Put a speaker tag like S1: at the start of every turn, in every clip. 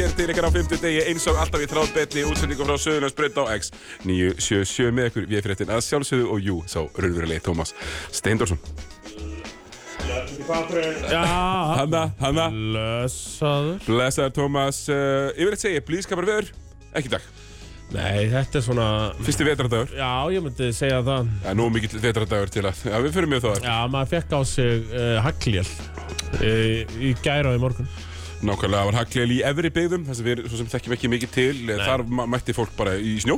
S1: hér til ykkar á 50 degi eins og alltaf í þráðbetni útsendingum frá Söðunarnsbrönd á X 977 með ykkur við fréttin að sjálfsögðu og jú, sá raunverulegi Tómas Steindórsson.
S2: Já,
S1: Hanna, Hanna,
S2: blessaður.
S1: blessaður Tómas, uh, yfirleitt segi ég blíðskapar veður, ekki í dag,
S2: Nei, þetta er svona...
S1: fyrsti vetrardagur.
S2: Já, ég myndi segja það.
S1: Já, nú er mikill vetrardagur til að, já, við förum mjög þóðar.
S2: Já, maður fekk á sig uh, hagljál uh, í gæra og í morgun.
S1: Nákvæmlega var haglél í efri byggðum, þess að við svo sem þekkjum ekki mikið til, Nei. þar ma- mætti fólk bara í snjó.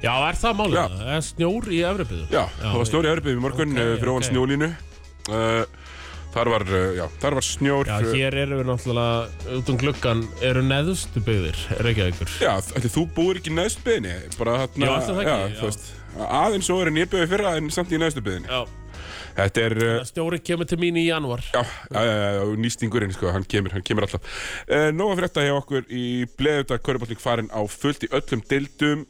S2: Já, er það málið?
S1: Já.
S2: Það er snjór í Evripiðu.
S1: Já, það var snjór í efri byggðum í morgun
S2: Ok,
S1: okay, fyrir ofan
S2: ok.
S1: snjólínu. Uh, þar var, uh, já, þar var snjór.
S2: Já,
S1: uh,
S2: hér eru við náttúrulega út um gluggan eru neðustu byggðir Reykjavíkur.
S1: Já, ætli, þú búir ekki í neðstu byggðinni, bara þarna,
S2: Já, ætli það ekki, já.
S1: þú veist, aðeins svo er en ég byggði fyrra en samt í neðstu byggðinni.
S2: Já,
S1: Þetta er, uh,
S2: stjóri kemur til mín í janúar.
S1: Já, já, já, já, og nýstingurinn sko, hann kemur, hann kemur alltaf. Uh, Nóa fyrir þetta hjá okkur í bleðuta Körbólning farin á fullt í öllum deildum,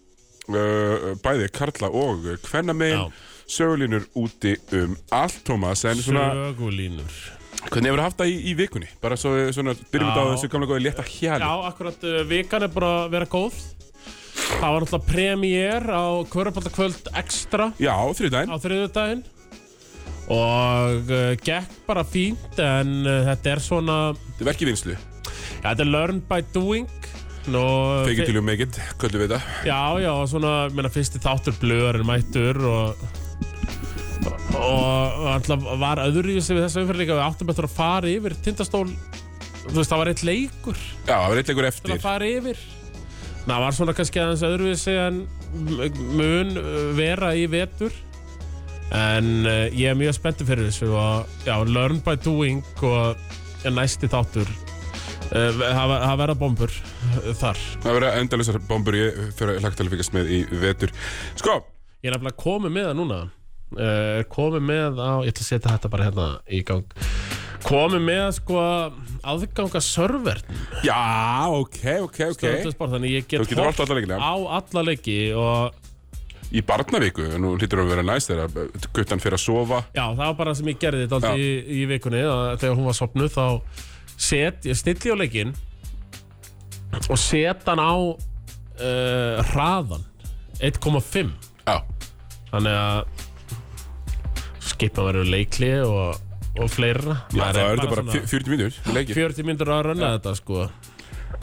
S1: uh, bæði Karla og
S2: Já.
S1: Kvennamegin, sögulínur úti um allt, Tómas, en svona,
S2: Sögulínur.
S1: hvernig hefur það haft það í, í vikunni? Bara svo, svona, byrjum við á
S2: Já.
S1: þessu gamla góði létta hjæli.
S2: Já, akkurat uh, vikan er bara að vera góð. Það var náttúrulega premiér á Kvörubaldakvöld Extra
S1: Já, þriðdæn.
S2: á þriðjudaginn og uh, gekk bara fínt en uh, þetta er svona,
S1: Þetta er verkið vinslu.
S2: já, þetta er learn by doing. Nó,
S1: Fake it till you make it, kvöldu um við það.
S2: Já, já, og svona, ég meina, fyrsti þáttur blöður en mættur og og alltaf var öðru í þessu við þessu umferð líka við áttum eftir að fara yfir tindastól þú veist, það var eitt leikur til
S1: Já, það var eitthvað
S2: að
S1: eftir.
S2: fara yfir það var svona kannski aðeins öðru í þessu en m- mun uh, vera í vetur en uh, ég er mjög spenntur fyrir þessu og já, learn by doing og næsti þáttur uh, það ver- það verða bombur uh, þar
S1: Það verða endalusar bombur ég fyrir að lagt að fylgjast með í vetur. Sko,
S2: Ég er nefnilega komið með það núna uh, komið með á, ég ætla að setja þetta bara hérna í gang komið með sko aðganga server
S1: Já, ok, ok, ok
S2: sport, þannig ég
S1: Þú
S2: get
S1: getur
S2: horft
S1: horft á alla leikina.
S2: á alla leiki og
S1: Í barnavíku, nú hlýtur það að vera næst þegar að guttan fyrir að sofa
S2: já, það var bara sem ég gerði þetta
S1: Já.
S2: í, í vikunni að þegar hún var sopnuð þá set, ég stilli á leikin og set hann á uh, hraðan 1,5
S1: Já,
S2: Þannig að skipa verður leikli og, og fleira
S1: Já
S2: Maður
S1: það er þetta bara
S2: svona
S1: fjö- 40 mínútur í leiki,
S2: 40 myndur að rönna þetta sko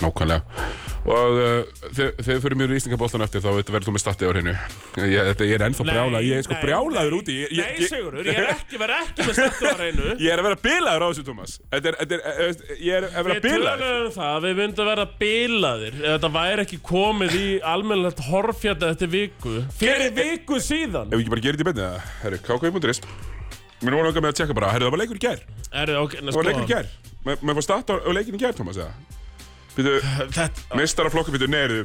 S1: nákvæmlega Og uh, þegar þegar fyrir mjög í Íslingabóltan eftir þá verður þú með statið á hreinu ég, þetta, ég er ennþá
S2: Nei,
S1: brjála, ég er sko
S2: nei,
S1: brjálaður úti ég, ég,
S2: Nei,
S1: ég-
S2: Sigurður, ég er ekki verið ekki með stættu að reynu
S1: Ég er að vera bilaður á þessu, Tómas Þetta er, þetta er, eh, veist, ég er að vera
S2: Við
S1: bilaður
S2: tölum um það, að við myndum vera bilaðir ef þetta væri ekki komið í almennilegt horfjata þetta viku fyrir viku síðan
S1: Ef við ekki bara gerir þetta í beinni, það, herru, kkv.is Mér voru langar með að tjekka bara, herru, það var leikur í gær Það
S2: er, okay, na,
S1: var leikur í gær, maður fór statt á, á leikin í gær, Tómas, eða Býtu,
S2: þetta,
S1: Meistaraflokkabítu neyru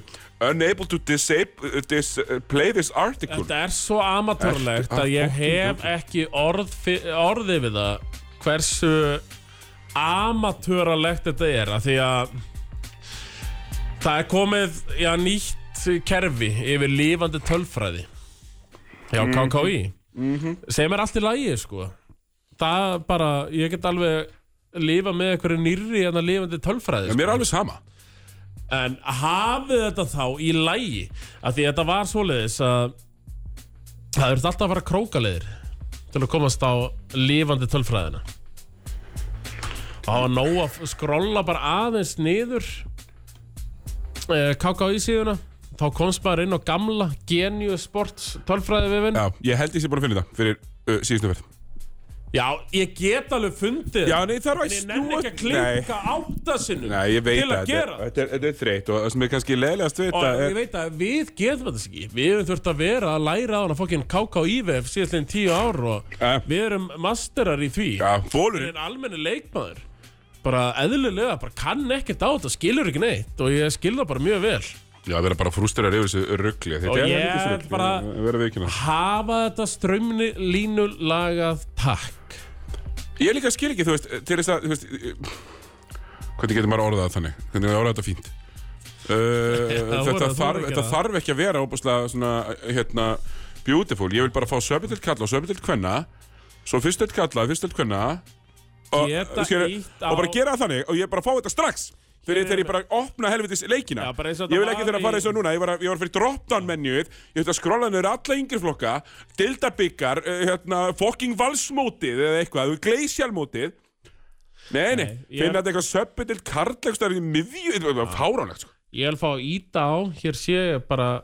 S1: Unable to disable, dis, uh, play this article
S2: þetta er svo amatörlegt
S1: Ertu að
S2: að ég
S1: fucking
S2: hef ekki orð, fi- orði við það hversu amatörlegt þetta er að því að það er komið já, nýtt kerfi yfir lífandi tölfræði já, KKI sem er allt í lagi sko það bara, ég get alveg lifa með einhverju nýrri en að lifandi tölfræði
S1: Mér er alveg sama
S2: En hafið þetta þá í lægi að því þetta var svoleiðis að það þurfti alltaf að fara krókaleðir til að komast á lífandi tölfræðina og það var nóg að skrolla bara aðeins niður eh, KKI síðuna þá komst maður inn á gamla Genius Sports tölfræði vefin já.
S1: Já, ég held ég sé búin að finna þetta fyrir uh, síðustu verð
S2: ég get alveg fundið
S1: Já,
S2: það,
S1: nei, það var
S2: en ég nenni ekki að klinka áttasinu
S1: Nei, ég veit
S2: til að
S1: þetta
S2: gera
S1: Þetta er, þetta er þreytt og það sem er kannski leiðilegast við
S2: Og
S1: þetta
S2: ég
S1: er
S2: veit að við getum þetta ekki Við höfum þurft að vera að læra á hana fokkin KKIVF síðastlegin tíu ár og
S1: Ja.
S2: við erum masterar í því
S1: Já, bólur
S2: En almenni leikmaður bara eðlilega, bara kann ekkert á þetta skilur ekki neitt og ég skil það bara mjög vel
S1: Já, vera bara frústurar yfir þessu ruggli Þetta
S2: Og
S1: er
S2: ég
S1: helvítis rugl,
S2: bara-
S1: eh, vera vikina
S2: Hafa þetta strömmni línu lagað takk
S1: Ég líka skil ekki, þú veist, til þess að þú veist, eh, Hvernig getur maður orðað það þannig? Hvernig maður orðað þetta fínt? Uh,
S2: það voru-
S1: þetta,
S2: það voru
S1: þarf,
S2: ekki
S1: þetta
S2: það.
S1: þarf ekki að vera óbúslega svona, hérna, beautiful Ég vil bara fá söpindelt kalla og söpindelt kvenna Svo fyrstelt kalla, fyrstelt kvenna og,
S2: Geta
S1: skilur,
S2: ítt á-
S1: og bara gera það þannig og ég bara fá þetta strax Fyrir þegar ég bara opna helvitis leikina
S2: Já, bara eins og þetta
S1: Ég vil ekki
S2: var
S1: þegar að fara
S2: í-
S1: eins og núna Ég var, að- ég var fyrir drop-down menjuð Ég þurfti að skrolla niður alla yngri flokka Dildabikar, eh, hérna, fucking valsmótið Eða eitthvað, glacialmótið Nei, nei,
S2: Nei, ég-
S1: finna þetta eitthvað söppi til karlægstar í miðju Þetta var fáránlegt, sko
S2: Ég vil fá að íta á, hér sé ég bara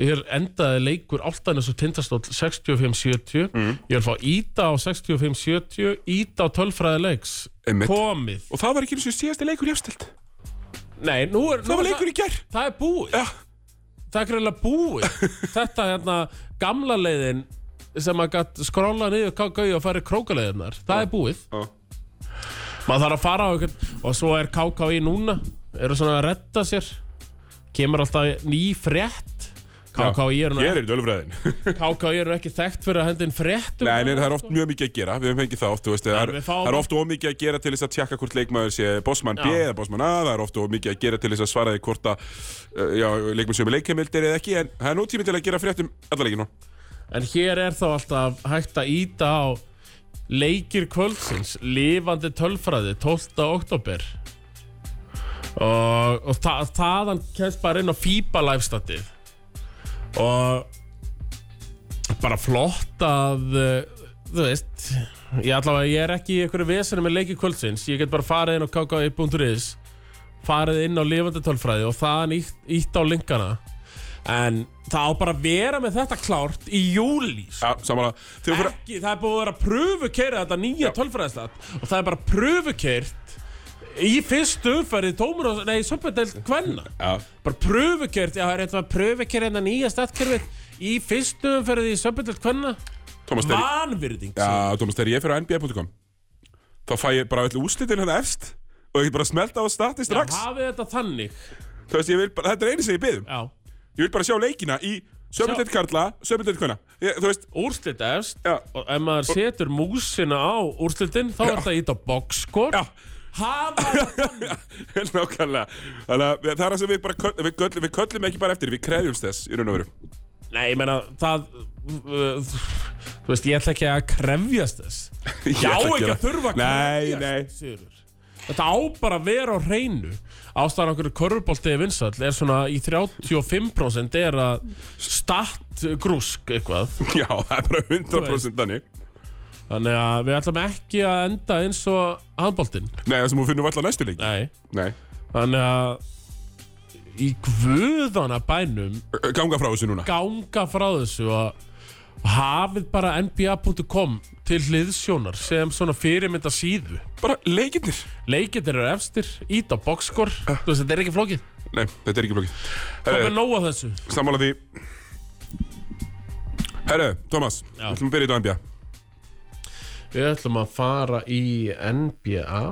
S2: hér endaði leikur áltanis og tindastóll 65-70
S1: Mhm.
S2: ég vil fá að íta á 65-70 íta á tölfræði leiks
S1: Einmitt.
S2: komið
S1: Og það var ekki eins og síðasti leikur jafstilt Það
S2: Nei, nú er, nú
S1: var leikur í gær
S2: það er búið
S1: Já,
S2: það er greinlega búið þetta hérna gamla leiðin sem að gætt skróla niður KKU og fara í krókaleiðinar það er búið
S1: Já.
S2: maður þarf að fara á einhvern og svo er KKI núna eru svona að redda sér kemur alltaf ný frétt KKI eru,
S1: ég er í dölfræðin
S2: KKI eru ekki þekkt fyrir að hendin fréttum
S1: Nei, nei, það er oft mjög mikið að gera, við höfum fengið það oft, þú veist, það er,
S2: við fáum-
S1: það er oft ómikið að gera til þess að tjekka hvort leikmaður sé bossmann B
S2: Já.
S1: eða bossmann A, það er oft ómikið að gera til þess að svara því hvort að, uh, já, leikmenn séu með leikheimildir eða ekki, en það er nú tími til að gera fréttum alla leikinu.
S2: En hér er þá alltaf hægt að íta á leikir kvöldsins, lifandi tölfræði, 12. oktober. Og, og þa þaðan kemst bara inn á FIBA livestatið. Og bara flott að, uh, þú veist, ég allavega, ég er ekki í einhverju vesinu með leikir kvöldsins. Ég get bara farið inn á kk1.is, farið inn á lifandi tölfræði og þaðan ítt, ítt á linkana. En það á bara að vera með þetta klárt í júli sko.
S1: Já, samanlega, þegar fyrir,
S2: Ekki, það er búið að vera pröfukerið þetta nýja tölfræðislat Og það er bara pröfukert í fyrstu umferði tómur og, nei, söpudeld kvenna
S1: já,
S2: Bara pröfukert, já, það er eitthvað pröfukerið þetta hérna nýja statkerfið Í fyrstu umferði í söpudeld kvenna
S1: Thomas, þegar,
S2: Vanvirðing
S1: já,
S2: ja.
S1: Thomas, þegar ég fyrir á NBA.com, þá fæ ég bara öll úslitin hérna efst og ég get bara smelta á stati strax,
S2: Hafið þetta þannig
S1: þú veist, ég vil bara, þetta er einu sem ég byggðum,
S2: Já,
S1: ég vil bara sjá leikina í sömjöldeitt karla, sömjöldeitt kona, Ég- þú veist,
S2: úrslit efst
S1: Já.
S2: Og ef maður setur músina á úrslitin Þá er þetta ít á boxskort
S1: já,
S2: Hafa þetta
S1: Nákvæmlega Þannig að það er það sem við bara köll, við, köll, við köllum ekki bara eftir Við krefjumst þess í raun og veru
S2: Nei, ég meina, það uh, Þú veist, ég ætla ekki að krefjast þess
S1: Ég
S2: Já,
S1: ætla
S2: ekki
S1: gera-
S2: að þurfa að
S1: Nei,
S2: krefjast
S1: nei
S2: þess, Sigurður. Þetta á bara að vera á hreinu Ástæðan okkur korfubolti er vinsall Er svona í 35% er að Statt grúsk eitthvað
S1: Já, það er bara 100% þannig
S2: Þannig að við ætlum ekki að enda eins og handboltinn
S1: Nei, það sem hún finnum alltaf næstu leik
S2: Nei
S1: Nei,
S2: Þannig að Í guðana bænum
S1: Ö, ganga frá þessu núna
S2: ganga frá þessu og og hafið bara nba.com til hliðsjónar sem svona fyrirmynda síðu
S1: Bara leikirnir
S2: leikindir eru efstir, ít á boxskor
S1: Ah.
S2: þú veist, þetta er ekki flókið
S1: Nei, þetta er ekki blókið
S2: það
S1: Herru,
S2: er nóg af þessu
S1: Sammála því Herru, Thomas Við
S2: Já.
S1: ætlum að byrja í dæmbja
S2: við ætlum að fara í NBA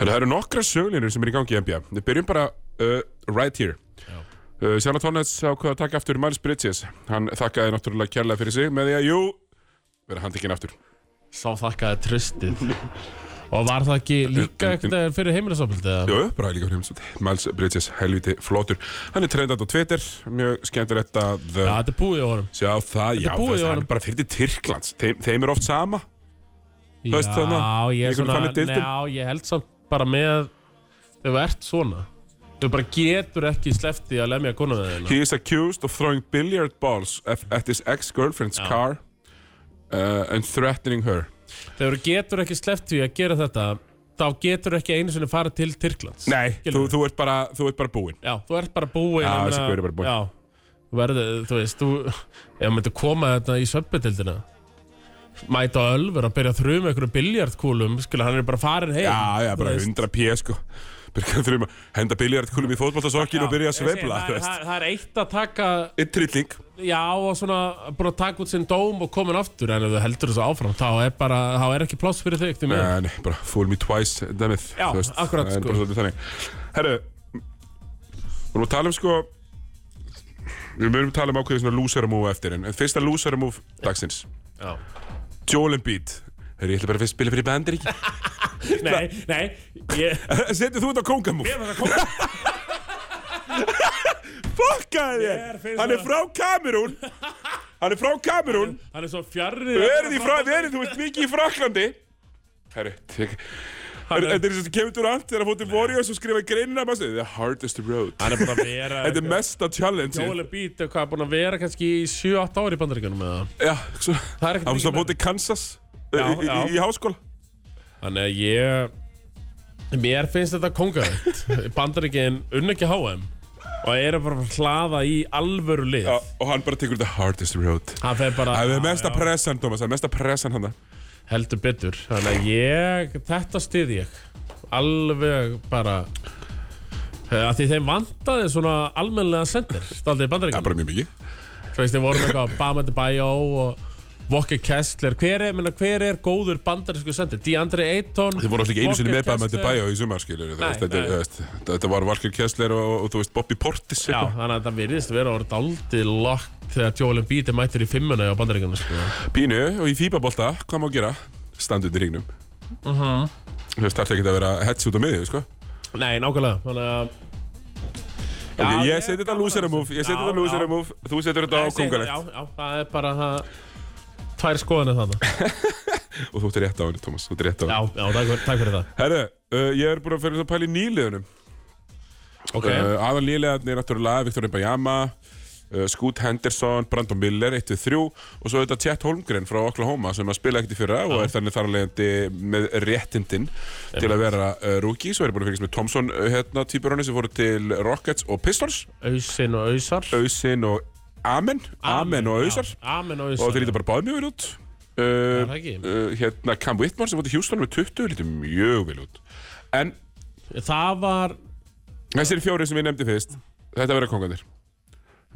S1: Herru, það eru nokkra söglinir sem er í gangi í NBA Við byrjum bara uh, right here
S2: Já.
S1: Uh, Sjana Tónets ákvaða að taka aftur Miles Bridges Hann þakkaði náttúrulega kærlega fyrir sig með því að, jú, vera handikinn aftur
S2: sá þakkaði tristið og var það ekki líka eitthvað fyrir heimilisofnildið
S1: Jú, bara líka fyrir heimsótt Miles Bridges, helviti flótur Hann er trendað á Twitter, mjög skemmtilegt að
S2: Já,
S1: ja.
S2: þetta er búið á honum
S1: sjá það, já,
S2: búið
S1: þess,
S2: hjá
S1: hann
S2: honum.
S1: er bara fyrir til Tyrklands Þeim, þeim er oft sama
S2: Já,
S1: veist þarna,
S2: ég, er
S1: einhvern þannig
S2: svona,
S1: deildum.
S2: já, ég held samt bara með þau ert svona þau bara getur ekki slefti að lemja konuðið þeirna
S1: He is accused of throwing billiard balls at, at his ex-girlfriend's car uh, and threatening her
S2: Þegar þú getur ekki sleppt því að gera þetta þá getur ekki einu sinni farið til Tyrklands
S1: Nei, þú,
S2: Skilurðu?
S1: þú ert bara, þú ert bara búinn
S2: Já, þú ert bara búinn
S1: Já,
S2: ég meina-
S1: þessi gaur er bara búinn.
S2: Já, þú verður, þú veist, þú ef þú myndir koma þetta í söpbetildina mæta á ölfur að byrja að þrjum einhverjum biljartkúlum, skilja, hann er bara farin heim
S1: Já, já,
S2: þú
S1: bara
S2: veist.
S1: 100 p sko Byrja að þurfum að henda billiardkulum í fótboltasokkin og
S2: Já,
S1: byrja að
S2: ég segi,
S1: sveifla
S2: það, er- það, það er eitt að taka,
S1: Eitt trilling
S2: já, og svona bara taka út sinn dóm og komin aftur en ef þú heldur þessu áfram, þá er bara þá er ekki pláss fyrir þig, því mér
S1: Nei, nei, bara fool me twice, dammit
S2: Já, akkurat,
S1: Það er
S2: sko.
S1: bara svolítið þannig Herru, vorum að tala um sko Við mögum að tala um ákveðið svona loser move eftir En en fyrsta loser move dagsins
S2: Já.
S1: Joel Embiid Herru, ég ætla bara fyrst að spila fyrir bandir ekki
S2: Nei, nei, ég
S1: Setur þú þetta á konga move?
S2: Ég var að koma
S1: Fokkaði
S2: Mér
S1: þér!
S2: finnst
S1: Hann er
S2: það-
S1: frá Kamerún Hann er frá Kamerún
S2: Hann er svo fjarrið
S1: Verið í frá, verið, þú veist mikið í Fraklandi Herru, tek- Er- Þetta er sem Kevin Durant þegar hann fótt til Warriors og skrifaði greinina bara svona, The hardest road
S2: Hann er búin að vera
S1: Þetta er mesta challenge
S2: Jóel er bít Hvað er búin að vera kannski í 7-8 ári í bandaríkjunum eða
S1: Já, svo
S2: Það er
S1: Hann
S2: ekkert mikið
S1: var svo
S2: meira.
S1: búin til Kansas eh,
S2: Já,
S1: í, í, í
S2: já.
S1: háskóla
S2: Þannig að ég Mér finnst þetta kongarætt Bandaríkinn unn ekki HM Og eru bara að hlaða í alvöru lið
S1: Já, Og hann bara tekur The hardest road
S2: Hann fer bara
S1: Það er
S2: Já,
S1: mesta
S2: já.
S1: pressan, Thomas, það er mesta pressan hann
S2: Heldur betur Þannig að ég, þetta stið ég Alveg bara að því þeim vantaði svona almennlega sendir
S1: Það
S2: staldið í
S1: er
S2: bandaríkjum
S1: bara mjög mikið
S2: þú veist, þeim voru með eitthvað Bama de Bayo og Walker Kessler hver er, menna, hver er góður bandarísku sendir? DeAndre Ayton
S1: Þið voru alltaf ekki einu sinni
S2: Walker
S1: með bara með
S2: Kessler.
S1: Debæja í sumar, skilur
S2: Nei, nei.
S1: Þetta var Valkyr Kessler og, og þú veist Bobby Portis
S2: Já, þannig að það virðist að vera orðið aldrei lagt þegar Joel Embiid er mættur í fimmuna á bandaríkjana sko.
S1: Pínu og í fíbabolta, hvað má gera? Standa undir ringnum uh
S2: Mhm.
S1: -huh. Það starta ekki að vera hets út á miðið, sko
S2: Nei, nákvæmlega Þannig að
S1: Já,
S2: Já,
S1: Ég
S2: ég
S1: seti þetta
S2: gaman
S1: loser
S2: að þessu.
S1: move, ég seti
S2: Já,
S1: þetta loser
S2: já.
S1: move Þú setur þetta á
S2: Ég segi það,
S1: kongalegt
S2: Já, já, það er bara það Tvær skoðanir þannig
S1: Og þú ert rétt á henni, Thomas, þú ert rétt á
S2: Já,
S1: henni
S2: já, takk, fyrir- takk fyrir það
S1: Herðu, uh, ég er búin að fyrir að pæla í nýliðunum
S2: Ok,
S1: okay. uh, aðan nýliðarnir er náttúrulega Viktor Mbajama uh, Scoot Henderson, Brandon Miller 1-3 og svo þetta Chet Holmgren frá Oklahoma sem að spila ekkert í fyrra og er þannig þarlegandi með réttindin til að vera uh, rookie svo er ég búin að fylgjast með Thompson uh, hérna týpurunni sem fóru til Rockets og Pistons
S2: Ausin og Ausar
S1: Ausin og Amen Amen, og
S2: já.
S1: Ausar
S2: Amen og Ausar
S1: og þeir líta bara báðum mjög vel út
S2: Já,
S1: uh,
S2: það ekki.
S1: uh, hérna Cam Whitmore sem fór til Houston með 20 lítið mjög vel út en
S2: Það var
S1: Þessir fjóri sem ég nefndi fyrst Þetta verður kongandir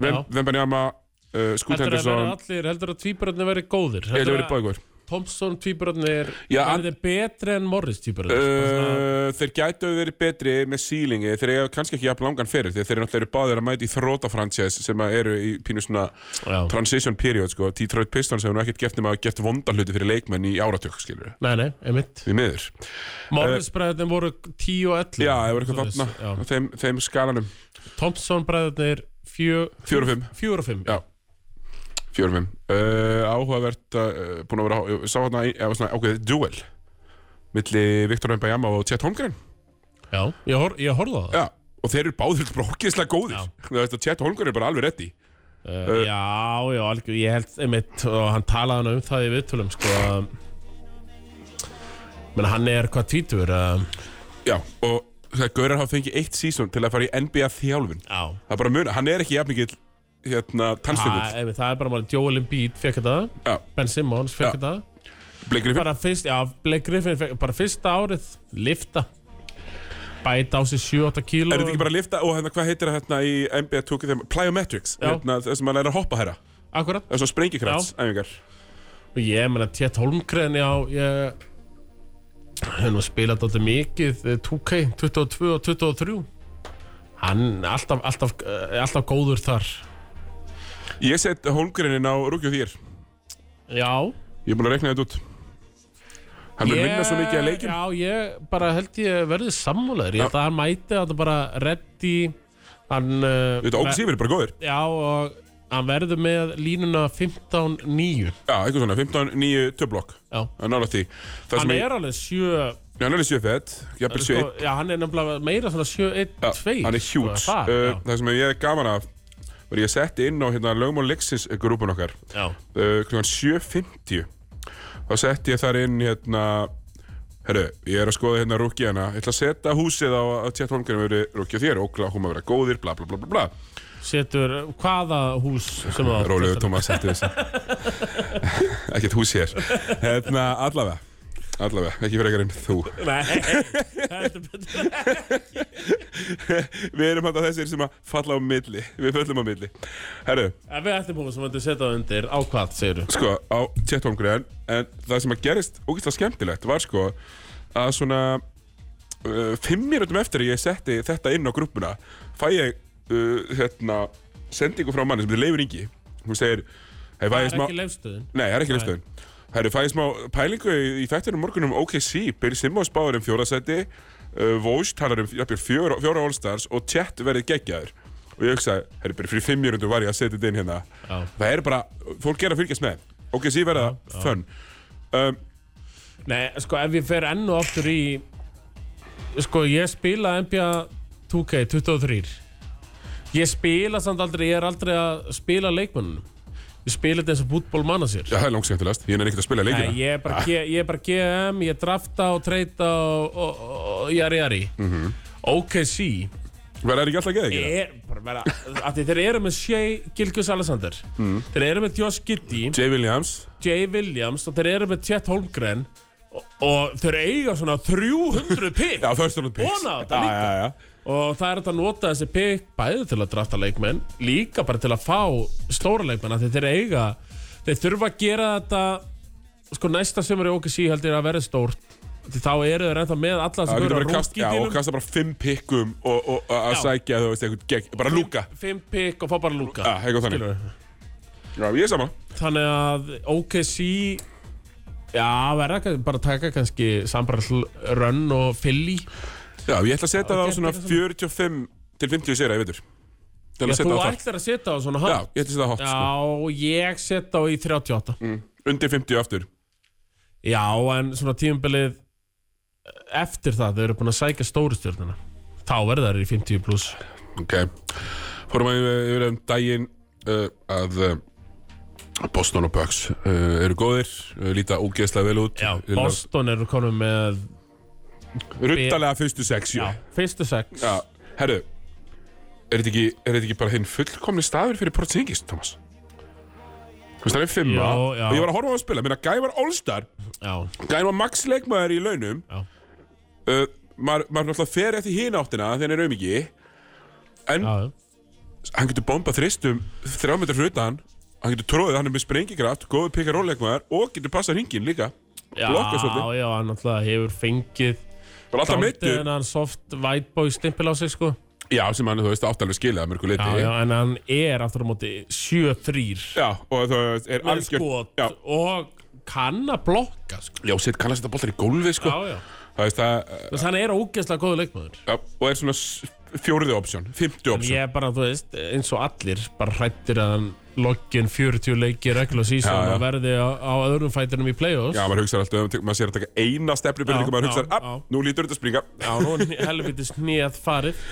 S2: Já.
S1: Vembanjama, uh, Scoot
S2: Heldur að vera
S1: Henderson
S2: allir, heldur að tvíburarnir verið góðir
S1: Þetta
S2: Heldurðu
S1: verður báði góður
S2: Thompson tvíburarnir
S1: Já,
S2: Já,
S1: an-
S2: verið betri en Morris tvíburarnir uh,
S1: Uh, þeir gætu hafa verið betri með sílingi þeir eru kannski ekki jafn langan fyrir þegar þeir eru náttúrulega báðir að mæta í þróta franchise sem að eru í pínu svona
S2: Já.
S1: transition period sko. Detroit Pistons hefur nú ekkert gert nema að gert vonda hluti fyrir leikmenn í áratök skilur
S2: Nei, nei, einmitt
S1: við miður
S2: Morris bræðurnir voru 10 og 11
S1: já, það hefur eitthvað
S2: Svoleiðis,
S1: þarna
S2: já.
S1: á þeim, þeim skalanum
S2: Thompson bræðurnir 4
S1: Fjögur og fimm.
S2: 4 og 5
S1: Já. fjórumum uh, áhugavert uh, búin að vera ég sá hérna ein- eða svona ákveðið duel milli Viktor Mbajama og Chet Holmgren
S2: Já, ég, hor, ég horfði á það
S1: já og þeir eru báðir brókislega góðir
S2: Já.
S1: þú veist að Chet Holmgren er bara alveg reddi Eh,
S2: Uh, já, já, algjör, ég held einmitt og hann talaði hann um það í viðtölum sko að menn hann er hvað tvítur uh,
S1: já og það Gaurar hafa fengið eitt sísón til að fara í NBA þjálfun
S2: Já,
S1: það er bara mun hann er ekki jafn mikið hérna
S2: það,
S1: tannstökull
S2: einmitt, það er bara málið Joel Embiid fekk þetta,
S1: já
S2: Ben Simmons
S1: Já.
S2: fekk þetta
S1: Blake Griffin
S2: bara fyrst, já, Blake Griffin fekk, bara fyrsta árið, lifta bæta á sig 7-8 kíló
S1: er þetta ekki bara að lifta og hérna hvað heitir það hérna í NBA 2K plyometrics
S2: Já.
S1: hérna þess að maður er að hoppa herra
S2: Akkurat,
S1: þess að sprengikræts æfingar
S2: og ég menna Tjett Holmgren, já, ég hef nú spilað alltaf mikið eh, 2K, 22 og 23 hann, alltaf, alltaf, eh, alltaf góður þar
S1: ég set Holmgrenin á rúkju þýr
S2: Já,
S1: Ég er búin að rekna þetta út Hann mun vinna svo mikið að leikjum
S2: Já, ég bara held ég verðið sammálaður Ég held að hann mæti að það bara reddi Hann uh,
S1: Þetta ógis yfir, bara góðir
S2: Já, og hann verður með línuna 15-9
S1: Já, eitthvað svona, 15, 9, 2 blokk
S2: Já
S1: Það er nála því Það
S2: Hann
S1: sem ég,
S2: er alveg 7
S1: hann er í 7 fett Jafnvel 7,
S2: Já, hann er nefnilega meira svona 7-1-2
S1: 1 Hann er hjút
S2: sko, það,
S1: uh, Það sem ég er gaman af Var ég setti inn á hérna lögmál leiksins grúpun okkar
S2: já, já,
S1: uh, Klukkan 7.50 Þá setti ég þar inn hérna Herru, ég er að skoða hérna rúkið hana Ég ætla að setja húsið á að tjátt holmgrið Mér verið rúkið þér, ókla, hún maður vera góðir Bla, bla, bla, bla, bla
S2: Setur hvaða hús sem það
S1: Rólegur Tómas, hættu þess að Ekkert hús hér Hérna, allavega Allavega, ekki fyrir ekkert en þú
S2: Nei, heldur betur
S1: Við erum hann þessir sem að falla á milli Við föllum á milli Herru,
S2: En við ættum hún sem vandu að setja það undir á hvað, segir þú?
S1: sko, á tjettómgræðan En það sem að gerist ógeðslega skemmtilegt var sko Að svona uh, Fimm mínútum eftir að ég setti þetta inn á grúppuna Fæ ég uh, hérna, Sendingu frá manni sem þetta leifur yngi Hún segir hey,
S2: Það
S1: væ,
S2: er
S1: smá-
S2: ekki leifstöðin
S1: Nei, það er ekki listöðin. Það eru fæðið smá pælingu í, í þættinum um morgunum OKC, Bill Simmons báður um fjórasæti, uh, Voj talar um jafnvel fjóra, fjóra All-Stars og Chet verið geggjaður. Og ég hugsaði, herri, bara fyrir fimm mjörundu var ég að setja þetta inn hérna.
S2: Já.
S1: Það er bara, fólk er að fylgjast með. OKC verða fönn. Um,
S2: Nei, sko, ef ég fer enn og aftur í Sko, ég spila NBA 2K 23 Ég spila samt aldrei, ég er aldrei að spila leikmannunum Ég spila þetta eins og bútból manna sér
S1: Já, það er langsættilegast, ég er ekkert að spila leikina
S2: Nei, ég er bara, G- ég er bara GM, ég drafta og treyta og, og, og, og jari jari OKC
S1: Verða það ekki alltaf geðið ekki?
S2: er bara vera að þeir eru með Shea Gilgjus Alexander
S1: Mm.
S2: þeir eru með Josh Giddy
S1: Jay Williams
S2: Jay Williams og þeir eru með Chet Holmgren og, og þeir eiga svona 300 pick
S1: Já, first round picks
S2: Vona þetta líka.
S1: Já, já, já
S2: og það er hægt að nota þessi pick bæði til að drafta leikmenn líka bara til að fá stóra leikmenn af því þeir eiga þeir þurfa að gera þetta sko næsta sömur í OKC heldur ég að verða stórt því þá eru þeir ennþá með alla
S1: Það
S2: sem
S1: getur
S2: eru að
S1: bara kast, já, og
S2: rúkidýlum
S1: kasta bara fimm pikkum og, og, og að
S2: Já.
S1: sækja þú veist eitthvað gegn, bara lúka
S2: fimm pick og fá bara lúka
S1: Já, eitthvað þannig.
S2: Skilurðu?
S1: Já, ég er saman
S2: Þannig að OKC Já, verða kann- bara að taka kannski sambarall Rönn og Philly
S1: Já, ég ætla að setja það á
S2: gegn-
S1: svona
S2: gegn saman.
S1: 45 til 50 sér, ég veitur Til að
S2: Já, þú
S1: setja það á þar
S2: ætlar að setja á svona
S1: Já,
S2: hátt
S1: ég ætla að setja það hot, sko Mm.
S2: Já, ég setja á í 38
S1: Undir 50 aftur
S2: Já, en svona tímabilið Eftir það, þau eru búin að sækja stóru stjórnina Þá verða þær í 50 pluss
S1: Ok Fórum að yfir yfir um daginn uh, að uh, Boston og Bucks uh, eru góðir, uh, líta ógeðslega vel út
S2: Já, Boston eru konum með
S1: Ruttalega fyrstu sex, jú
S2: já, Fyrstu sex
S1: Já, herru Er þetta ekki, er þetta ekki bara hinn fullkomni staður fyrir Porzingis, Thomas? Þú veist, það er fimma
S2: Já, já.
S1: og ég var að horfa á að spila, minna Gæ var Allstar
S2: já,
S1: Gæ var max leikmaður í launum
S2: Já.
S1: uh, Maður maður náttúrulega fer eftir hina áttina þegar hann er aumingi En
S2: já.
S1: hann getur bombað þristum þrjá metrar fyrir utan Hann getur tróðið, hann er með sprengikraft, góðu pikaróleikmaður og getur passað hringin líka
S2: Já,
S1: Blokka svolítið,
S2: já, hann alltaf hefur fengið
S1: bara alltaf
S2: Dáldið
S1: meittur
S2: en hann soft white boy stimpil á sig sko
S1: Já, sem hann, þú veist, átt alveg skilið að mörgu liti
S2: Já, já, en hann er aftur á móti 7-3
S1: Já, og þú veist, er
S2: með
S1: algjör
S2: skot
S1: Já,
S2: og kann að blokka sko.
S1: Já, sitt kannast þetta boltar í gólfi, sko.
S2: Já, já
S1: Það veist það,
S2: Þess að hann er ógeðslega góður leikmaður
S1: ja, og er svona s- fjórði option, fymti option.
S2: Ég er bara, þú veist, eins og allir bara hrættir að hann loggin 40 leiki regla
S1: Já,
S2: síðan
S1: já.
S2: og verði á, á öðrum fætinum í playoffs
S1: Já, maður hugsaði alltaf, um- maður sér að taka eina stefnubyrningu,
S2: Já,
S1: maður
S2: já,
S1: hugsaði,
S2: já.
S1: að, nú lítur þetta að springa.
S2: Já, nú er helviti snið farið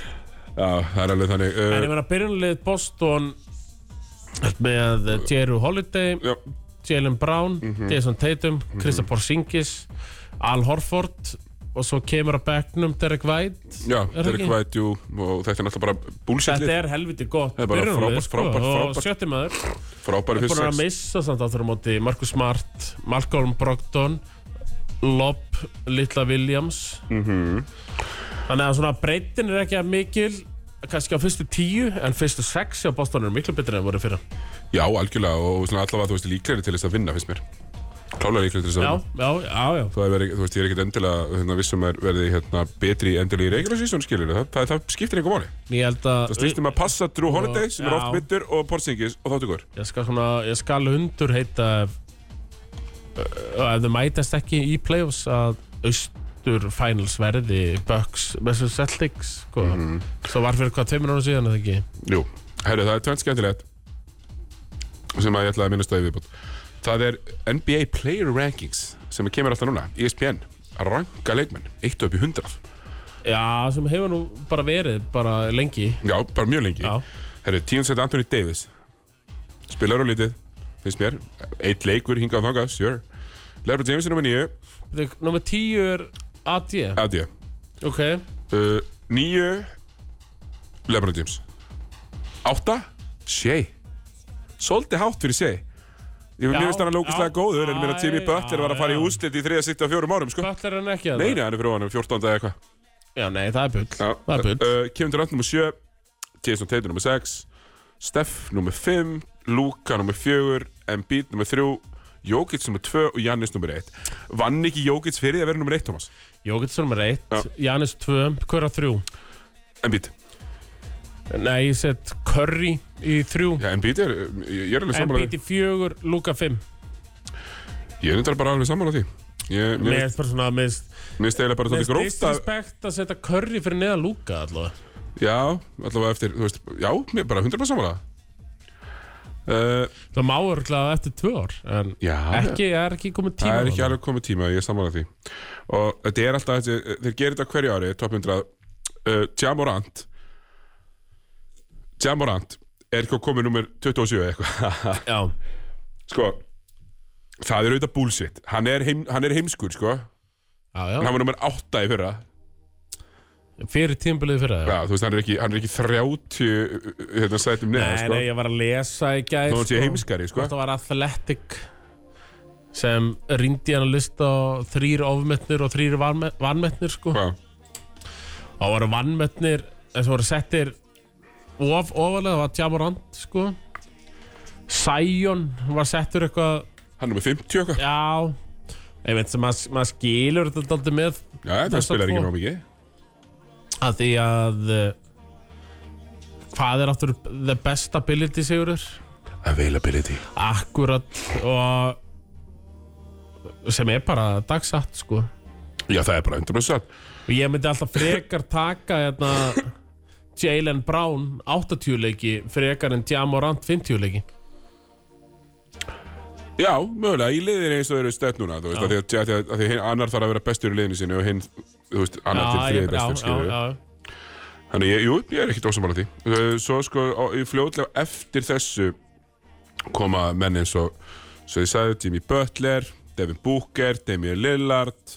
S1: Já, það er alveg þannig.
S2: En
S1: Uh,
S2: ég meina byrjunlið Boston með eh, Jeru Holiday
S1: já,
S2: Jalen Brown, Jason Tatum, Krista Porzingis, Al Horford og svo kemur að bekknum Derek White.
S1: já,
S2: það
S1: þetta er
S2: ekki?
S1: kvæðt, jú, og þetta er náttúrulega bara
S2: Þetta
S1: búlsillið,
S2: er helviti gott
S1: er bara
S2: byrjunarlið, sko.
S1: frábært, frábært,
S2: Og
S1: frábært.
S2: sjötti maður,
S1: frábæri
S2: búin
S1: fyrst
S2: að
S1: sex.
S2: missa samt aftur á móti Marcus Smart, Malcolm Brogdon, Lobb, Lilla Williams. Þannig að svona breytin er ekki að mikil, kannski á fyrstu tíu, en fyrstu sex á Boston er miklu betri en voru fyrir.
S1: Já, algjörlega, og svona allavega, þú veist, líklegri til þess að vinna, finnst mér. Klálega líklegri til þess að
S2: Já,
S1: vinna.
S2: já, já, já.
S1: Það er verið, þú veist, ég er ekkert endilega, hérna, vissum er verið, hérna, betri endilega í regular season, skilur það, það, það skiptir einhver máli.
S2: Ég held að...
S1: Það snýstum að passa Drew Holiday, sem er
S2: Já.
S1: oft mittur, og Porzingis, og þáttu hver.
S2: Ég skal, svona, ég skal undur heita ef, eh, ef þau mætast ekki í playoffs að austur finals verði Bucks versus Celtics sko.
S1: Mhm.
S2: svo var fyrir hvað tveimur ára síðan eða ekki
S1: Jú, herru, það er tvennt skemmtilegt sem að ég ætlaði að minnast á í viðbútt Það er NBA Player Rankings sem kemur alltaf núna, E ESPN að ranka leikmenn, eitt og upp í 100
S2: Já, sem hefur nú bara verið bara lengi
S1: Já, bara mjög lengi
S2: Já.
S1: Herru, tíum seti Anthony Davis spilar á lítið, finnst mér eitt leikur hingað og þangað, sure Lebron James er nummer nýju,
S2: Númer 10 er AD
S1: aðjö
S2: Ok,
S1: uh, Nýju Lebron James Átta, Shea Svolítið hátt fyrir Shea Ég
S2: Já,
S1: mér finnst hann að lókislega
S2: já.
S1: góður en ég meina Jimmy
S2: Æ,
S1: Butler var að fara í
S2: já.
S1: úrslit í 364 árum sko
S2: Butler er hann ekki að
S1: Nei, nei, hann er fyrir honum 14. eða eitthvað
S2: Já, nei, það er bull Það er
S1: uh,
S2: bull
S1: uh, Kevin Durant nr. 7 Jason Tatum nr. 6 Steph nr. 5 Luka nr. 4 Embiid nr. 3 Jokic nr. 2 og Jannis nr. 1 Vann ekki Jokic fyrir því að vera nr. 1, Thomas?
S2: Jókitsson er reitt Jannis 2, hver að 3
S1: Embiid
S2: Nei, ég set Curry í 3
S1: Já, Embiid er, ég ég er alveg sammála
S2: Embiid í 4, Luka 5
S1: því Ég er þetta bara alveg sammála því Ég,
S2: Mér
S1: mér
S2: finnst bara svona, mér finnst
S1: Mér finnst eiginlega bara
S2: Mér
S1: svolítið
S2: finnst
S1: gróft að
S2: disrespect að setja curry fyrir neðan lúka allavega
S1: Já, allavega eftir, þú veist Já, mér bara 100% samanlega Uh,
S2: Það má örglega eftir tvö ár En
S1: já,
S2: ekki, er ekki komið tíma
S1: það er
S2: á
S1: ekki alveg komið tíma, ég er saman að því. Og þetta er alltaf, þessi- þeir gerir þetta hverju ári, top 100. Uh, Jamorant, Jamorant er eitthvað komið nummer 27 eða eitthvað.
S2: Já,
S1: sko, það er auðvitað bullshit. Hann er, heim, hann er heimskur, sko.
S2: já,
S1: Hann var nummer 8 í fyrra.
S2: já Fyrir tímabilið fyrir það
S1: Já, þú veist, hann er ekki, hann er ekki 30 hérna, sætum neða,
S2: Nei,
S1: sko.
S2: nei, ég var að lesa í gæð
S1: Þó hann sé heimskari, sko.
S2: Þetta var Athletic sem rindi hann að lista á þrýr ofmetnir og þrýr vanmetnir sko.
S1: Hvað?
S2: Það voru vanmetnir eins og voru settir of ofalega, það var Jamorant sko. Sion var settur eitthvað
S1: Hann er nummer 50 eitthvað?
S2: já, ég veit sem maður mað skilur þetta aldrei með
S1: Já, það
S2: Þessar
S1: spilar ekki
S2: tvo.
S1: nóg mikið.
S2: að því að eh, hvað er aftur the best ability sigurur
S1: Availability.
S2: akkurat og sem er bara dagsatt sko
S1: Já, það er bara 100% satt.
S2: og ég myndi alltaf frekar taka hérna Jalen Brown 80 leiki frekar en Jamorant 50 leiki
S1: Já, mögulega, í liðinu eins og þau eru stefn núna, þú veist,
S2: Já.
S1: að því að, að, því að, að því hinn annar þarf að vera bestur í liðinu sinni og hinn, þú veist, annar til
S2: ég-
S1: þriði bestur, skilur við.
S2: já, já.
S1: Þannig, ég, jú, ég er ekkert ósamála því. Uh, Svo, sko, á, í fljótlega eftir þessu koma menn eins og, svo ég sagði, Jimmy Butler, Devin Booker, Damian Lillard,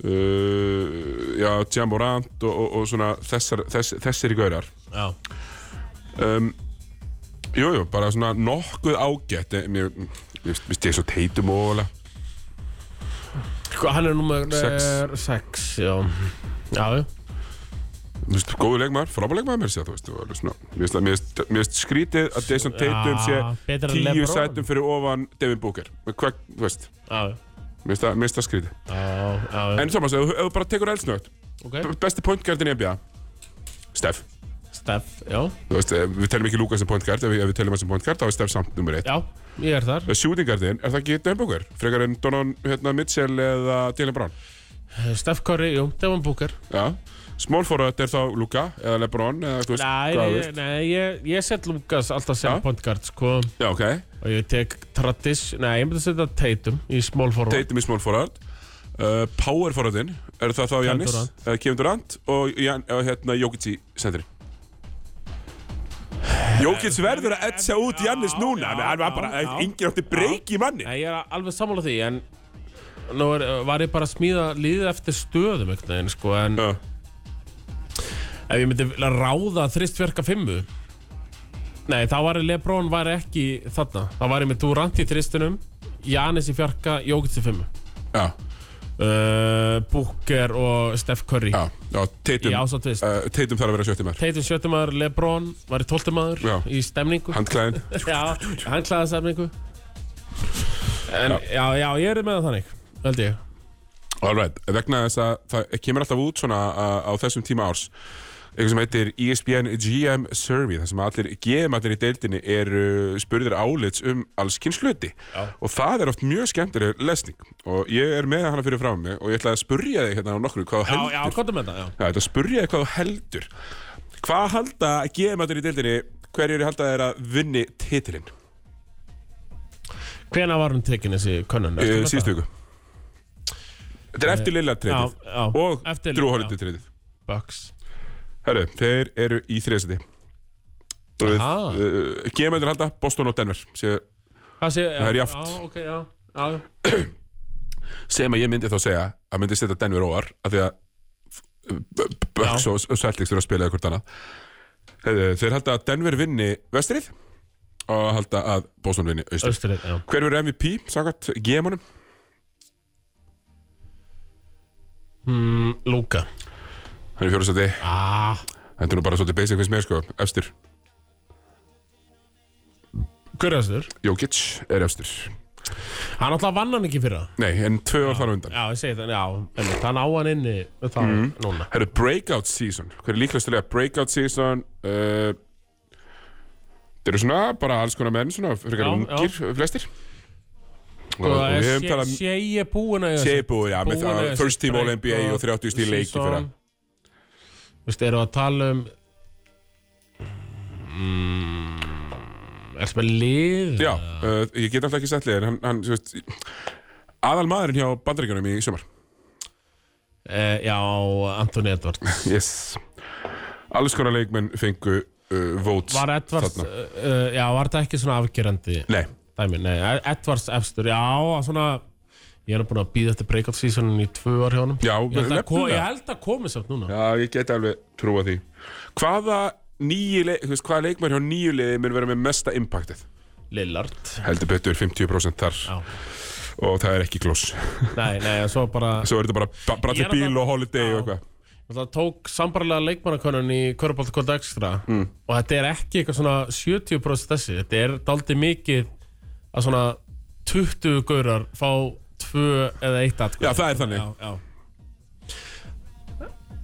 S1: uh, já, Jamorant og, og, og svona þessar, þess, þessir í gaurar.
S2: Já.
S1: um, Jú, jú, bara svona nokkuð ágætt eh, Mér mér finnst ég svo teitum óvala
S2: Hva- Sko, hann er nummer
S1: Sex. Mhm.
S2: 6 já, já, já.
S1: Þú veist, góðu leikmaður, frábæð leikmaður mér sé þú veist, og alveg svona, mér finnst- mér finnst- mér finnst skrítið að Jason Tatum sé
S2: Já, betra en
S1: tíu
S2: LeBron.
S1: sætum fyrir ofan Devin Booker Með hvað, þú veist,
S2: já,
S1: mér finnst það- mér finnst það skrítið
S2: já, já, já.
S1: En Thomas, ef þú- ef þú bara tekur eldsnögt
S2: Okay.
S1: Besti pointgardin í NBA Steff,
S2: Steff, já,
S1: þú veist, eh, við teljum ekki Luka sem pointgard ef, við- ef við teljum hann sem pointgard, þá er Steff samt nummer 1
S2: já, ég er þar
S1: Shootingardin, er það ekki Devin Booker? Frekar en Donovan hérna, Mitchell eða Dylan Brown?
S2: Eh, Steff Curry, jú, Devon Booker
S1: Já, small forward er þá Luka eða Lebron eða þú veist hvað
S2: Nei, nei,
S1: veist.
S2: nei ég, ég set Lukas alltaf sem
S1: Já.
S2: point guard sko
S1: Já, ok,
S2: og ég tek tradis, nei, ég myndi setja Tatum í small forward
S1: Tatum í small forward uh, Power forwardin, er það þá Jannis
S2: Durant.
S1: uh, Kevin Durant og Jan, uh, hérna, Jokic í sendri Jokic verður að etsa út Jannis núna,
S2: já,
S1: já, hann var bara
S2: já, já.
S1: engin átti breyk í manni
S2: Nei, ég er alveg sammála því en nú er, eh, var ég bara að smíða líðið eftir stöðum einhvern veginn sko en
S1: Já,
S2: ef ég myndi vilja ráða þristverka fimmu Nei, þá var Lebron var ekki þarna þá var ég með Durant í þristinum Janis í fjarka, Jókits í fimmu
S1: já,
S2: uh, Booker og Steph Curry
S1: já, já,
S2: í
S1: Tatum uh,
S2: ásatvist
S1: Tatum þarf að vera sjötti maður
S2: Tatum sjötumadur, Lebron var í tóltumadur
S1: Já.
S2: í stemningu
S1: Handklæðin,
S2: Já, hann klæði stemningu En já, já, ég er með það þannig held ég
S1: all right, vegna þess að það kemur alltaf út svona uh, á þessum tíma árs eitthvað sem heitir E ESPN GM Survey þar sem allir GM allir í deildinni eru spurðir álits um alls kynsluti
S2: Já.
S1: og það er oft mjög skemmtileg lesning og ég er með hana fyrir frá mig og ég ætla að spurja þig hérna á nokkru hvað þú
S2: Já,
S1: heldur
S2: já, kontum með það, já
S1: Já, ég ætla að spurja þig hvað þú heldur hvað halda GM allir í deildinni hverjur halda þeir að vinni titilinn
S2: Hvena var hún tekin þessi könnun?
S1: uh, síðustu viku Þetta er eftir lilla
S2: Já,
S1: treytið
S2: já
S1: og
S2: eftir-
S1: Drew
S2: já,
S1: Holiday treytið
S2: Bucks
S1: Herru, þeir eru í þriðsæti
S2: Aha.
S1: uh, Gemendur halda, Boston og Denver sé,
S2: Það sé, já,
S1: Það er jafnt.
S2: Já, ok, já, já
S1: sem að ég myndi þá segja að myndi setja Denver óar af því að B- B- Bucks og og Celtics eru að spila eða hvort annað Herru, Þeir halda að Denver vinni vestrið og halda að Boston vinni austrið
S2: Östurinn, já
S1: Hver verður MVP, sagart, gemunum?
S2: mm, Lúka
S1: Hann er fjóðsæti,
S2: ah.
S1: þetta er nú bara svolítið basic finnst mér sko, efstur
S2: Hver er östur?
S1: Jokic er efstur
S2: Hann alltaf vann hann ekki fyrir það
S1: Nei, en tvö ár þar á undan
S2: Já, ég segi það, já einmitt, Hann á hann inni Það
S1: Mhm.
S2: mm. núna
S1: Herru, breakout season Hver er líklegast til að breakout season uh, Þeir eru svona bara alls konar menn svona frekar
S2: Já,
S1: ungir, flestir Og,
S2: Og
S1: og
S2: Sko, það
S1: við
S2: er
S1: hefum talað
S2: sé, sé ég búin að
S1: Seibu, já, með
S2: búin að
S1: það
S2: þessi
S1: First team
S2: break
S1: All-NBA
S2: og
S1: og 30 stíl leiki
S2: season.
S1: fyrir það
S2: Þú veist, eru að tala um mm, Ertu með lið?
S1: Já, uh, ég get alltaf ekki sett liðin hann, hann, þú veist, aðal maðurinn hjá bandaríkjunum í sumar
S2: Uh, já, Anthony Edwards.
S1: yes. alls konar leikmenn fengu uh, votes
S2: Var Edwards,
S1: þarna.
S2: uh, uh, já, var þetta ekki svona afgerandi
S1: Nei,
S2: dæmi? Nei, Ed- Edwards efstur, já, svona, ég er nú búin að býða eftir breakout seasonin í tvö ár hjá honum.
S1: já,
S2: ég held að, ko-
S1: nefnilega.
S2: ég held að komi samt núna.
S1: Já, ég get alveg trúa því Hvaða nýju, leik, þú veist, hvaða leikmenn hjá nýju liði mun vera með mesta impactið?
S2: Lillard.
S1: Heldur betur 50% þar
S2: Já.
S1: og það er ekki klós
S2: Nei, nei, en svo bara,
S1: Svo er þetta bara
S2: Ég
S1: Bradley
S2: er
S1: Bíl
S2: alltaf-
S1: og Holiday og
S2: Já.
S1: eitthvað
S2: það tók sambarlega leikmannakönnun í Körbáltakvöld Extra mm. og þetta er ekki eitthvað svona 70% þessi, þetta er daldi mikið að svona 20 gaurar fá 2 eða 1 atkvæm.
S1: Já, það er þannig
S2: já, já.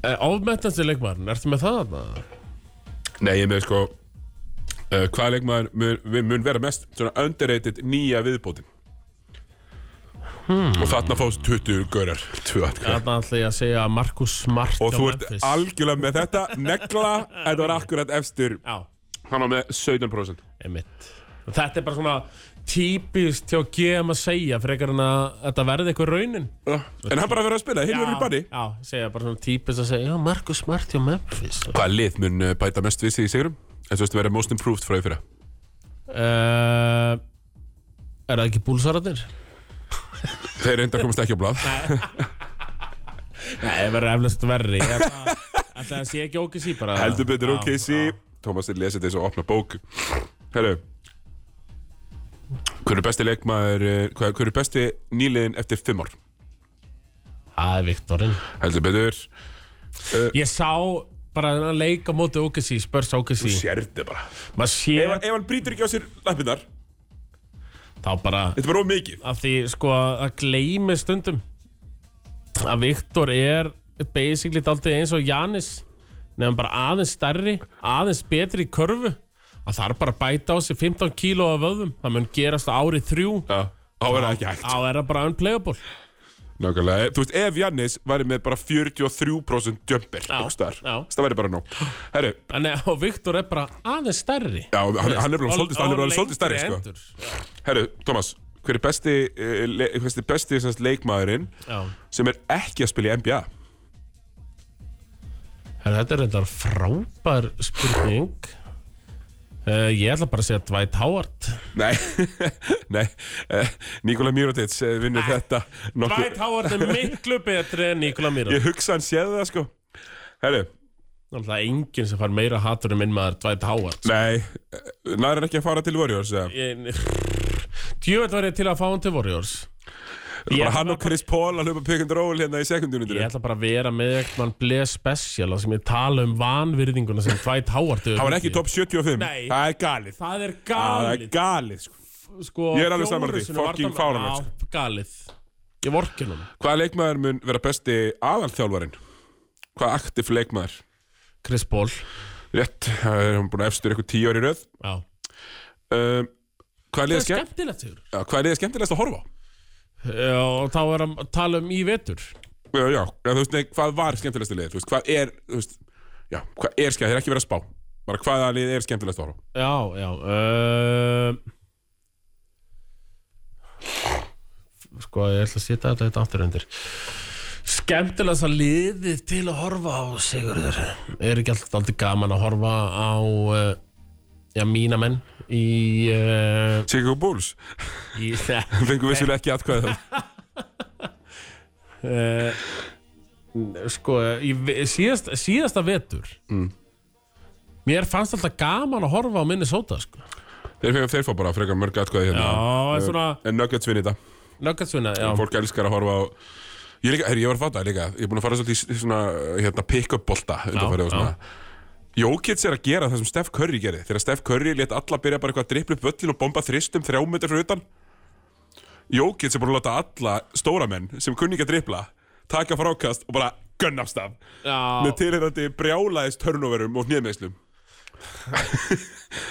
S2: Eh, Ofmetnandi leikmann, ertu með það þarna?
S1: Nei, ég er með sko uh, Hvaða leikmaður mun, mun- mun vera mest svona underrated nýja viðbótin
S2: Hmm.
S1: Og þarna fást 20 gaurar tvö atkvæði.
S2: Þarna ætla ég að segja Markus Smart
S1: Og
S2: hjá
S1: þú ert
S2: Memphis.
S1: algjörlega með þetta Negla, þetta var akkurat efstur
S2: Já,
S1: Hann á með 17%
S2: einmitt. Þetta er bara svona típist hjá GM að segja frekar en að þetta verði eitthvað raunin.
S1: Uh, En hann bara verið að spila, Hildur í banni
S2: Já, segja bara svona típist að segja, já, Markus Smart hjá Memphis.
S1: Hvaða lið mun uh, bæta mest við sig í sigurum? En svo veist að vera most improved frá því fyrra
S2: Uh, er það ekki búlsararnir?
S1: Þeir reynda komast ekki á blað
S2: Nei, það verður eflust verri. Ég ætla- Ætli Það sé ekki ókis í bara.
S1: Heldur betur
S2: Já,
S1: ok, sí Tómas er lesið þess að opna bók Herru Hver er besti leikmaður eh, Hver hver er besti nýliðin eftir fimm ár?
S2: Það er Viktorinn.
S1: Heldur betur
S2: Ég sá bara þennan leik á móti OKC, Spurs OKC
S1: Sérði bara
S2: maður
S1: Ef,
S2: sé
S1: ef hann brýtur ekki á sér lappinnar Þetta
S2: þá bara
S1: er bara of mikið
S2: að því sko að það gleymi stundum að Viktor er basically daldið eins og Janis nefnum bara aðeins stærri aðeins betri í körfu að það er bara að bæta á sig 15 kíló af vöðum það mun gerast á árið þrjú
S1: Já Þá er það ekki hægt
S2: þá er það bara unplayable
S1: Nákvæmlega Þú veist, ef Jannis væri með bara 43% jumper
S2: Já,
S1: einhvers staðar,
S2: já.
S1: Það væri bara nóg Herru
S2: en, eh, og Viktor er bara aðeins stærri
S1: Já, hann, hann er bara svolítið, hann er bara svolítið stærri sko.
S2: hendur
S1: Herru, Tómas, hver er besti, uh, le, besti, besti sem sagt, leikmaðurinn
S2: já
S1: sem er ekki að spila í NBA?
S2: Herra, þetta er reyndar frábær spurning uh, Ég ætla bara að segja Dwight Howard
S1: Nei, nei, uh, Nikola Mirotic eh, vinnur
S2: Nei.
S1: þetta nokkuð.
S2: Dwight Howard er miklu betri en Nikola Mira
S1: Ég hugsa hann séð það sko. Herru,
S2: Það er enginn sem far meira hatur en minn maður Dwight Howard
S1: nei, næður hann ekki að fara til Warriors eða?
S2: Djöfell var ég til að fá hann til Warriors Ég
S1: Bara
S2: ætla
S1: hann og Chris Paul að hlupa pick and roll hérna í sekundunundur.
S2: Ég ætla bara að vera með eitthvað mann bless special þar sem ég tala um vanvirðinguna sem Dwight Howard hefur
S1: Hann var ekki
S2: fengið.
S1: í top 75.
S2: Nei.
S1: Það er galið. Ah,
S2: Það er
S1: Það er
S2: galið
S1: galið sko.
S2: sko,
S1: Ég er alveg sammála því.
S2: fjórusunum
S1: Fucking fáránlegt,
S2: varnarmaður-
S1: sko.
S2: Já, Galið Ég vorkin hún
S1: Hvaða leikmaður mun vera besti aðalþjálfarinn? Hvaða aktif leikmaður?
S2: Chris Paul
S1: Rétt, það er hann búin að efstur eitthvað tíu ári í röð
S2: Já
S1: um, Hvað er
S2: Það
S1: liðið
S2: er
S1: skemmt,
S2: skemmtilegt sigur
S1: já, hvað er liðið skemmtilegast að horfa á?
S2: Já, og þá er að tala um í vetur
S1: Já, já, já, þú veist, nei, hvað var skemmtilegast að liðið? Þú veist, hvað er, þú veist, já, hvað er skemmtilegast? Það er ekki verið að spá Bara hvaða liðið er skemmtilegast að horfa á?
S2: Já, já uh, Sko, ég ætla að setja þetta þetta aftur undir Skemmtilegast að liðið til að horfa á Sigurður Er ekki alltaf aldrei gaman að horfa á uh, Já, mína menn Í, uh,
S1: Chicago Bulls,
S2: í
S1: fengum vissulega ekki atkvæðið það
S2: uh, Sko, í, ve- síðast, síðasta vetur Mér fannst alltaf gaman að horfa á Minnesota sko.
S1: Þeir, fengum- þeir fá bara frekar mörg atkvæði
S2: Já,
S1: hérna
S2: en svona
S1: En Nuggets vinni þetta
S2: Nuggatsvinna, já
S1: Fólk elskar að horfa á Ég, líka, herri, ég var að fatta líka, ég er búin að fara svolítið í s- svona hérna, pick-up bolta undanfarið og
S2: já.
S1: svona Jókits er að gera það sem Steph Curry gerði þegar Steph Curry let alla byrja bara eitthvað að dripla upp völlin og bomba þristum þrjá metri frá utan Jókits er búin að láta alla stóra menn sem kunni ekki að dripla taka frákast og bara gunnast af
S2: Já,
S1: með tilhengandi brjálaðist hörnóverum og hnýðmeislum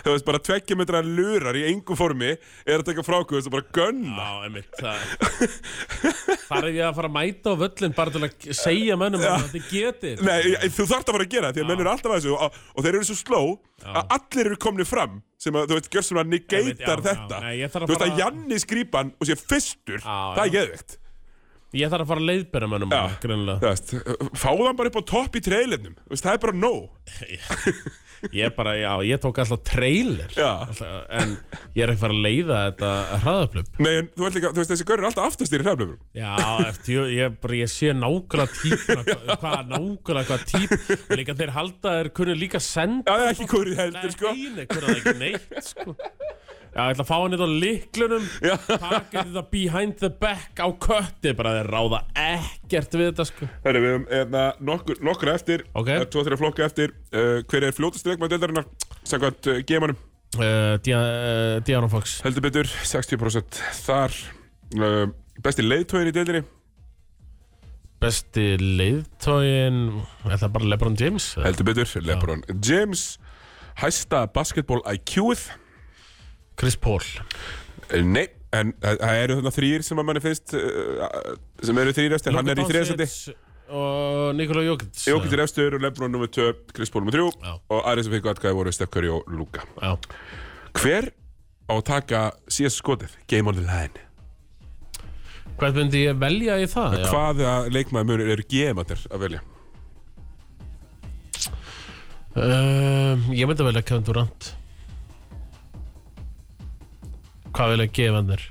S1: þú veist bara tveggja metra lurar í engu formi er að taka frákvöðust og bara gunna
S2: Já, einmitt, það Þar er ég að fara að mæta á völlin bara til að segja mönnum að þetta getur
S1: Nei, ég- þú þarft að fara að gera það, því að menn eru alltaf að þessu og, og þeir eru svo sló að allir eru komni fram sem að, þú veist, gjör sem að
S2: Einmitt, já,
S1: negeitar
S2: já.
S1: þetta
S2: Nei, ég þarf að
S1: Þú veist
S2: fara-
S1: að Janni skrýpan og sé fyrstur,
S2: Já,
S1: það er
S2: já.
S1: geðvikt
S2: Ég þarf að fara að leiðbera mönnum
S1: Já.
S2: grunlega
S1: Þú veist, fáðan bara upp á topp í treylinum, þú veist, það er bara nóg
S2: Ég bara, já, ég tók alltaf trailer
S1: Já.
S2: alltaf, En ég er ekki fara að leiða þetta hraðaflöp
S1: Nei, en þú veist líka, þú veist, þessi gaur er alltaf aftast í hrefnum
S2: Já, eftir, ég, ég, bara, ég sé nákvæmlega típuna hva- Hvað, nákvæmlega hvað típ Og líka þeir halda þeir kunni líka senda
S1: Já, það er ekki hverju heldur, sko
S2: Nei, nei, hvernig það ekki neitt, sko Já, ég ætla að fá hann þetta á liklunum
S1: Já.
S2: Taka þetta behind the back á kötti Bara þeir ráða ekkert við þetta, sko
S1: Herri, við höfum hérna, nokkur, nokkur eftir
S2: Ok.
S1: Það er Tvo, þeirra flokka eftir uh, Hver er fljótast leikmaður deildarinnar? Sækvæmt uh, gemanum
S2: uh, Diana Fox
S1: Heldur betur, 60% þar uh, Besti leiðtóðin í deildinni
S2: Besti leiðtógin Er það bara Lebron James?
S1: Heldur betur, Lebron James Hæsta basketball IQ-ið
S2: Chris Paul
S1: Eh, Nei, en það það eru þarna þrýr sem að manni finnst uh, sem eru þrýr eftir, hann er í
S2: Luka
S1: þriðasæti
S2: Doncic Og Nikola Jokic
S1: Jókitt er efstur og Lebron nr. 2, Chris Paul nr. 3
S2: Já.
S1: og aðri sem fengu atkvæði voru Steph Curry og Luka
S2: Já
S1: Hver á að taka síðast skotið? Game on the line
S2: Hvað myndi ég velja í það? Já.
S1: Hvaða leikmaður munir eru gemandir að velja?
S2: Um, ég myndi velja Kevin Durant Hvað vilja gefandir?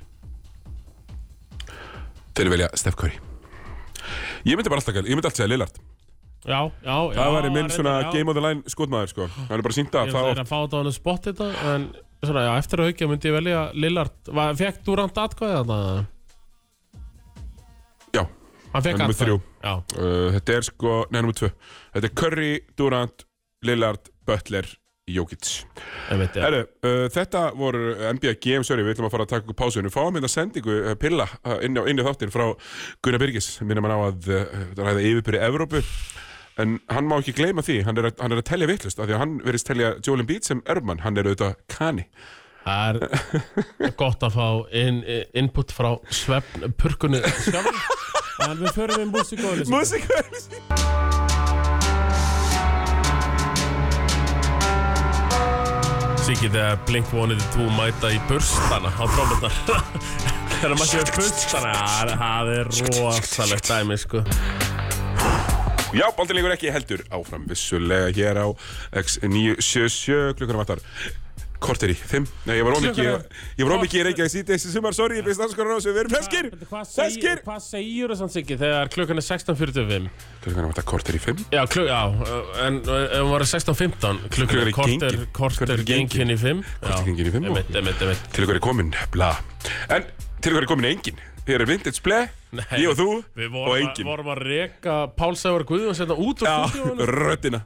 S1: Þeir velja Steph Curry Ég myndi bara alltaf, ég myndi alltaf segja Lillard
S2: Já, já, já
S1: Það væri minn
S2: reyndar,
S1: svona
S2: já.
S1: game on the line skotmaður sko Hann er bara sínt
S2: Ég
S1: að það
S2: ætla að fá þetta á hann spott þetta En svona, já, eftir að haukja myndi ég velja Lillard Var- Fékk Durant atkvæði þarna?
S1: Já,
S2: Hann
S1: Hann
S2: fékk
S1: er með þrjú.
S2: Já,
S1: uh, þetta er sko, nei, nr. 2 Þetta er Curry, Durant, Lillard, Butler, Jokic
S2: einmitt, já
S1: Herru, uh, þetta voru NBA Games, sorry, við ætlum að fara að taka okkur pásu en við fáum hérna sendingu uh, pilla uh, inn, á, inn í þáttin frá Gunnar Birgis minnum hann á að uh, ræða yfirbyrði Evrópu en hann má ekki gleyma því hann er að, hann er að telja vittlust af því að hann verðist telja Jólin Beat sem erfmann, hann er auðvitað kani
S2: Það er gott að fá in, input frá svefn, purkunni svefn En við förum við músikóli
S1: Músikvöld
S2: Sikið þegar Blink-182 mæta í burstana á trómurnar Þegar maður séu burstana, já, það er rosalegt dæmi, sko
S1: Já, bóndin leikur ekki heldur áfram vissulega hér á X977 klukkanum vattar Korter í, fimm, nei ég var ómikið
S2: Klukkan er-
S1: ég var ómikið í Reykjavík síðan þessi sumar, sorry, ég finnst anskoran á þessu, við erum feskir,
S2: Hvað segir,
S1: feskir
S2: hvað segir þessan Siggi þegar klukkan er 16.45?
S1: Klukkanum vattar korter í fimm
S2: Já, kluk, já, en ef hún var 16.15
S1: Klukkan
S2: Klukkan
S1: er
S2: er korter,
S1: gengin. Korter
S2: korter
S1: er gengin.
S2: gengin í 5
S1: Korter gengin í fimm og-
S2: Emitt, emitt, emitt
S1: Til ykkur er komin, bla En til ykkur er komin engin Hér er Vintage Ble, ég og þú
S2: Við
S1: og
S2: vorum, að,
S1: engin
S2: vorum að reka Pálsævar Guðjón sérna hérna út úr stúdíónu
S1: Röddina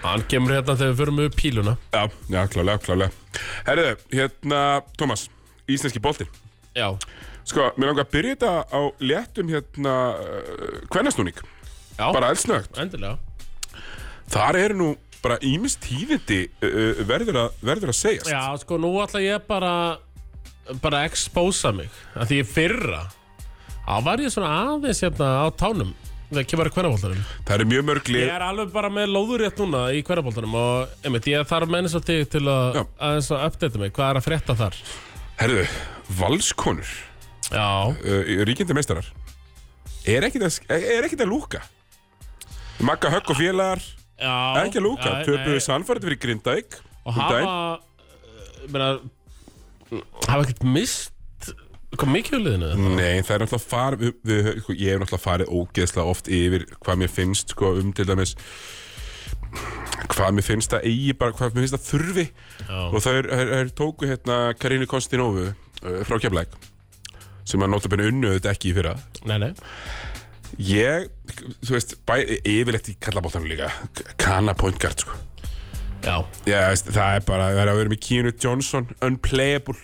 S2: Hann kemur hérna þegar við förum upp píluna
S1: Já, já, klálega, klálega Herðu, hérna, Tómas Íslenski boltinn
S2: Já,
S1: Sko, mér langar að byrja þetta á léttum hérna uh, Kvennastúning,
S2: já,
S1: bara eldsnögt
S2: endilega
S1: Þar eru nú bara ímis tíðindi uh, uh, verður, að, verður að segjast
S2: Já, sko, nú ætla ég bara bara að expósa mig að því ég fyrra þá var ég svona aðeins hérna á tánum þegar kemur að kvennabóltanum
S1: Það eru mjög mörgli
S2: Ég er alveg bara með lóðurétt núna í kvennabóltanum og einmitt, ég þarf menn svo til, til að
S1: Já.
S2: aðeins að uppdata mig, hvað er að frétta þar
S1: Herðu, valskonur
S2: Já,
S1: uh, Ríkjandi meistarar Er ekkit að, er ekkit að lúka Magga högg og félagar
S2: já
S1: Ekki að lúka,
S2: Já,
S1: töpuðu
S2: nei,
S1: sannfærið fyrir Grindavík
S2: og
S1: um
S2: hafa
S1: daginn.
S2: eh, meina, hafa ekkert mist kom mikið úr liðinu eða?
S1: Nei, það er náttúrulega farið við, við, sko, Ég hef náttúrulega farið ógeðslega oft yfir Hvað mér finnst sko, um til dæmis Hvað mér finnst að eigi bara, Hvað mér finnst að þurfi
S2: Já.
S1: Og þær, þær, þær tóku hérna Karínu Konstinovu uh, frá Keflæk Sem að notabene unnu þetta ekki í fyrra
S2: Nei, nei,
S1: Ég, þú veist, bæ, yfirleitt í kallabóttanum líka Kana point guard sko
S2: já
S1: Já, veist, það er bara, það er að vera með Keanu Johnson unplayable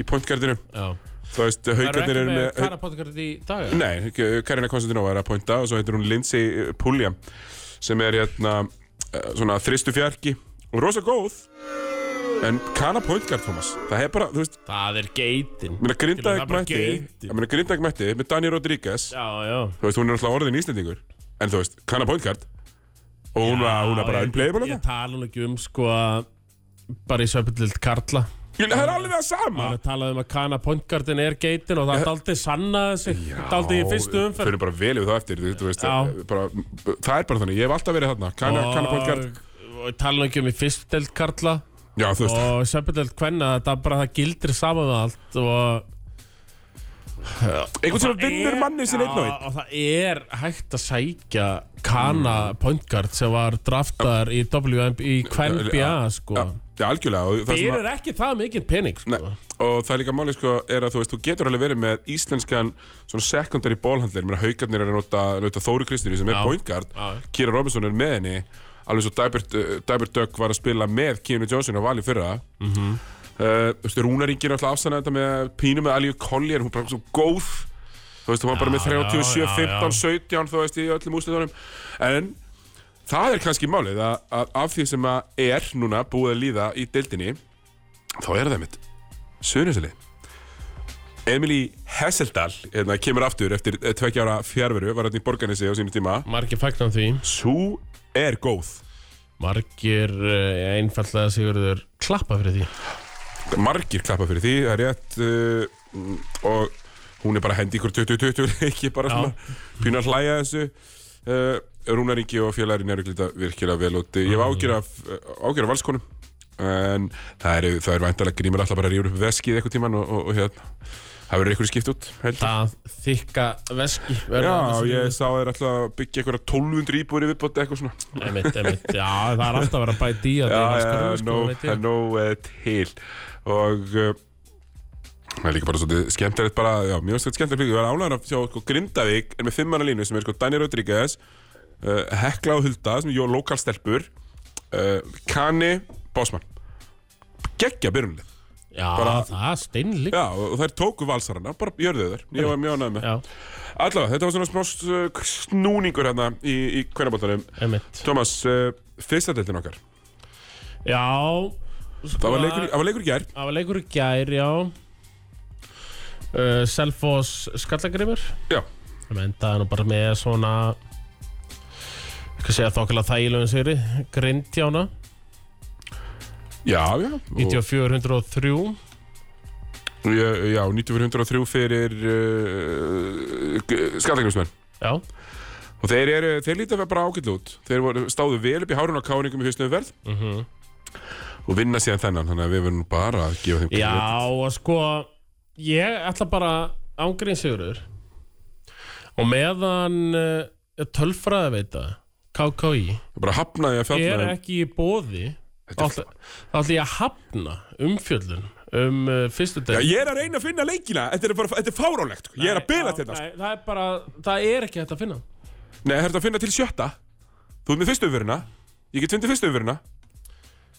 S1: í pointgardinu
S2: Já.
S1: Þú veist,
S2: Það eru
S1: haugarnir
S2: ekki
S1: eru
S2: með
S1: með
S2: karapodcast í dag eða?
S1: Nei, Karina Konstantinova er að pointa og svo heitir hún Lindsay Pulliam sem er hérna eh, svona þristu fjarki og rosa góð en kana point guard Thomas það er bara, þú veist,
S2: Það er geitin
S1: ég meina
S2: Það
S1: Grindavík
S2: er bara
S1: mætti
S2: geitin
S1: ég meina Grindavík mætti með Dani Rodríguez
S2: Já, já
S1: þú veist, hún er alltaf orðin íslendingur en þú veist, kanna point guard og hún var, hún var bara
S2: Já, ég-
S1: unplayable
S2: Ég
S1: þetta
S2: tala nú ekki um sko að Bara í söpillild Karla
S1: Ég- það er alveg það sama
S2: Það talaði um að Kana Pointgarden er geitin og það er aldrei sannaði sig Aldrei í fyrstu
S1: Þau
S2: umferð
S1: eru bara vel yfir það eftir, þú þú veist, eh,
S2: Já.
S1: bara, það er bara þannig, ég hef alltaf verið þarna, kanna,
S2: Og-
S1: kanna point guard.
S2: Og ég tala nú ekki um í fyrstu deild Karla
S1: Já, þú veist,
S2: og söpillild Kvenna Þetta bara það gildir saman með allt og
S1: einhvern sem
S2: Það
S1: vinnur
S2: er-
S1: manni sinni einn og
S2: Já, og það er hægt að sækja Kana mm. Pointgard sem var draftar í WM í Kvennbja sko.
S1: einn. Já, algjörlega. og það sem
S2: Þeir
S1: að-
S2: eru ekki það mikið pening sko.
S1: Nei, og það er líka málið sko er að þú veist, þú getur alveg verið með íslenskan svona secondary bólhandlir, mér að haugarnir er að nota, nota Þóri Kristinni sem er point guard
S2: Já.
S1: Kira Robinson er með henni alveg svo Dybert, uh, Dybert Dögg var að spila með Keanu Johnson á vali fyrra mm -hmm. uh, Rúnar Ingi er alltaf afsanna þetta með pínu með Aliu Collier, hún er bara svo góð þú veist, hún var bara með
S2: Já,
S1: 37,
S2: já, já.
S1: 15, 17 þú veist, í öllum úslitunum en það er kannski málið að, að af því sem að er núna búið að líða í deildinni þá er það mitt Suðurnesili Emily Hesseldal hérna, kemur aftur eftir eh, tveggja ára fjárveru var hérna í Borgarnesi á sínum tíma
S2: Margir fagnar því
S1: Sú er góð
S2: Margir eh, einfallega sigurður klappa fyrir því
S1: margir klappa fyrir því, það er rétt uh, mm, og hún er bara að hendi ykkur 20-20 ekki bara
S2: Já.
S1: svona pýna að hlæja að þessu uh, Rúnar Ingi og félagurinn eru glita virkilega vel úti ég
S2: Mhm.
S1: hef ágjör af, ágjör af valskonum en það eru, það eru væntalega grímur alltaf bara að rífur upp veskið eitthvað tíman og, og, og hérna, það verður ykkur skipt út held ég.
S2: Það þykka veski
S1: Já, ég sá þeir alltaf að byggja einhverja 1200 íbúri viðbótt eitthvað svona
S2: Einmitt, einmitt. Já, það er alltaf að vera bæti í að
S1: Já,
S2: það
S1: já,
S2: er vaskur sko,
S1: nóg-
S2: veit
S1: það er
S2: ég.
S1: nóg eh, til Og eh, Það er líka bara svolítið skemmtilegt bara, já, mjög svolítið skemmtilegt fyrir, ég var ánægður að sjá sko Grindavík er með fimmanna línu sem er sko Dani Rodríguez, uh, Hekla og Hulda sem er jó lokalstelpur, uh, Kani, Básmann. Geggja byrjunlið.
S2: Já,
S1: bara-
S2: það er steinlig
S1: Já, og þær tóku valsarana, bara jörðu þær. Ég var mjög ánægð með.
S2: Já,
S1: Allavega, þetta var svona smá s- snúningur hérna í, í hverjabóttanum.
S2: einmitt
S1: Thomas, uh, fyrsta deltin okkar
S2: Já sko,
S1: Það var leikur, það var leikur í gær
S2: Það var leikur í gær, já uh, Selfoss skallagrimur
S1: Já,
S2: Það endaði nú bara með svona Hvað segja þokkilega þægilegum sigri Grindjána
S1: já, já og,
S2: 9403
S1: Já, já 9403 fyrir uh, skallagrimismenn
S2: Já,
S1: Og þeir, eru, þeir lítið að vera bara ágætlu út Þeir voru, stáðu vel upp í hárun á káringum í fyrstu umferð
S2: Mhm.
S1: Og vinna síðan þennan Þannig að við verðum nú bara að gefa þeim kredit.
S2: já og sko Ég ætla bara ángrín sigurur Og meðan uh, tölfræði veita KKI
S1: Bara hafnaði að fjalla
S2: er ekki í bóði
S1: Þetta er
S2: þá ætla ég að hafna umfjöldun um uh, fyrstu
S1: Já,
S2: dag
S1: ég er að reyna að finna leikina Þetta er, bara, þetta er fáránlegt sko. Ég er að bila til þetta sko.
S2: Nei, það er bara, það er ekki hægt að finna
S1: Nei, það er að finna til sjötta Þú ert með fyrstu umferðina Ég get fundið fyrstu umferðina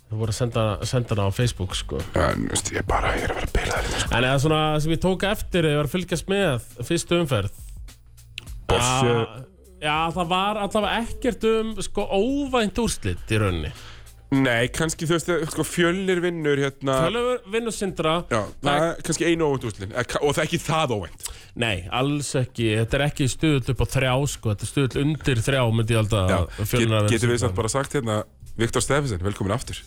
S2: Þú voru að senda, senda hana á Facebook sko
S1: En, veist, ég bara, ég er að vera að bila þetta sko.
S2: En eða svona sem ég tók eftir Ég var að fylgjast með fyrstu umferð
S1: Boss,
S2: að-
S1: eh,
S2: Já, það var allavega ekkert um sko óvænt úrslit í rauninni
S1: Nei, kannski þú veist, sko, fjölnir vinnur hérna
S2: Tölöfur vinnur sindra
S1: Já, það er kannski einu óvænt úrslinn og það er ekki það óvænt
S2: Nei, alls ekki Þetta er ekki stuðull upp á þrjá sko Þetta er stuðull undir þrjá myndi ég alltaf
S1: Já,
S2: að
S1: get,
S2: Fjölnir að vinna
S1: getum við
S2: Sindra.
S1: samt bara sagt hérna Viktor Steffensen, velkomin aftur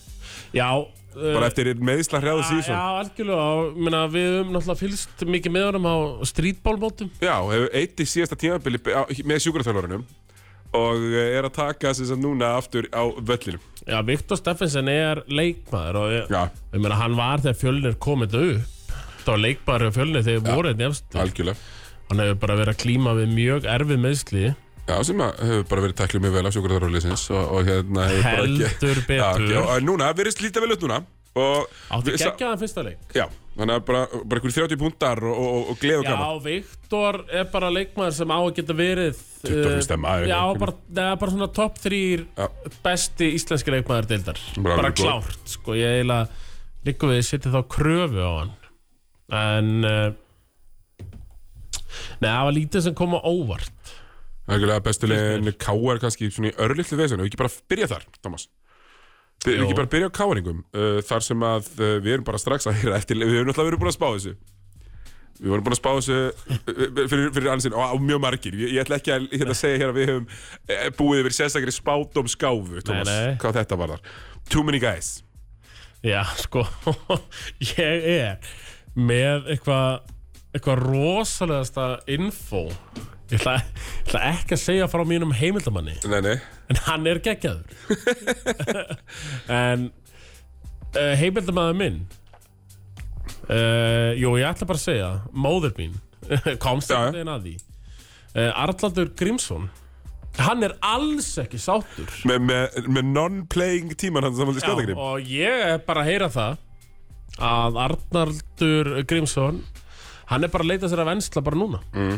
S2: Já uh,
S1: bara eftir meðisla hreða
S2: Já,
S1: síðan
S2: algjörlega og, ég meina, Við höfum náttúrulega fylgst mikið með honum á streetballmótum
S1: Já, hefur eitt í síðasta tímabili á- með sjúkraþjálfarunum og eh, er að taka þess að núna aftur á völlinum
S2: Já, Viktor Steffensen er leikmaður og ég,
S1: Já,
S2: ég meina, hann var þegar fjölnir komið upp Það var leikmaður hjá fjölnir þegar voru einn efst
S1: algjörlega
S2: Hann hefur bara verið að klíma við mjög erfið meðsli
S1: Já, sem að hefur bara verið tækluð mjög vel af sjúkraþjálfarliðsins og, og hérna hefur bara ekki
S2: Heldur betur
S1: Já, og núna verðist lítið vel upp núna og
S2: Átti
S1: við-
S2: geggjaðan fyrsta leik
S1: Já, þannig að bara, bara einhverjum 30 púntar og, og, og gleð og
S2: Já,
S1: gaman.
S2: Viktor er bara leikmaður sem á að geta verið
S1: 21.
S2: eh,
S1: maður.
S2: Já, bara, neða, bara svona topp þrýr
S1: Já.
S2: besti íslenski leikmaður deildar
S1: Bara
S2: Bara,
S1: alveg góð.
S2: klárt, sko Ég eiginlega líka við setja þá kröfu á hann En uh, Nei, það var lítið sem kom á óvart
S1: Nægulega bestulegin K.R. kannski svona í örlítlu vesenu, við ekki bara byrja þar, Thomas Við
S2: Jó.
S1: ekki bara byrja á K.R.ingum uh, Þar sem að uh, við erum bara strax að heyra eftir Við erum náttúrulega verið búin að spá þessu Við vorum búin að spá þessu uh, fyrir, fyrir ansin og, og mjög margir Ég, ég ætla ekki að hérna, segja hér að við höfum eh, búið yfir sérstakri spátum skáfu Thomas,
S2: nei.
S1: hvað þetta var þar Too many guys
S2: Já, sko, ég er með eitthvað eitthvað rosalegasta info ég ætla, ég ætla ekki að segja frá mínum heimildamanni
S1: Nei, nei,
S2: en hann er geggjaður en uh, heimildamanni minn uh, jú, ég ætla bara að segja móður mín komst
S1: Já, já.
S2: einhvern veginn að því uh, Arlandur Grímsson hann er alls ekki sáttur
S1: með, með, með non-playing tíman hann samanlega
S2: Já,
S1: skjáðagrým
S2: og ég er bara að heyra það að Arnaldur Grímsson hann er bara að leita sér að vensla bara núna mm.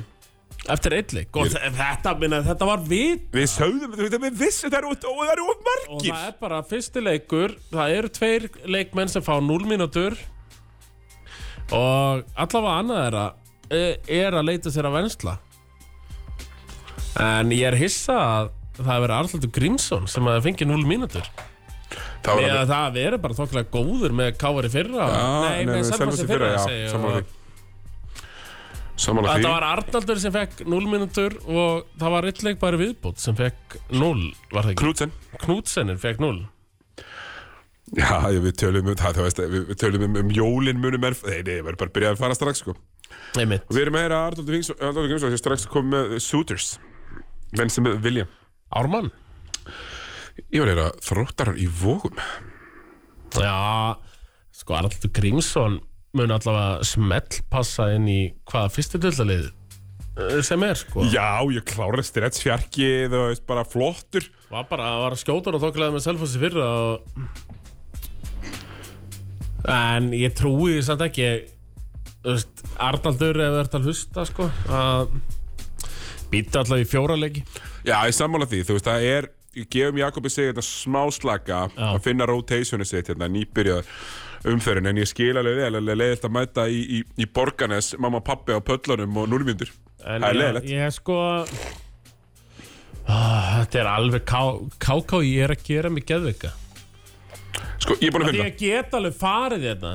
S2: eftir einleik og ég... þetta, minna, þetta var vit
S1: Við sögðum, við veitum, við vissum, það eru of- og það eru of
S2: og
S1: margir
S2: það er bara fyrsti leikur það eru tveir leikmenn sem fá 0 mínútur og allavega annað er að eh, er að leita sér að vensla en ég er hissa að það hefur Arnaldur Grímsson sem að fengi 0 mínútur
S1: Það var
S2: Nei,
S1: alveg-
S2: að það veri bara þokkilega góður með kávar í fyrra
S1: Já,
S2: Nei, með Selfossi fyrra, fyrra segi ég
S1: samanlega
S2: og-
S1: því Samanlega því
S2: Þetta var Arnaldur sem fekk 0 mínútur og það var eitt leikbæri viðbútt sem fekk 0, var það ekki?
S1: Knútsen
S2: Knútsenir fekk 0
S1: Já, ég- við tölum um það, þú veist, við við tölum um, um jólin munum er Nei, nei, við erum bara að byrja að fara strax, sko
S2: Nei, mitt
S1: Við erum að heyra að Arnaldur Vingsson, Arnaldur Vingsson, sem strax kom með eh, Suitors Menn sem vilja
S2: Ármann
S1: Ég var að heyra þróttarar í vógum
S2: Já, sko Arnaldur Grímsson mun allavega smellpassa inn í hvaða fyrstu dildalið sem er, sko
S1: Já, ég kláraði stretch fjarkið og veist, bara flottur
S2: Var bara að var skjótur og þokkilega með Selfossi fyrra og... En ég trúi því samt ekki þú veist, Arnaldur ef þú ert að hlusta sko að býta allavega í fjóra leiki
S1: Já, ég sammála því, þú veist, það er ég gefum Jakobi sig þetta smá slaka að finna rotationu sitt hérna, nýbyrjað umferðin, en ég skil alveg vel alveg leiðilt að mæta í, í, í Borganes mamma og pappi á pöllunum og núlmyndur
S2: En
S1: Það er leiðilegt.
S2: Ég, ég sko ah, Þetta er alveg ká, káká ég er að gera mig geðvika
S1: Sko, ég er búin að
S2: Því
S1: finna
S2: ég get alveg farið hérna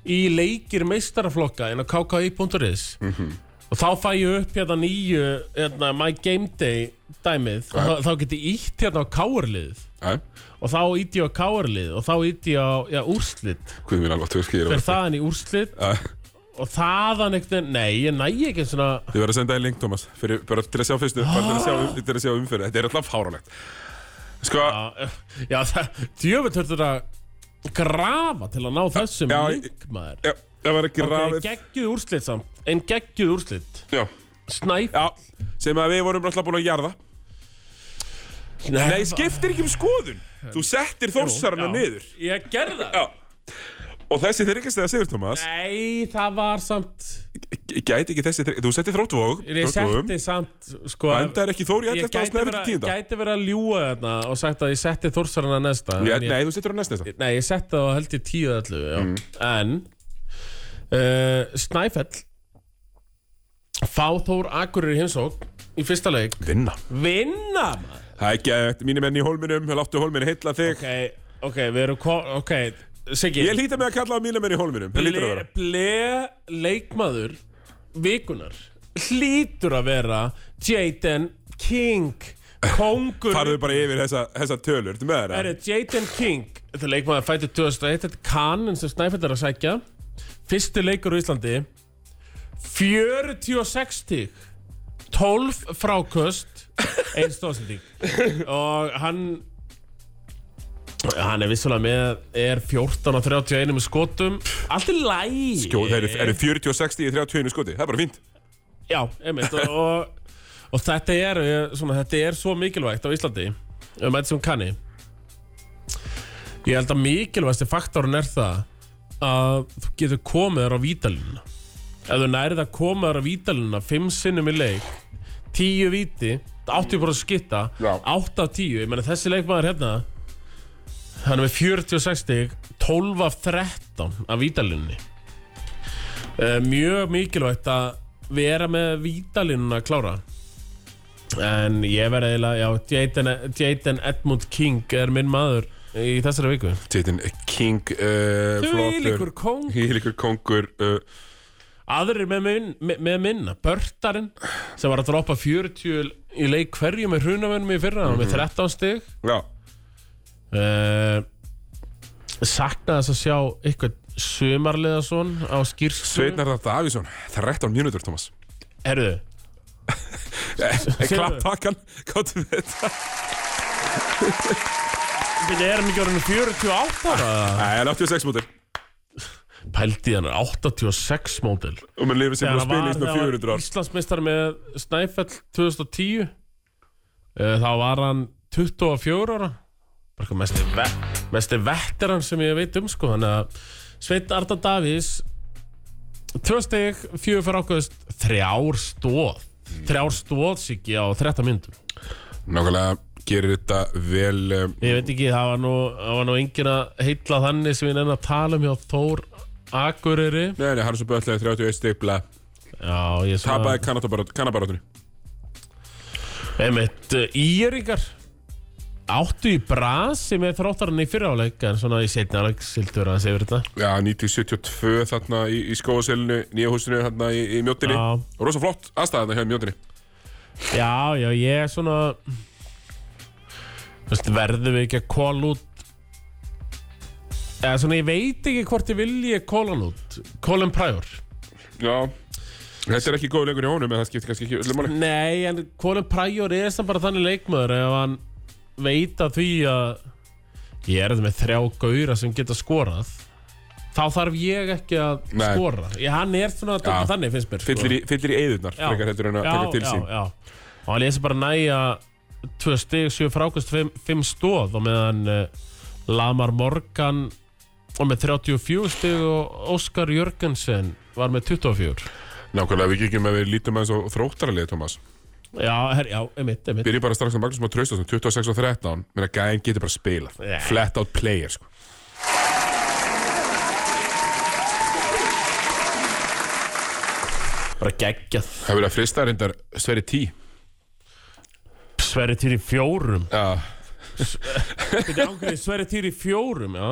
S2: í leikir meistaraflokka inn á kki.is og þá fæ ég upp hérna nýju hérna, My Game Day dæmið og þá, þá get ég ítt hérna á káarlið
S1: það
S2: og þá ítt ég á káarlið og þá ítt ég á já, úrslit
S1: Hvað minn alveg tverki
S2: fer þaðan í úrslit
S1: Þið
S2: og þaðan einhvern veginn nei, ég næ ekki eins og
S1: verður að senda það í link, Thomas fyrir, bara til að sjá fyrstu, bara til að sjá, um- til að sjá umferðin Þetta er alltaf fáránlegt Sko,
S2: já, það djöfitt hörður að grafa til að ná þessum
S1: já, ég-
S2: linkmaður
S1: já, það var ekki
S2: okay,
S1: rafið
S2: geggjuð úrslit samt en geggjuð úrslit
S1: Já,
S2: Snæf
S1: já, sem að við vorum alltaf búin að jarða Nei, skiptir ekki um skoðun Þú settir þórsarana niður
S2: Ég gerði það
S1: Já Og þessi þryggastega sigur, Thomas
S2: Nei, það var samt
S1: g- Gæti ekki þessi þryggastega Þú setti þróttvog
S2: Ég setti samt sko,
S1: Enda er ekki Þór í
S2: Ég
S1: 11.
S2: gæti
S1: að snæður
S2: verið
S1: ekki
S2: að-
S1: tíunda
S2: gæti verið að ljúa þarna og sagt að ég setti Þórsarana næsta
S1: Já,
S2: en ég,
S1: Nei, þú settir á næst næsta
S2: nei, ég setti það á held ég tíu allu mm. En uh, Snæfell Fá Þór Akurir í heimsók Í fyrsta leik
S1: Vinna
S2: Vinna maður
S1: Það er gæti, mínir menn í holminum Láttu holminu heilla þig
S2: Ok, ok, við erum ko- Ok, Siggi
S1: Ég líti með að kalla á mínir menn í holminum Það lítur að
S2: ble,
S1: vera
S2: ble leikmaður vikunar hlýtur að vera Jaden King kongur
S1: Farðu bara yfir þessa, þessa tölur Ertu með það?
S2: Herri, Jaden King þetta er leikmaður fættur 2001 þetta er kannin sem Snæfell er að sækja fyrsti leikur á Íslandi 46 stík 12 fráköst einn stóðsending og hann hann er vissulega með er 14 og 31 með skotum allt er læg
S1: Skjóð, það eru 40 og 60 í 31 skoti Það er bara fínt
S2: Já, einmitt og, og, og þetta, er, eh, svona, þetta er svo mikilvægt á Íslandi um þetta sem kanni Ég held að mikilvægasti faktorinn er það að þú getur komið þér á vítalínuna ef þú nærið að koma þér á vítalínuna fimm sinnum í leik tíu víti, 80% skitta
S1: Já.
S2: 8 af 10, ég meina þessi leikmaður hérna hann er með 46 stig 12 af 13 af vítalínunni Eh, mjög mikilvægt að vera með vítalínuna klára En ég verði eiginlega, já, Jaden, Jaden Edmund King er minn maður í þessari viku.
S1: Titin King uh,
S2: Þvílíkur kóng.
S1: Hýlíkur kongur uh,
S2: Aðrir með, minn, með, með minna, Börtarinn, sem var að droppa 40 í leik hverju með hrunavörnum í fyrra, mm með 13 stig.
S1: Já,
S2: Uh, saknaði þess að sjá eitthvað sumarliðason á skýrstöðu.
S1: Sveitnar þetta Afísson 13 mínútur, Thomas
S2: Herðu,
S1: Klapp takkan, gáttu við þetta
S2: byrja er hann ekki orðin 48 ára?
S1: Nei, hann er 86 mútur
S2: Pældi hann er 86 mótil.
S1: og menn lifið sem búin að spila í svona 400 ár
S2: Íslandsmeistar með Snæfell 2010 Eh, Þá var hann 24 ára Bara eitthvað mesti, ve mesti veteran sem ég veit um sko Þannig að Sveit Arda Davís Tvö steg, fjögur fyrir ákveðust Þrjár stóð Þrjár stóð siki á 13 myndum
S1: Nákvæmlega gerir þetta vel um,
S2: Ég veit ekki, það var nú, það var nú engin að heilla þannig sem við nefnum að tala um hjá Þór Akureyri
S1: Nei, nei, Harrison Böll 31 stipla
S2: Já, ég svona
S1: Tapaði kannabarátunni
S2: Einmitt, Íringar áttu í brasi með þróttarinn í fyrráleik en svona í setna áleik sildur að segja þetta
S1: Já, 1972 þarna í, í skóaselinu Nýja húsinu þarna í, í mjóttinni
S2: Já.
S1: Og rosa flott aðstæða þarna hjá mjóttinni
S2: Já, já, ég er svona Vist, verðum við ekki að kóla út eða svona ég veit ekki hvort ég vilji kóla hann út Colin Pryor
S1: Já Þetta er ekki góð leikur í honum en það skiptir kannski ekki öllu máli
S2: Nei, en Colin Pryor er samt bara þannig leikmaður ef hann veit að því að ég er þetta með þrjá gauðra sem geta skorað þá þarf ég ekki að
S1: Nei.
S2: skora ég, hann er svona
S1: Já.
S2: þannig finnst mér sko.
S1: Fyllir í, fyllir í eyðurnar
S2: Já.
S1: frekar heldur en að taka til sín
S2: já, já. og hann lesi bara næja tvö stig, sjö frákust, fimm, fimm stóð og meðan uh, Lamar Morgan og með 34 stig og Óskar Jörgensen var með 24
S1: Nákvæmlega við kíkjum að við lítum aðeins á þróttaralið Thomas
S2: já, her, já, einmitt, einmitt
S1: Byrjum bara strax að Magnús Már Traustason 26 og 13 Menna gæðin getur bara að spila
S2: Nei.
S1: Flat out player sko
S2: bara geggjað
S1: Það verður að frista reyndar Sverri 10
S2: Sverri til í fjórum
S1: Já
S2: Þetta er ángríð Sverri Týr í fjórum, já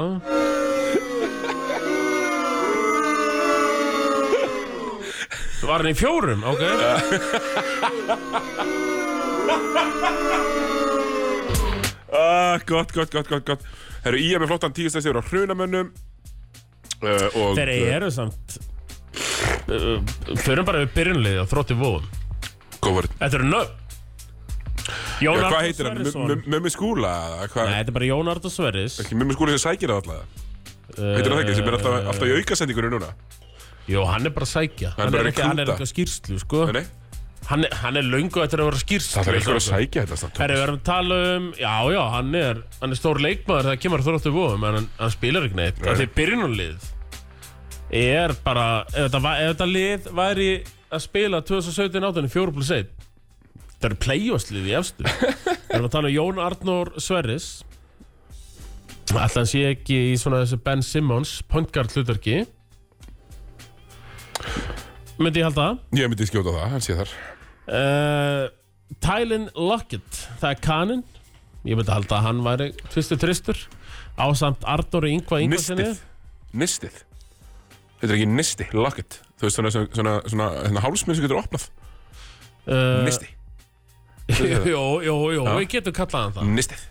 S2: Þú var hann í fjórum, ok
S1: ah, Gott, gott, gott, gott, gott Herru Ía með flottan 10 stæðs yfir á hrunamönnum uh, og,
S2: Þeir eru samt uh, Þau eru bara við byrjunlið á þrótti vóðum
S1: Góðvörð
S2: Þetta eru nöfn Jón
S1: Hvað
S2: Arnór
S1: heitir hann?
S2: Sverrisson
S1: M- M- Mummi Skúla? eða
S2: Nei,
S1: Hvað?
S2: þetta er bara Jón Arnór Sverris
S1: Ekki Mummi Skúla sem sækir það alltaf Heitir hann það ekki? Sem er alltaf, alltaf í aukasendingunni núna
S2: Jó, hann er bara að sækja
S1: er
S2: Hann
S1: bara
S2: er
S1: að
S2: ekki, hann er
S1: rekrúta.
S2: ekki að skýrslu, sko
S1: Nei, nei
S2: Hann er, hann er löngu eftir að vera skýrslu sko.
S1: Það er einhver að sækja þetta samt
S2: Herri, við erum að tala um, já, já, hann er, hann er stór leikmaður þegar kemur þróttu vóðum en hann, hann spilar ekki neitt. Það er byrjunarlið. Er bara, ef þetta, va- ef þetta lið væri að spila 2017-18 í 4 plus 1, það eru playoffslið í efstu. við erum að tala um Jón Arnór Sverris. Alltaf hann sé ekki í svona þessu Ben Simmons, pointguard hlutverki. Myndi ég halda það?
S1: Ég myndi skjóta það, hann sé þar
S2: Uh, Tylin Lockett Það er kaninn Ég myndi halda að hann væri tvistur tristur Ásamt Ardóri Yngva Yngvasinni
S1: Nistið Nistið Þetta er ekki nisti, locket Þú veist svona, svona, svona, svona hérna, hálsminn sem getur opnað
S2: uh,
S1: Nisti,
S2: Jó, jó, jó, við getum kallað hann það
S1: nistið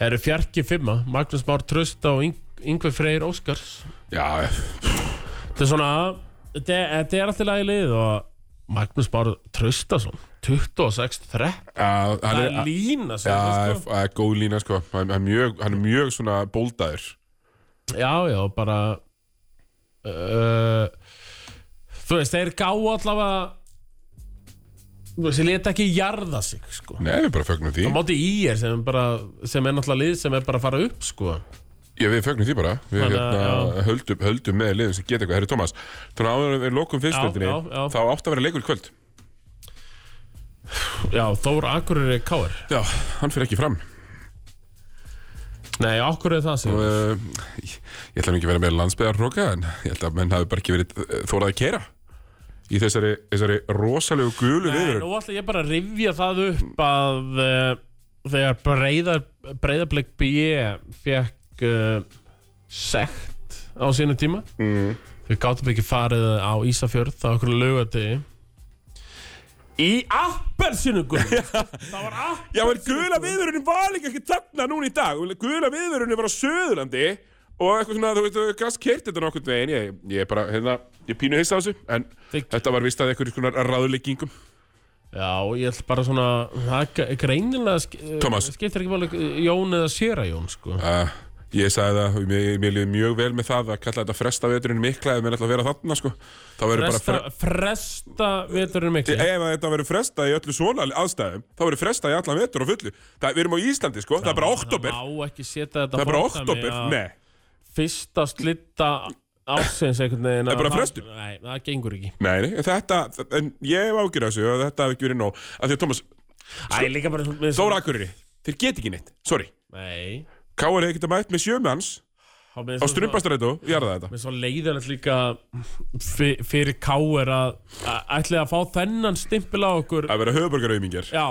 S2: Það eru fjarki fimma Magnús Már Trösta og Yngvi Freyr Óskars
S1: Já,
S2: Þetta er svona Þetta er- þetta er alltaf lagi lið og Magnús Már Tröstason 26-3
S1: að, hann
S2: Það
S1: er
S2: er
S1: að-
S2: lína sem
S1: Já,
S2: það
S1: að,
S2: sko
S1: að góð lína sko Hann hann er mjög, hann er mjög svona bóldaður
S2: Já, já, bara uh, Þú veist, þeir gáu allavega Þú veist, þeir leta ekki jarða sig, sko
S1: Nei, við bara fögnum því
S2: Á móti í er sem, bara, sem er náttúrulega lið sem er bara að fara upp, sko
S1: Já, við fögnum því bara Við
S2: Þannig að,
S1: hérna, höldum, höldum með liðum sem geta eitthvað Herri Tómas, þannig að áður en við lokum
S2: Já, já,
S1: fyrstöldinni
S2: já.
S1: Þá átt að vera leikur í kvöld
S2: Já, Þór Akureyri er káir
S1: Já, hann fyrir ekki fram
S2: Nei, Akureyri er það sem
S1: uh, eh, Ég ég ætla nú ekki að vera með landsbyðarróka En ég held að menn hafi bara ekki verið uh, þórað að keira í þessari, þessari rosalegu gulu
S2: Nei,
S1: viður
S2: nú ætla ég bara að rifja það upp að uh, þegar breyðar, breyðarblik B fekk uh, sekt á sínu tíma mm. þau gáttum ekki farið á Ísafjörð það okkur lögati í appelsinugum það var
S1: Já,
S2: appelsinugum
S1: en gula viðurinni var líka ekki þarna núna í dag Gula viðurinni var á Söðurlandi og eitthvað svona, þú veit, gast kert þetta nokkurn veginn ég, ég bara, hérna, ég pínu hissa á þessu en
S2: Þig-
S1: þetta var vist að eitthvað skonar ráðleggingum
S2: já, ég ætla bara svona það er greinilega sk- eh,
S1: Thomas.
S2: skiptir ekki máli eh, Jón eða Sera Jón sko.
S1: uh, Ég sagði það, og mér, mér líði mjög vel með það að kalla þetta fresta veturinn mikla ef mér ætla að vera þarna, sko Þá verður bara
S2: fresta, fresta veturinn miklu
S1: Ef að þetta verður frestað í öllu svona aðstæðum þá verður frestað í allan vetur og fullu það, Við erum á Íslandi sko, það er bara oktober
S2: það má ekki setja þetta
S1: Það er bara
S2: fordæmi
S1: oktober,
S2: að-
S1: nei
S2: fyrsta slitta ásins einhvern veginn
S1: Það er bara
S2: að-
S1: frestun.
S2: Nei, það gengur ekki
S1: Nei, nei, þetta, en ég hef ágjur þessu að þetta hef ekki verið nóg Af því að Thomas,
S2: Æ, líka bara með-
S1: Þóra Akureyri, þeir get ekki neitt, sorry
S2: Nei
S1: Káar hefði getað mætt með sjömi hans á strumpastrætó, jarða þetta
S2: Mér er svo leiðanlegt líka fyr- fyrir K.R. að að ætlið að fá þennan stimpil á okkur
S1: Að vera höfuborgarauðmingjar
S2: Já,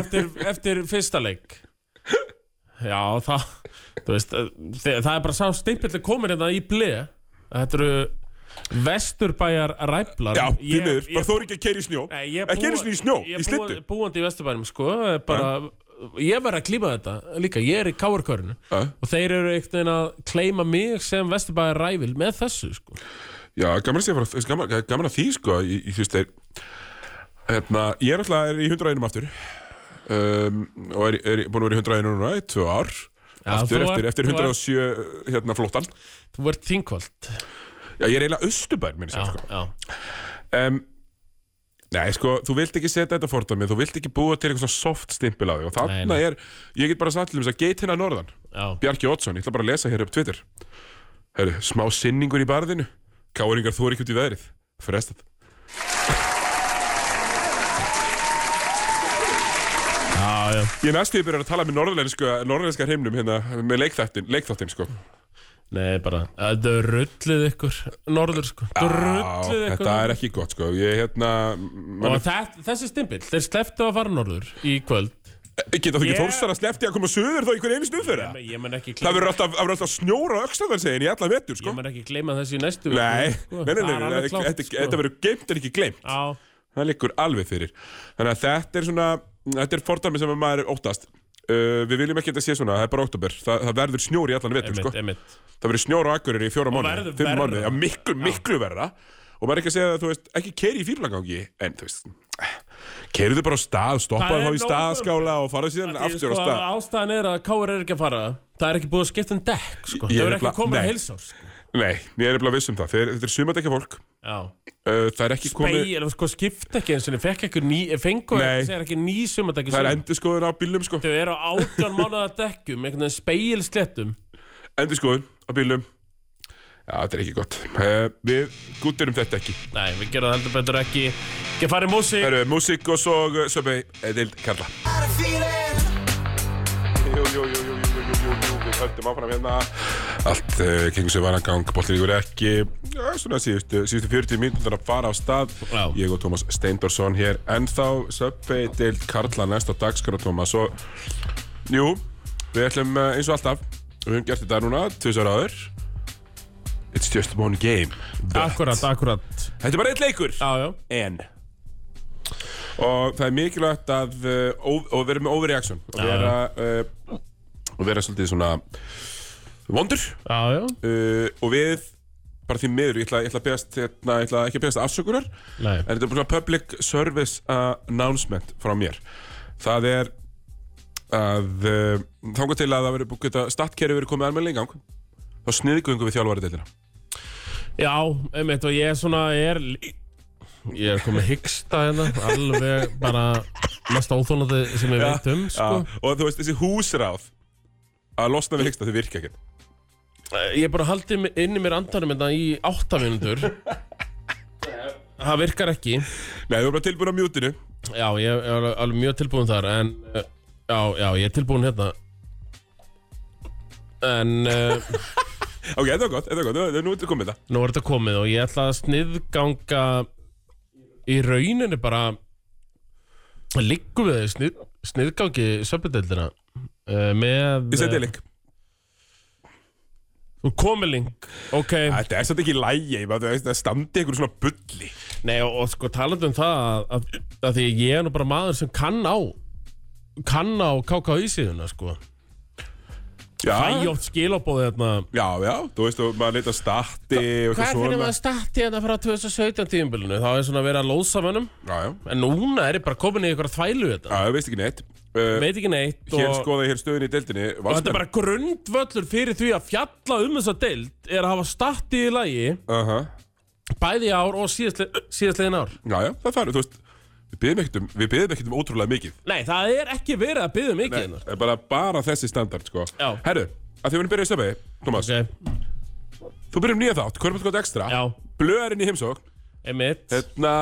S2: eftir, eftir fyrsta leik Já, það þú veist, eh, þe- það er bara sá stimpil komin hérna í ble Þetta eru Vesturbæjar ræflar
S1: Já, því miður, bara þóra ekki að keiri snjó
S2: Nei, ég
S1: Ekki einu sinni í snjó,
S2: ég
S1: í slittu
S2: búa, Búandi í Vesturbænum sko bara, Ég verð að klíma þetta líka Ég er í káarkörinu
S1: Já.
S2: Og þeir eru einhvern veginn að kleima mig sem Vesturbæjar ræfil Með þessu sko
S1: Já, gaman að, sé bara, gaman, gaman að því sko í, í, þú veist, þeir, hérna, Ég er alltaf er í 101 aftur um, og er, er búin að vera í 101 núna í tvö ár
S2: Já,
S1: aftur,
S2: þú
S1: eftir,
S2: ert-
S1: eftir
S2: þú ert-
S1: 107 hérna, flóttan
S2: Þú ert þingvöld
S1: Já, ég er eiginlega austurbær minni sér
S2: Já,
S1: sko
S2: já
S1: um, Nei, sko, þú vilt ekki setja þetta fordæmi þú vilt ekki búa til eitthvað svona soft stimpil á þig og
S2: Nei,
S1: þarna
S2: nei.
S1: er, ég get bara sagt til um þess að geit hérna norðan,
S2: Já,
S1: Bjarki Oddsson ég ætla bara að lesa hér upp Twitter Heru, smá sinningur í barðinu Káringar þú er ekki út í veðrið, frestað
S2: já, já.
S1: Ég næstu ég byrjar að tala með norðlenska, norðlenska hreimnum hérna, með leikþáttin, leikþáttin sko
S2: Nei, bara Þetta er rullið ykkur Norður sko Þetta er rullið
S1: Já,
S2: ykkur
S1: Þetta er ekki gott sko, ég hérna
S2: Og
S1: man,
S2: það, þessi stimpil Þeir sleftu að fara norður í kvöld
S1: Geta þú ekki
S2: Ég-
S1: yeah. þórstar að sleppti að koma suður þá einhver einu stund fyrir það?
S2: Ég menn ekki
S1: Það
S2: gleyma
S1: verður alltaf, það verður alltaf snjóra öxlaðarsegin í alla vetur sko
S2: Ég menn ekki gleyma þessu í næstu viku,
S1: Nei, nei,
S2: sko.
S1: nei,
S2: Það er
S1: nei,
S2: alveg
S1: nei,
S2: klárt,
S1: þetta
S2: sko.
S1: þetta verður geimt en ekki gleimt
S2: Já,
S1: Það liggur alveg fyrir Þannig að þetta er svona, þetta er fordæmi sem að maður óttast uh, Við viljum ekki að þetta sé svona, það er bara oktober Það, það verður snjór í allan vetur
S2: emitt,
S1: sko.
S2: emitt
S1: Það verður snjór á akkurir í fjóra mánuði,
S2: verður
S1: fimm
S2: verra.
S1: mánuði Já, miklu, miklu verra Og maður er ekki að segja það, þú veist, ekki keiri í fýrlagangi En þú veist, keiriðu bara á stað
S2: Það
S1: Stoppaðu
S2: er
S1: þá í
S2: nóg-
S1: staðskála og farðu síðan
S2: Því,
S1: aftur á
S2: sko,
S1: stað
S2: Ástæðan er að Káur er ekki að fara Það er ekki búið að skipta um dekk sko.
S1: Ég er
S2: Það er ekki
S1: nefnilega-
S2: komið að
S1: nei.
S2: heilsár sko.
S1: Nei, ég er nefnilega viss um það, Þeir- þetta er sumadekja fólk Uh,
S2: Já
S1: Það er ekki komið
S2: Beigir, sko, skipta ekki eins og fekk ekki ný Fengu
S1: Nei.
S2: ekki, segir ekki ný sumadekki
S1: Það er endurskoðun á bílum sko
S2: Þau eru á átján mánuða dekkum Einhvern veginn speilslettum
S1: endur skoðun á bílum Já, þetta er ekki gott uh, Við gútturum þetta ekki
S2: Nei, við gerum það heldur betur ekki Ekki að fara í músík
S1: Það eru músík og svo uh, Söpvei Dild Karla Jú, jú, jú, jú, jú, jú, jú, jú, jú Við höldum áfram hérna Allt uh, kengum sér varangang, bollingur ekki uh, Svona síðustu, síðustu 40 mínútur að fara á stað
S2: Já.
S1: Ég og Tómas Steindorsson hér Ennþá Söpvei Dild Karla næst á dagskara Tómas og Jú, við ætlum uh, eins og alltaf Við höfum gert þetta núna, tvisar áður It's just one game
S2: Akkurat, akkurat
S1: Þetta er bara eitt leikur
S2: Já, já
S1: En Og það er mikilvægt að uh, ó- og vera með overreaction og vera, uh, og vera svolítið svona vondur
S2: Já, já
S1: uh, og við bara því miður, ég ætla, ég ætla, að beðast, hérna, ég ætla ekki að beðast afsökunar
S2: Nei
S1: en þetta er bara svona public service announcement frá mér það er að uh, þangað til að það verið búið að stattkerfi verið komið almennilega í gang þá sniðgöngu við þjálfari deildina
S2: Já, einmitt og ég er svona ég er, lí- ég er komið hyggsta hérna alveg bara mest óþólandi sem ég veit um sko.
S1: Já, og þú veist þessi húsráð að losna við hyggsta þau virka ekkert
S2: Eh, Ég er bara haldið mi- inn í mér andanum hérna í áttafinundur Það virkar ekki
S1: Nei, þú er bara tilbúin á mjútinu
S2: Já, ég er alveg- alveg mjög tilbúin þar en eh, já, já, ég er tilbúin hérna En uh,
S1: Ok, þetta var gott, þetta var gott, nú- nú er þetta komið það
S2: nú er þetta komið og ég ætla að sniðganga í rauninni bara liggum við snið, sniðgangi söpindeldina uh, með
S1: Ég seti link
S2: Þú komið link, ok
S1: Þetta er svolítið ekki lægi Það standi einhverju svona bulli
S2: Nei og, og sko talandi um það að, að, að því ég er nú bara maður sem kann á kann á KKI síðuna sko Það
S1: Já,
S2: er jótt skilabóði þarna
S1: já, já Þú veist, og maður leita stati og
S2: Hvað
S1: eitthvað
S2: finnum
S1: svona
S2: við að starti þetta frá 2017 tíumbilinu? Það er svona að vera að lósa mönnum
S1: Já, já,
S2: En núna er ég bara komin í ykkur að þvælu þetta
S1: já, ég veist ekki neitt uh,
S2: Veit ekki neitt
S1: Hér
S2: og,
S1: skoða ég hér stöðin í deildinni
S2: og þetta er bara grundvöllur fyrir því að fjalla um þessa deild Er að hafa starti í lagi
S1: uh -huh.
S2: Bæði í ár og síðastli- síðastliðin ár
S1: Já, já, það færðu, þú veist Við byrðum ekkert um, við biðjum ekkert um ótrúlega mikið
S2: Nei það er ekki verið að byggja mikið
S1: Nei,
S2: hérna.
S1: er bara, bara þessi standard, sko
S2: Já.
S1: Herru, að því við erum byrjað í stöfi Thomas,
S2: Ok,
S1: þú byrjum nýja þátt, hverjum þetta gott ekstra
S2: já,
S1: Blöðarinn í heimsókn
S2: einmitt
S1: Hérna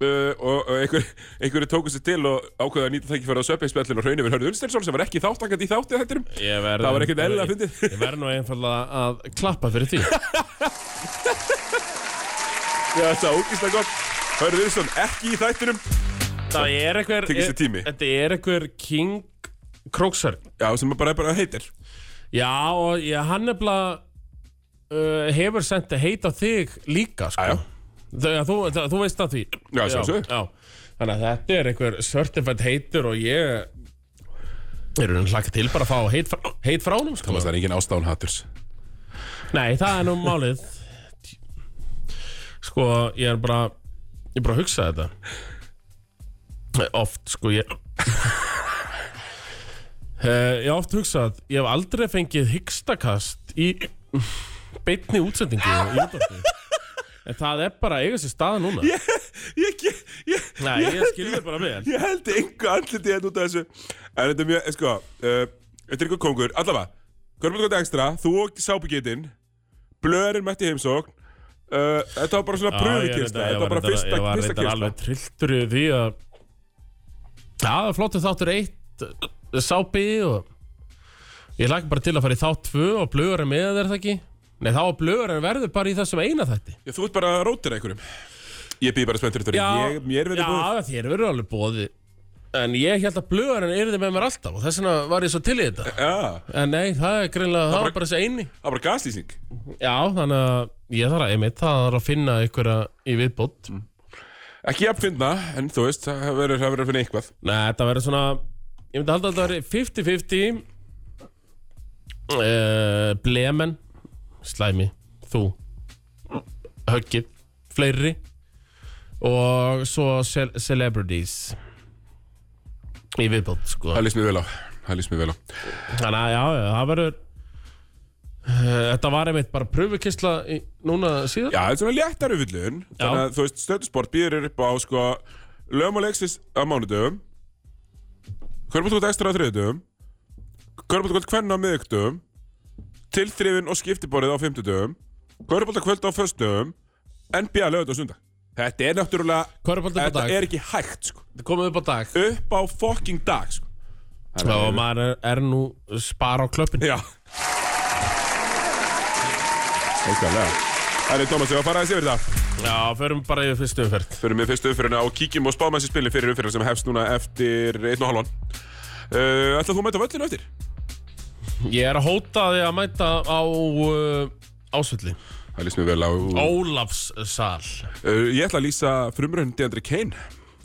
S1: Uh, og, og einhver, einhverju tóku sér til og ákveða að nýta tækifæra á söpbeinspjallin og hraun yfir Hörður Unnstensson sem var ekki þáttakandi í þáttið þættinum
S2: Ég verð- um-
S1: Það var ekkert eðlilega fyndið.
S2: Ég ég verð nú einfallega að klappa fyrir því
S1: Já, það er ógíslega gott Hörður Unnstensson ekki í þættinum
S2: Það er einhver
S1: Tekist þér tími.
S2: Þetta er einhver King Króksar
S1: Já, sem bara, bara heitir
S2: Já og ég, hann nefnilega uh, hefur sendt að heita þig líka sko.
S1: Jæja.
S2: Þegar þú, það, þú veist að því
S1: Já, sjálfsögðu.
S2: já. Þannig að þetta er einhver certified heitur og ég er hann hlakka til bara að fá heit, frá- heit frá honum sko.
S1: Það er engin ástafan hatturs
S2: Nei, það er nú málið Sko, ég er bara ég er bara að hugsa þetta Oft, sko, ég Eh, Ég hef oft hugsað Ég hef aldrei fengið hyggstakast í beinni útsendingu í útvarpi. En það er bara að eiga sér staða núna
S1: Ég, ég, ég, ég,
S2: Nei, ég skilði bara vel
S1: ég held engu andliti hérna út af þessu En þetta er mjög, eh, sko uh, Þetta er einhver kongur, allavega Körmur gott ekstra, þú og sábyggitinn Blörin mætti í heimsókn uh, Þetta var bara svona pröfukynsta Þetta var bara fyrsta,
S2: Ég var
S1: fyrsta
S2: reyndar
S1: kynsta
S2: alveg trilltur yfir því að Já, það var flottu þáttur eitt eh, Sápi og Ég lagði bara til að fara í þátt tvö og blöðurinn með er það ekki Nei, þá var blöðurinn verður bara í þessum eina þætti
S1: Já, Þú ert bara rótir einhverjum Ég býð bara spenntur þetta Ég, mér verður búið
S2: já þér verður alveg bóði En ég held að blöðurinn yrði með mér alltaf og þess vegna var ég svo til í þetta
S1: Já,
S2: En nei, það er greinlega, það
S1: bara-
S2: var bara þessi eini
S1: það var bara gaslýsing
S2: Já, þannig að ég þarf að, einmitt, það þarf að finna einhverja í viðbót
S1: Ekki jafn finna, en þú veist, það verður það verður að finna eitthvað
S2: Nei, þetta verður svona Ég myndi halda að þetta verður 50-50 uh, Blemen Slæmi, þú Höggið, fleiri Og svo ce Celebrities Í viðbót, sko
S1: Það lýst mér vel á Það lýst mér vel á
S2: Þannig að já, já, það verður uh, Þetta var einmitt bara pröfukysla í, Núna síðan
S1: Já, þetta er svona léttar ufullun Þannig að þú veist, stöðusport býður upp á sko Lögmáleiksins á mánudöfum Körbúttkvöld ekstra á þriðudöfum Körbúttkvöld kvenna á miðugdöfum Tilþrifin og skiptiborið á fimmtudöfum Körbúttkvöld á föstudöfum NBA lögut og sundag Þetta er náttúrulega
S2: Körbólti upp á
S1: Þetta
S2: dag,
S1: er ekki hægt sko
S2: þetta komið upp á dag
S1: Upp á fucking dag sko
S2: Já, og maður er, er nú spara á klöppin
S1: Já Óskalega Það er Tómas, ég var að fara aðeins yfir það
S2: Já, förum bara yfir fyrstu umferð
S1: Förum við fyrstu uppfyrirna og kíkjum og spáum þessi spilin fyrir uppfyrirna sem hefst núna eftir einn og halvan. Uh, ætlaðu þú að mæta völlinu eftir?
S2: Ég er að hóta því að mæta á uh, ásvöldi
S1: Það lýst mér vel á...
S2: Ólafssal
S1: Uh, ég ætla að lýsa frumrönd Deandre Kane,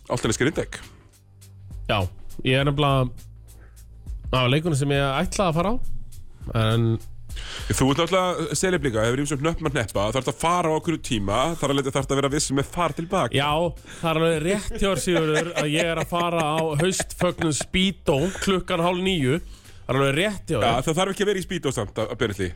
S1: alltaf neskir inndæk.
S2: Já, ég er nefnilega á leikunum sem ég ætlaði að fara á en
S1: Þú ert náttúrulega selib líka, hefur ímsum hnöpp með neppa, þarf að fara á okkur tíma, þar að leita þarf að vera viss með far tilbaka.
S2: já, það er alveg rétt hjá Sigurður að ég er að fara á haustfögnum Speedo klukkan hálf nýju Það er alveg rétt hjá
S1: Já,
S2: þér
S1: það þarf ekki að vera í spýt og samt að, að byrja því.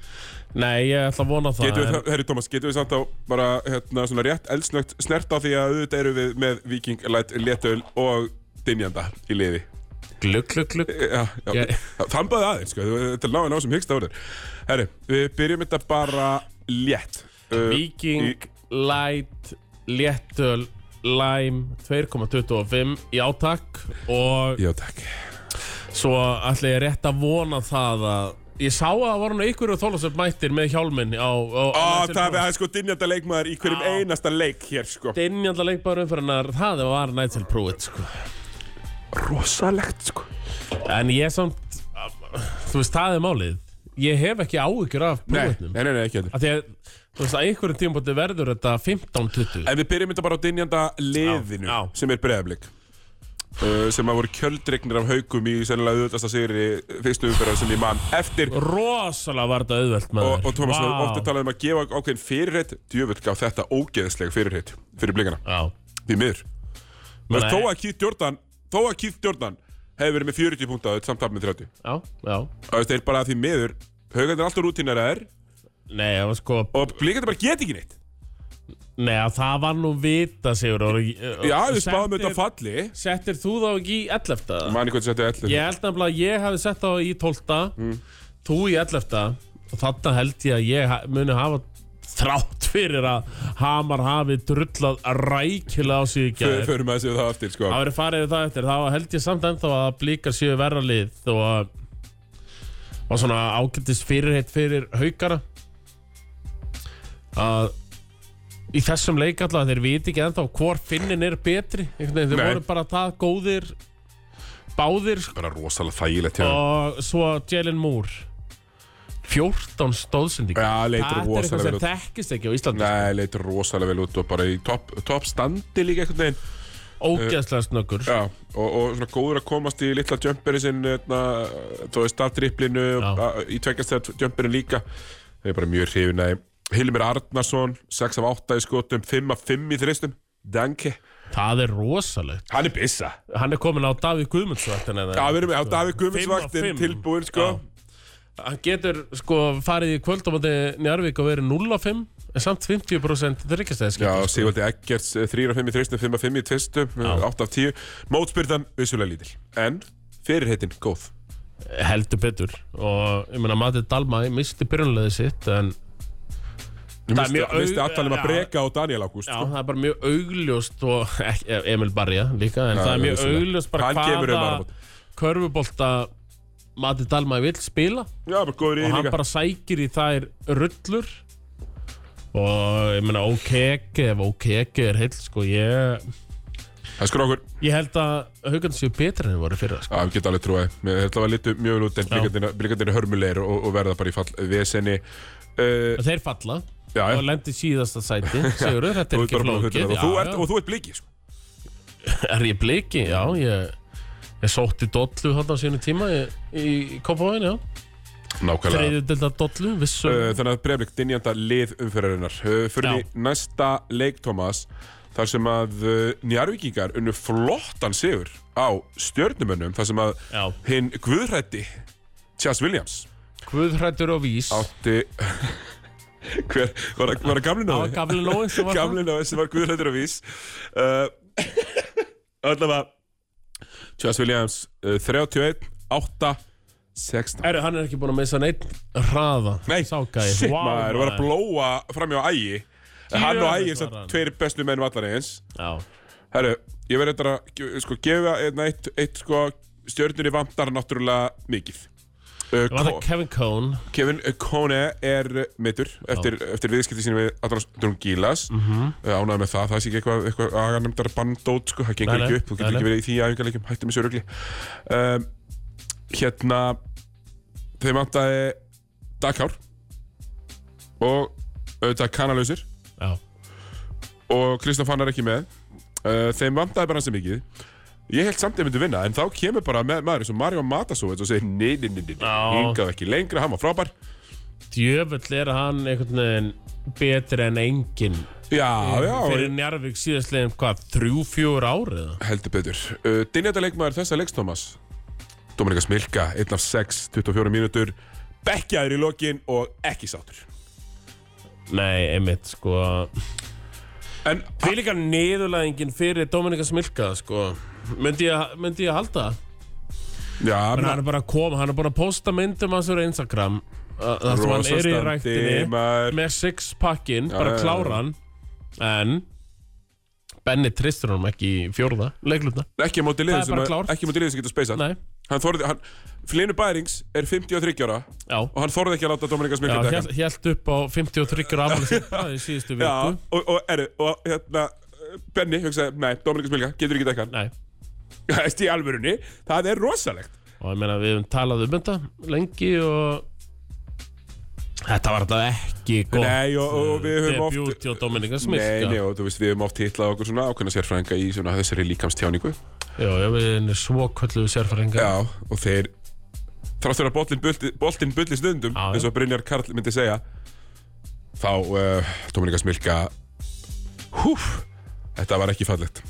S2: Nei, ég ætla að vona það
S1: Getum við,
S2: en,
S1: þá- herri Tómas, getum við samt á bara hérna svona rétt eldsnögt snert á því að auðvitað eru við með Viking, Letöl og Dinjanda í liði. Eh,
S2: Glugg, glugg, glugg
S1: Já, já,
S2: Ég-
S1: já þambaði aðeins sko, þú- þetta er lág en á sem hyggsta orður Herri, við byrjum þetta bara létt uh,
S2: Viking, Light, Léttöl, Lime 2,25 í átak og
S1: Já, takk
S2: Svo ætla ég rétt að vona það að Ég sá að það voru nú ykkur og þólasöf mættir með hjálminn á... á
S1: Ó, það er sko dinjanda leikmaður í hverjum einasta leik hér sko
S2: Dinjanda leikbæður umfyrirnar, það var Nigel Pruitt, sko.
S1: Rosalegt sko
S2: En ég samt, þú veist, það er málið. Ég hef ekki áhyggjur af
S1: Nei,
S2: Pruittnum.
S1: nei, nei, nei, ekki heldur
S2: Af því að, þú veist, að einhverjum tímpóti verður þetta 15-20.
S1: En við byrjum þetta bara á dinjanda liðinu
S2: Já, já.
S1: sem er breðablik uh, sem að voru kjöldregnir af haukum í sennilega auðvitaðsta sigri eh, fyrstu umferðar sem ég man eftir
S2: Rosalega var þetta auðvelt með
S1: og, og Thomas, wow. ofta talaði um að gefa ákveðin fyrirheit djöfull gaf þetta ógeðislega fyrirheit fyrir blikana,
S2: Já,
S1: því miður Þú veist,
S2: Nei.
S1: þó að Keith Jordan þó að Keith Jordan hefur verið með 40 púnta samt tap með 30
S2: já, já.
S1: Það veist, þeir bara því miður haugandir alltaf rútínar að er
S2: Nei, það var sko,
S1: og blikandir bara get ekki neitt
S2: nei, að það var nú vita, Sigur. og-
S1: Já,
S2: og
S1: við spáðum þetta
S2: settir-
S1: falli
S2: Settir þú þá ekki í 11. eða?
S1: Mani hvað þetta er 11
S2: Ég held nefnilega að ég hafi sett þá í 12. Þú í 11. Og þarna held ég að ég ha- muni hafa þrátt fyrir að Hamar hafi drullað rækilega á sig í
S1: Fö-
S2: gæðir.
S1: Förum að þessu það aftur, sko
S2: Það verið farið við það eftir. Þá held ég samt ennþá að blíkar séu verra lið og að og svona ágættis fyrirheit fyrir haugara að í þessum leik alltaf þeir viti ekki ennþá hvor finnin er betri einhvern veginn, þeir
S1: Nei.
S2: voru bara það góðir báðir sko
S1: Bara rosalega þægilegt hjá þeim.
S2: og svo Jalen Moore 14 stóðsendingar
S1: Já, leitur
S2: Þetta er eitthvað
S1: rosalega
S2: sem
S1: vel út
S2: þekkist ekki á Íslandi
S1: Nei, leitur rosalega vel út og bara í topp top standi líka einhvern veginn
S2: Ógeðslega snöggur
S1: Já, og, og svona góður að komast í litla jumperi sinn na, Þú veist, af dripplinu
S2: Já.
S1: a- Í tveggjastæða jumperin líka Það er bara mjög hrifin að þeim. Hilmir Arnarsson, 6 af 8 í skotum 5 af 5 í þristum Danke,
S2: Það er rosalegt
S1: hann er byssa
S2: Hann er komin á Davíð Guðmundsvartin
S1: Já, við erum á Davíð
S2: Fimm
S1: Guðmundsvaktin
S2: af fimm.
S1: tilbúin, sko
S2: Hann getur sko farið í kvöld á móti Njarvík og verið 0 á 5 en samt 50%
S1: Já,
S2: þryggastæðiskip sko.
S1: Sigvaldi Eggerts, 3 af 5 í þristum 5 af 5 í tvistum, 8 af 10 Mótspyrðan, vissulega lítil En fyrirheitin, góð
S2: heldur betur og ég meina Mati Dalmæ misti byrjunlega sitt en
S1: Ég
S2: Það er
S1: misti,
S2: mjög au-
S1: misti aftalum
S2: já.
S1: um að breka á Daniel Ágúst
S2: Já,
S1: sko.
S2: það er bara mjög augljóst og ek- Emil Barja líka en
S1: Já,
S2: það er
S1: já,
S2: mjög
S1: vissulega.
S2: augljóst bara
S1: Hann kemur um
S2: hvaða
S1: áramót.
S2: körfubólta Mati Dalmæ vill spila
S1: Já, bara góður í
S2: og
S1: því
S2: hann
S1: líka
S2: bara sækir í þær rullur og ég meina OKG ef OKG er heill sko ég,
S1: Það skur okkur,
S2: ég held að haugarnir séu betri en þeir voru fyrir sko.
S1: já, við getum alveg trúið Þetta var litur mjög vel út en blikandina- blikandina hörmulegir og, og verða bara í fall vesenni uh,
S2: þeir falla
S1: Já, já
S2: og lendi í síðasta sæti Sigurður, þetta
S1: Þú ert
S2: er ekki
S1: bara búin að
S2: flókið
S1: fullyrða það.
S2: Já,
S1: Þú ert-
S2: já.
S1: Og þú ert blikið, sko
S2: er ég bliki, já ég, ég sótti dollu hann á sínu tíma í, í Kópavóin, já
S1: Nákvæmlega
S2: þriðið delta dollu, vissu
S1: Uh, Þannig að breyflik dinjanda lið umferðarinnar uh, Fyrir
S2: Já.
S1: í næsta leik, Thomas Þar sem að uh, njarvíkingar unnu flottan sigur á stjörnumönnum Þar sem að
S2: Já.
S1: hinn guðrætti Chas Williams
S2: Guðhrættur og Vís á
S1: átti Hver, var það- var það gamli náði?
S2: gamli Lói sem var
S1: Gamli náði sem var guðrættur og vís uh, Allavega Chas Williams uh, 31, 8, 16
S2: Eru, hann er ekki búin að missa neitt hraða
S1: Nei,
S2: Sákaði.
S1: shit
S2: Vá,
S1: maður, var að blóa framjá ægi En hann og ægi er samt
S2: var hann.
S1: tveir bestu menn vallar eins
S2: Já,
S1: Herru, ég verði þetta að ge- sko, gefa einn eitt, eitt sko, stjörnunni vantar náttúrulega mikið uh,
S2: var
S1: Ko-
S2: það Kevin Cohn
S1: Kevin Kone er mittur eftir, eftir viðskipti sínum við Adolf Drungilas mm
S2: Mhm.
S1: -hmm. ánægð með það, það sé ekki eitthvað eitthva, aganemdar bandót, sko, það gengur
S2: Nei, nei,
S1: ekki upp þú getur
S2: nei, nei.
S1: ekki verið í því æfingarleikjum, hættu með sörugli um, hérna þeim vantaði Dakár og auðvitað kanalösir
S2: Já,
S1: og Kristoff hann er ekki með uh, þeim vantaði bara hans mikið ég held samt að ég myndi vinna en þá kemur bara með, maður eins og Mario Matasovits og segir nei, nei, nei, nei,
S2: Já.
S1: hingað ekki lengra hann var frábær
S2: djöfull er hann einhvern veginn betri en engin
S1: Já, já,
S2: fyrir Njarvík síðastlegin hvað, þrjú, fjögur árið
S1: heldur betur uh, Dinjata leikmaður þessa leiks, Thomas Dominika Smilka, 1 af 6, 24 mínútur Bekkjaður í lokin og ekki sátur
S2: Nei, einmitt, sko
S1: En
S2: Því líka niðurlæðingin fyrir Dominika Smilka, sko Myndi ég, myndi ég halda það?
S1: Já,
S2: Menn hann er bara að koma, hann er búin að posta myndum hans úr Instagram uh, þar sem hann er í
S1: Rosastandi,
S2: ræktinni
S1: maður.
S2: með six packin, bara
S1: já, já.
S2: klára hann en Benni tristur hann ekki í fjórða leiklunda,
S1: ekki á móti
S2: Það
S1: liðið
S2: er
S1: sem,
S2: bara
S1: að-
S2: klárt.
S1: ekki á móti liðið sem getur speysað
S2: nei
S1: Hann þorði, hann, Flynur Bærings er 53 ára
S2: Já,
S1: og hann þorði ekki að láta Dominika
S2: já
S1: Smilka taka hann.
S2: hélt, hélt upp á 53 afmælisins bara í síðustu viku
S1: Já, og, og, er, og hérna, Benni hugsaði, nei, Dominika Smilka, getur ekki taka hann.
S2: Nei,
S1: Æst í alvörunni, það er rosalegt.
S2: og ég meina við hefum talað um þetta lengi og Þetta var alltaf ekki gott
S1: Nei, og, og við höfum oft...
S2: Debut hjá Dominika Smith sko.
S1: Nei, nei, og þú veist, við höfum oft hitlað okkur svona ákveðna sérfræðinga í svona þessari líkamstjáningu.
S2: Já, já, við erum svo kölluðu sérfæringar
S1: Já, og þeir þrátt fyrir að boltinn bulti, boltin bulli stundum
S2: Já, já.
S1: eins og Brynjar Karl myndi segja þá uh, Dominika Smilka húf þetta var ekki fallegt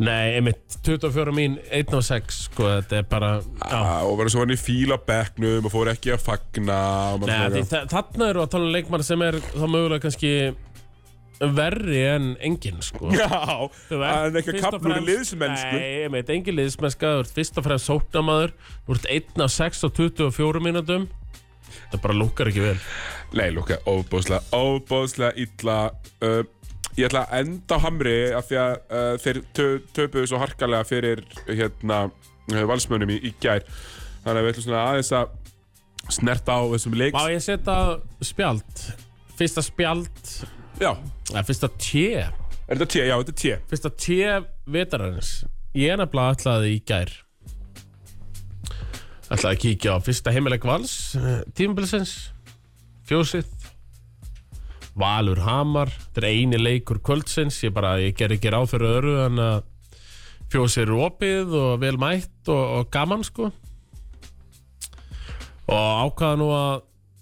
S2: Nei, einmitt, 24 mín, 1 og 6 sko, þetta er bara já.
S1: ah, og verður svo hann í fíla bekknum og fór ekki að fagna og
S2: Nei,
S1: maður
S2: því,
S1: svona,
S2: þa- þarna eru að tala um leikmann sem er þá mögulega kannski verri en engin sko.
S1: já,
S2: Þú
S1: það
S2: ert
S1: er ekki að
S2: fyrst og
S1: kapna úr
S2: fremst-
S1: liðsmennsku
S2: Nei, ég meit, engin liðsmennska, þú ert fyrst og fremst sóknamaður Þú ert 1 af 6 og 24 mínútum Þetta bara lúkar ekki vel
S1: Nei, Lúka, óbóðslega, óbóðslega illa uh, Ég ætla að enda á Hamri af því að uh, þeir tö- töpuðu svo harkalega fyrir hérna, uh, valsmönum í, í gær Þannig að við ætlum svona aðeins að snerta á þessum leik
S2: Má ég setja spjald? Fyrsta spjald,
S1: Já,
S2: eða fyrsta tjé
S1: er þetta T? Já, þetta er T
S2: Fyrsta T vetararins Ég er nefnilega ætlaði í gær Ætlaði að kíkja á fyrsta heimileg vals eh, Tímabilsins Fjósið Valur Hamar Þetta er eini leikur kvöldsins Ég bara, ég ger ekki ráð fyrir öru en að fjósið eru opið og vel mætt og, og gaman sko og ákvaða nú að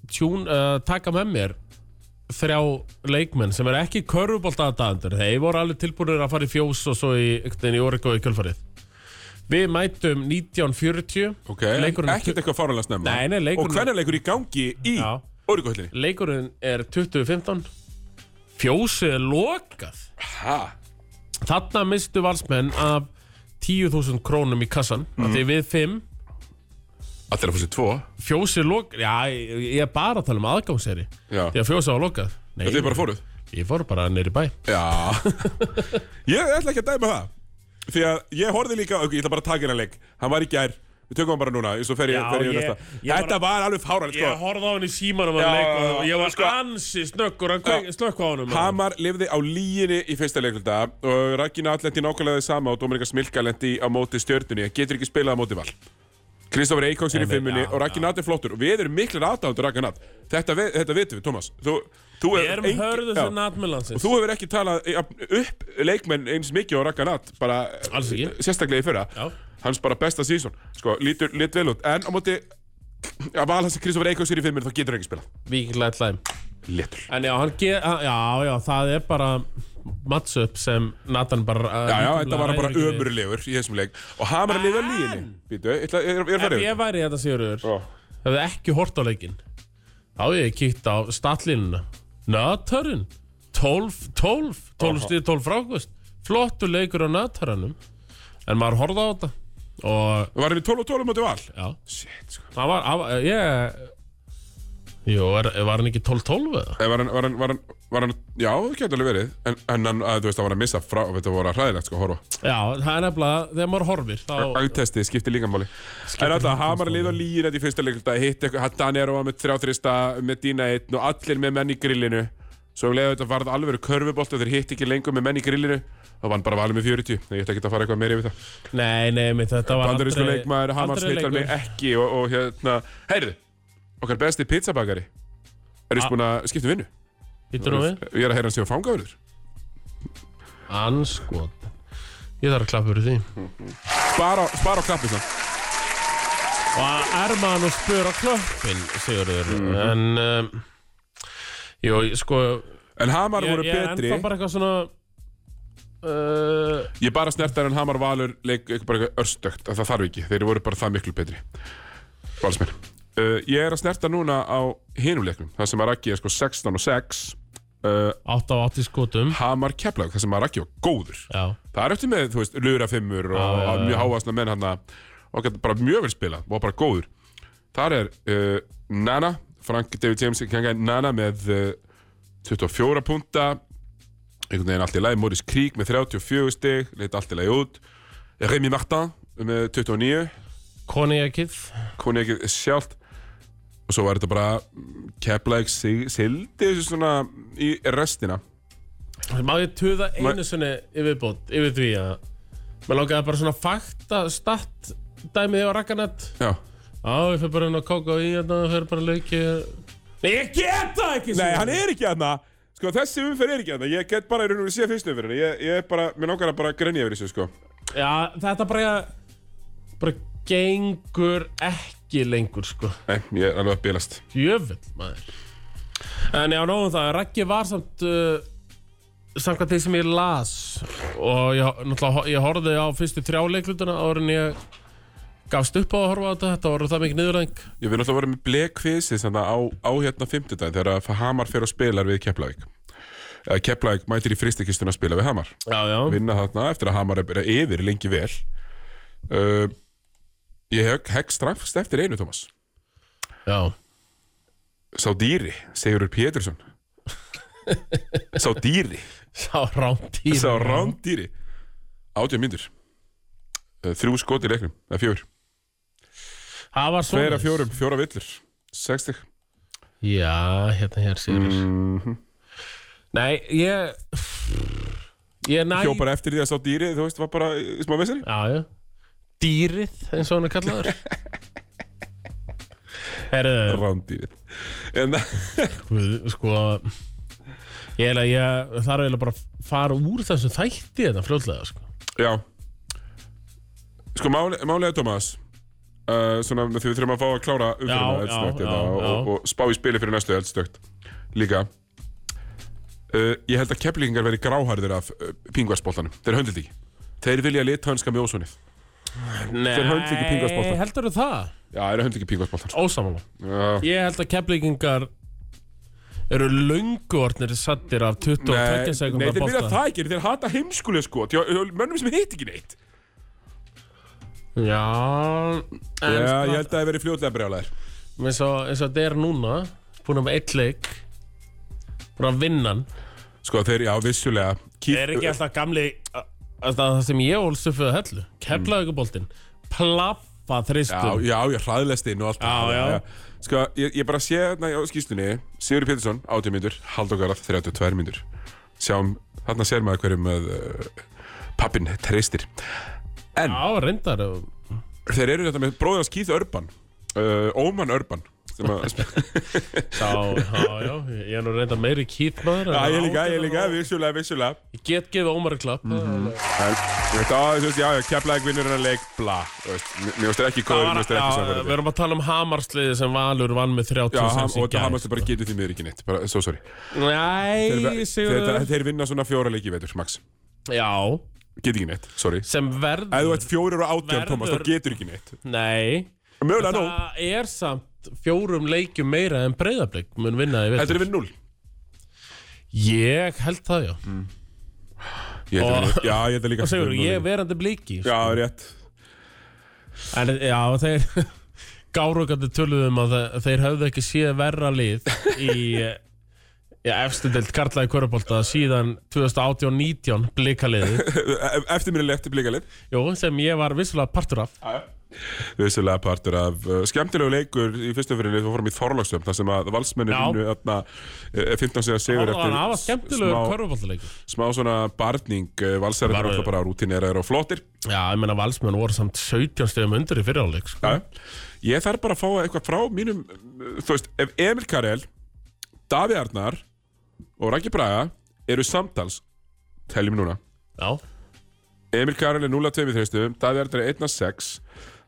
S2: tjún, uh, taka með mér þrjá leikmenn sem er ekki körfubolt aðdæðandur. Þeir voru alveg tilbúinir að fara í fjós og svo í, einhvern veginn í Origo í kjölfarið. Við mætum 1940.
S1: Ok,
S2: Leikurinn-
S1: ekkert eitthvað fáranlega snemma
S2: Nei, nei, leikurinn-
S1: Og hvernig leikur í gangi í
S2: Já.
S1: Órugóhöllinni?
S2: Leikurinn er 2015. Fjósið er lokað.
S1: Ha?
S2: Þarna mistu valsmenn af 10.000 krónum í kassan.
S1: Mhm.
S2: Mm. Því við fimm,
S1: Allir að fór sér tvo
S2: fjósið lokað. Já, ég ég er bara að tala um aðgangseri.
S1: Já,
S2: Því að fjósið var lokað. Nei,
S1: þetta er bara fóruð
S2: Ég fór bara neyri bæ.
S1: Já Ég ætla ekki að dæma það Því að ég horfði líka ok, Ég ætla bara að taka hennar leik Hann var í gær Við tökum hann bara núna Svo fer ég,
S2: Já,
S1: fer ég, í
S2: ég-
S1: næsta
S2: ég var-
S1: Þetta var alveg fáralegt
S2: Ég
S1: sko.
S2: horfði á hann í símanum að
S1: Já,
S2: leika
S1: já, já.
S2: og ég var
S1: Sko-
S2: ansi snöggur að kveik- slökkva á honum.
S1: Hamar lifði á líginni í fyrsta leikulda og Ragnar lendi nákvæmlega þið sama og Dominika Smilka lendi á móti stjörnunni en getur ekki spilað á móti val Kristofur Eikóks er í
S2: Nei, nei,
S1: fimmunni
S2: já,
S1: og Ragnar er flottur og við erum miklir aðdándur Ragnar þetta, ve- þetta vitum við, Tómas Þú, þú
S2: Við
S1: hefur
S2: erum
S1: engin-
S2: hörðuð
S1: Já.
S2: sem natmiðlandsins.
S1: og þú hefur ekki talað eh, jafn upp leikmenn eins mikið á Ragnar bara eh,
S2: Alls ekki.
S1: sérstaklega í fyrra
S2: Já.
S1: hans bara besta sísón sko, lítur, lít vel út en á móti að vala sem Kristoffer Eikóks er í fimmir þá getur hann ekki spilað
S2: Víkinglega ætlaðum.
S1: léttur
S2: En já, hann ge... hann- Já, já, það er bara match-up sem Nathan bara...
S1: já, já,
S2: uh, líkamlega
S1: þetta var hann bara
S2: ræður ekki við.
S1: ömurlegur í þessum leik og hamar að lifa
S2: En-
S1: líginni býtu, ég ætla- ég er ég er
S2: Ef
S1: farið
S2: ég væri þetta Sigurður,
S1: yfir.
S2: hefði ekki hort á leikinn. Þá hefði ég kíkt á statlínuna. Natharinn. 12, 12, 12 stíð, 12 frákvist. Flottu leikur á Natharanum. En maður horfði á þetta. Og,
S1: var hann í 12 og 12 á móti val
S2: já,
S1: shit, sko
S2: Það var, það var, ég Jú, var, var hann ekki 12-12 eða?
S1: Eh, var hann, var hann, var hann, var hann já, það getur alveg verið en, en hann, að, þú veist, það var að missa frá þetta voru að hræðilegt, sko, að horfa
S2: Já, það er nefnilega, þegar maður horfir þá
S1: Angtesti skiptir líka máli En alltaf, Hamar lið og lýir þetta í fyrsta leikulta Hitt eitthvað, Hattan er á með þrjá þrista Með dýna einn og allir með menn í grillinu Svo leiðu þetta varð alveg körfubolt Og þeir hitt ekki lengur með menn í grillinu Og vann bara valið með 40 Nei, ég ætla ekki að fara eitthvað meira yfir það
S2: Nei, nei, mitt, þetta var
S1: Bandarísku leikmaður, Hamar smittar mig ekki Og, og hérna, heyrðu Okkar besti pizzabakari Er þess búin að skipta um vinnu?
S2: Hittur nú við?
S1: Ég er að heyra hann séu fangavörður
S2: Anskot Ég þarf að klappa fyrir því
S1: Spara, spara á klappi það
S2: Og að erma hann og spura klöppin, Sigurður En um, Jú, sko
S1: En Hamar
S2: Ég,
S1: voru
S2: ég er
S1: betri
S2: ennþá bara eitthvað svona uh,
S1: Ég bara snertar en Hamar Valur leik eitthvað bara eitthvað örstökt að það þarf ekki, þeir voru bara það miklu betri Valsmenn uh, Ég er að snerta núna á hinum leiknum það sem að Raggi er sko 16 og 6 uh,
S2: 8 á 8 skotum
S1: Hamar Keflag, það sem að Raggi var góður
S2: Já,
S1: Það er eftir með, þú veist, lurafimmur og
S2: Já, já,
S1: ah,
S2: já.
S1: mjög hávasna menn hann og gæti bara mjög vel spila og bara góður Þar er uh, Nana, Frank David James ganga Nana með uh, 24 punta einhvern veginn allt í lagi, Maurice Krieg með 34 stig leit allt í lagi út Remy Martin með 29
S2: Koniakið
S1: konjakið sjálft og svo var þetta bara keflaðið sig, sildi þessu svona í restina
S2: Má ég tuða einu sinni yfirbót Yfir því að Mér langaði bara svona fakta Statt dæmið á rakkanett
S1: Já,
S2: Já, ég fyrir bara inn á kóka í hérna Það fyrir bara að leiki Nei, ég get það
S1: Nei,
S2: ekki Sigurður.
S1: hann er ekki aðna Sko, þessi umferð er ekki aðna Ég get bara í raun og sé fyrstu umferðin Ég, ég er bara, mér langar að bara grenja yfir þessu, sko
S2: Já, þetta bara Bara gengur ekki lengur sko
S1: Nei, ég er alveg að bílast
S2: Jöfull maður En já, nóðum það, Raggi var samt uh, Samkvæmt því sem ég las Og ég, náttúrulega, ho- ég horfði á fyrstu trjáleiklutuna Áður en ég gafst upp á að horfa á þetta Þetta voru það mikið niðurlæðing
S1: Ég vil alltaf vera með blekvisi þannig á, á hérna 50 dag þegar að Hamar fer og spilar við Keflavík Eða Keflavík mætir í fristikistuna að spila við Hamar
S2: Já, já,
S1: vinna þarna eftir að Hamar er bara yfir lengi vel uh, Ég hef hegg strafst eftir einu, Thomas
S2: já
S1: Sá dýri, Sigurður Pétursson Sá dýri
S2: Sá rándýr
S1: Sá rándýri Átján myndir Þrjú skot í leiknum, eða fjögur
S2: Það var
S1: Tveir af
S2: svona
S1: fjórum, fjóra villur Sextig
S2: Já, hérna hér sérur
S1: Mhm.
S2: Nei, ég Ég næ
S1: Hjó bara eftir því að sá dýri, þú veist, var bara í smá veseri
S2: Já, já Dýrið, eins og hann er kallaður Herðu
S1: Rándýri En eh,
S2: Guð, sko ég er að ég þarf eiginlega bara að fara úr þessum þætti þetta fljótlega sko.
S1: Já Sko máli- málið er Tómas uh, Svona því við þurfum að fá að klára
S2: Já,
S1: umfyrirna eldstökt
S2: já,
S1: hérna
S2: já,
S1: og, og,
S2: já.
S1: og spá í spili fyrir næstu eldstökt Líka uh, Ég held að keflingar veri gráharðir af uh, pingvarsboltanum Þeir höndið því Þeir vilja lit hönska með ósonið
S2: Nei,
S1: höndla ekki pingaspottann.
S2: heldur þú það?
S1: Já, þeir höndið ekki pingvarsboltan
S2: Ósamála
S1: Já,
S2: Ég held að keflingingar eru lönguortnir sattir af
S1: Nei,
S2: 22
S1: nei,
S2: sekundar
S1: þeir vilja
S2: bolta
S1: það ekki, þeir hata sko, heimskulega skot hjá- hjá Mönnum sem heit ekki neitt
S2: Já, en
S1: Já, ég
S2: sko,
S1: held að það veri fljótlega brjálæðir
S2: eins og, eins og þetta er núna búin að með eitt leik búin að vinna hann
S1: Sko, þeir, já, vissulega Keith-
S2: er ekki alltaf gamli alltaf það sem ég ólst upp við að hellu keflaðuguboltinn plaffa
S1: Já,
S2: þristum
S1: já, ég hraðlest inn og allt
S2: Já,
S1: það,
S2: já.
S1: Sko, ég, ég bara sé þarna á skýstunni Sigur Pétursson, 18 mínútur Halldór Garað, 32 mínútur Sjáum, þarna sér maður hverju með uh, pappin treystir
S2: Já, reyndar og-
S1: Þeir eru þetta með bróðans Keith Urban uh, Óman Urban sem að,
S2: Já, já, já, ég er nú reynda meiri kýt maður
S1: Já,
S2: en
S1: ég líka, ég
S2: átján
S1: líka, Mhm.
S2: og-
S1: vissulega, vissulega
S2: Ég get gefið Ómar klapp
S1: En, Þetta, á, þú veist, já, já, keflaðið vinnur en leik, bla Þú veist, Mér mér finnst þetta ekki
S2: Það
S1: góður,
S2: var-
S1: mér finnst þetta
S2: já,
S1: ekki
S2: Við
S1: samverðið
S2: erum að tala um Hamarsliði sem Valur vann með
S1: Já, ham,
S2: 36
S1: og þetta hamast bara getur því miður ekki neitt bara, Svo sorry
S2: Nei,
S1: þeir,
S2: Sigurður
S1: þeir vinna svona fjóra leiki í veitur, max
S2: Já,
S1: Get ekki neitt, sorry
S2: sem
S1: Ef þú
S2: verður
S1: ert fjórir og átján,
S2: Verður-
S1: Thomas, þá getur ekki neitt
S2: Nei,
S1: Mögulega nú,
S2: það er samt fjórum leikjum meira en breyðablík mun vinna því
S1: heldur þið við null
S2: Ég held það, já
S1: Ég held
S2: Og-
S1: að við- Já, ég held að líka
S2: Og Sigurður,
S1: við
S2: ég er
S1: erum núll.
S2: verandi blíki
S1: Já, rétt
S2: En já, þeir gárugandi töluðum að þe- þeir höfðu ekki séð verra lið í já, efstu deild karlaði kvörubólta síðan 2018-19 blikaliði,
S1: Eftir mér er lefti blíkalið
S2: jú, sem ég var vissulega partur af.
S1: Vissulega partur af uh, skemmtilegu leikur í fyrstu fyrirni Þú fórum í Þorlagsjöfn þar sem að valsmenni
S2: Já.
S1: vinnu þarna eh, 15 sigur sigur
S2: Það var aða
S1: eftir
S2: skemmtilegur
S1: smá,
S2: kvörubóltaleikur.
S1: smá svona barning eh, Valsar er
S2: Var-
S1: alltaf bara rútineraður og flottir
S2: Já, ég menna valsmenn voru samt 17 stegum undir í fyriráleik, sko.
S1: Já, ég þarf bara að fá eitthvað frá mínum uh, Þú veist, ef Emil Karel Davi Arnar og Raggi Braga eru samtals teljum núna
S2: Já,
S1: Emil Karel er 0 af 2 við þreistum Davi Arnar er 1 af 6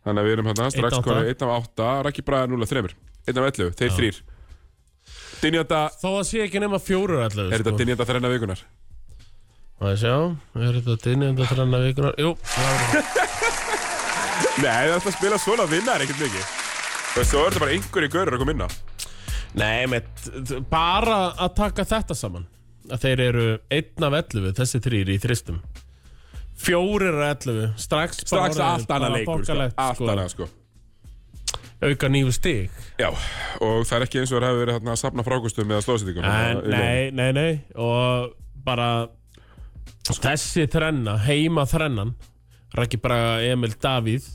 S1: þannig að við erum hérna strax
S2: af átta.
S1: konur 1 af 8 Raggi Braga er 0 af 3 1 af 11, þeir þrýr Dinjata,
S2: þó að sé ekki nema fjórur allavega,
S1: er þetta
S2: sko.
S1: Dinjata þrenna vikunar?
S2: Það sjá, er þetta dinjönda þranna vikunar? Jú, það var það.
S1: Nei, það er alltaf að spila svona vinnar ekkert mikið Þú veist, Svo er þetta bara einhverju görur að koma inn á
S2: Nei, með, bara að taka þetta saman að þeir eru einn af 11 þessi þrýr í þristum fjórir af 11 strax,
S1: Strax
S2: bara orðið
S1: allt annað
S2: bara
S1: leikur, sko.
S2: bókalegt,
S1: allt
S2: sko.
S1: annað sko
S2: auka nýju stig
S1: Já, og það er ekki eins og það hefur verið þarna að safna frákustum eða Hérna, slóðsýtingum.
S2: en, nei, nei, nei og bara þessi þrenna, heima þrennan Raki bara Emil Davíð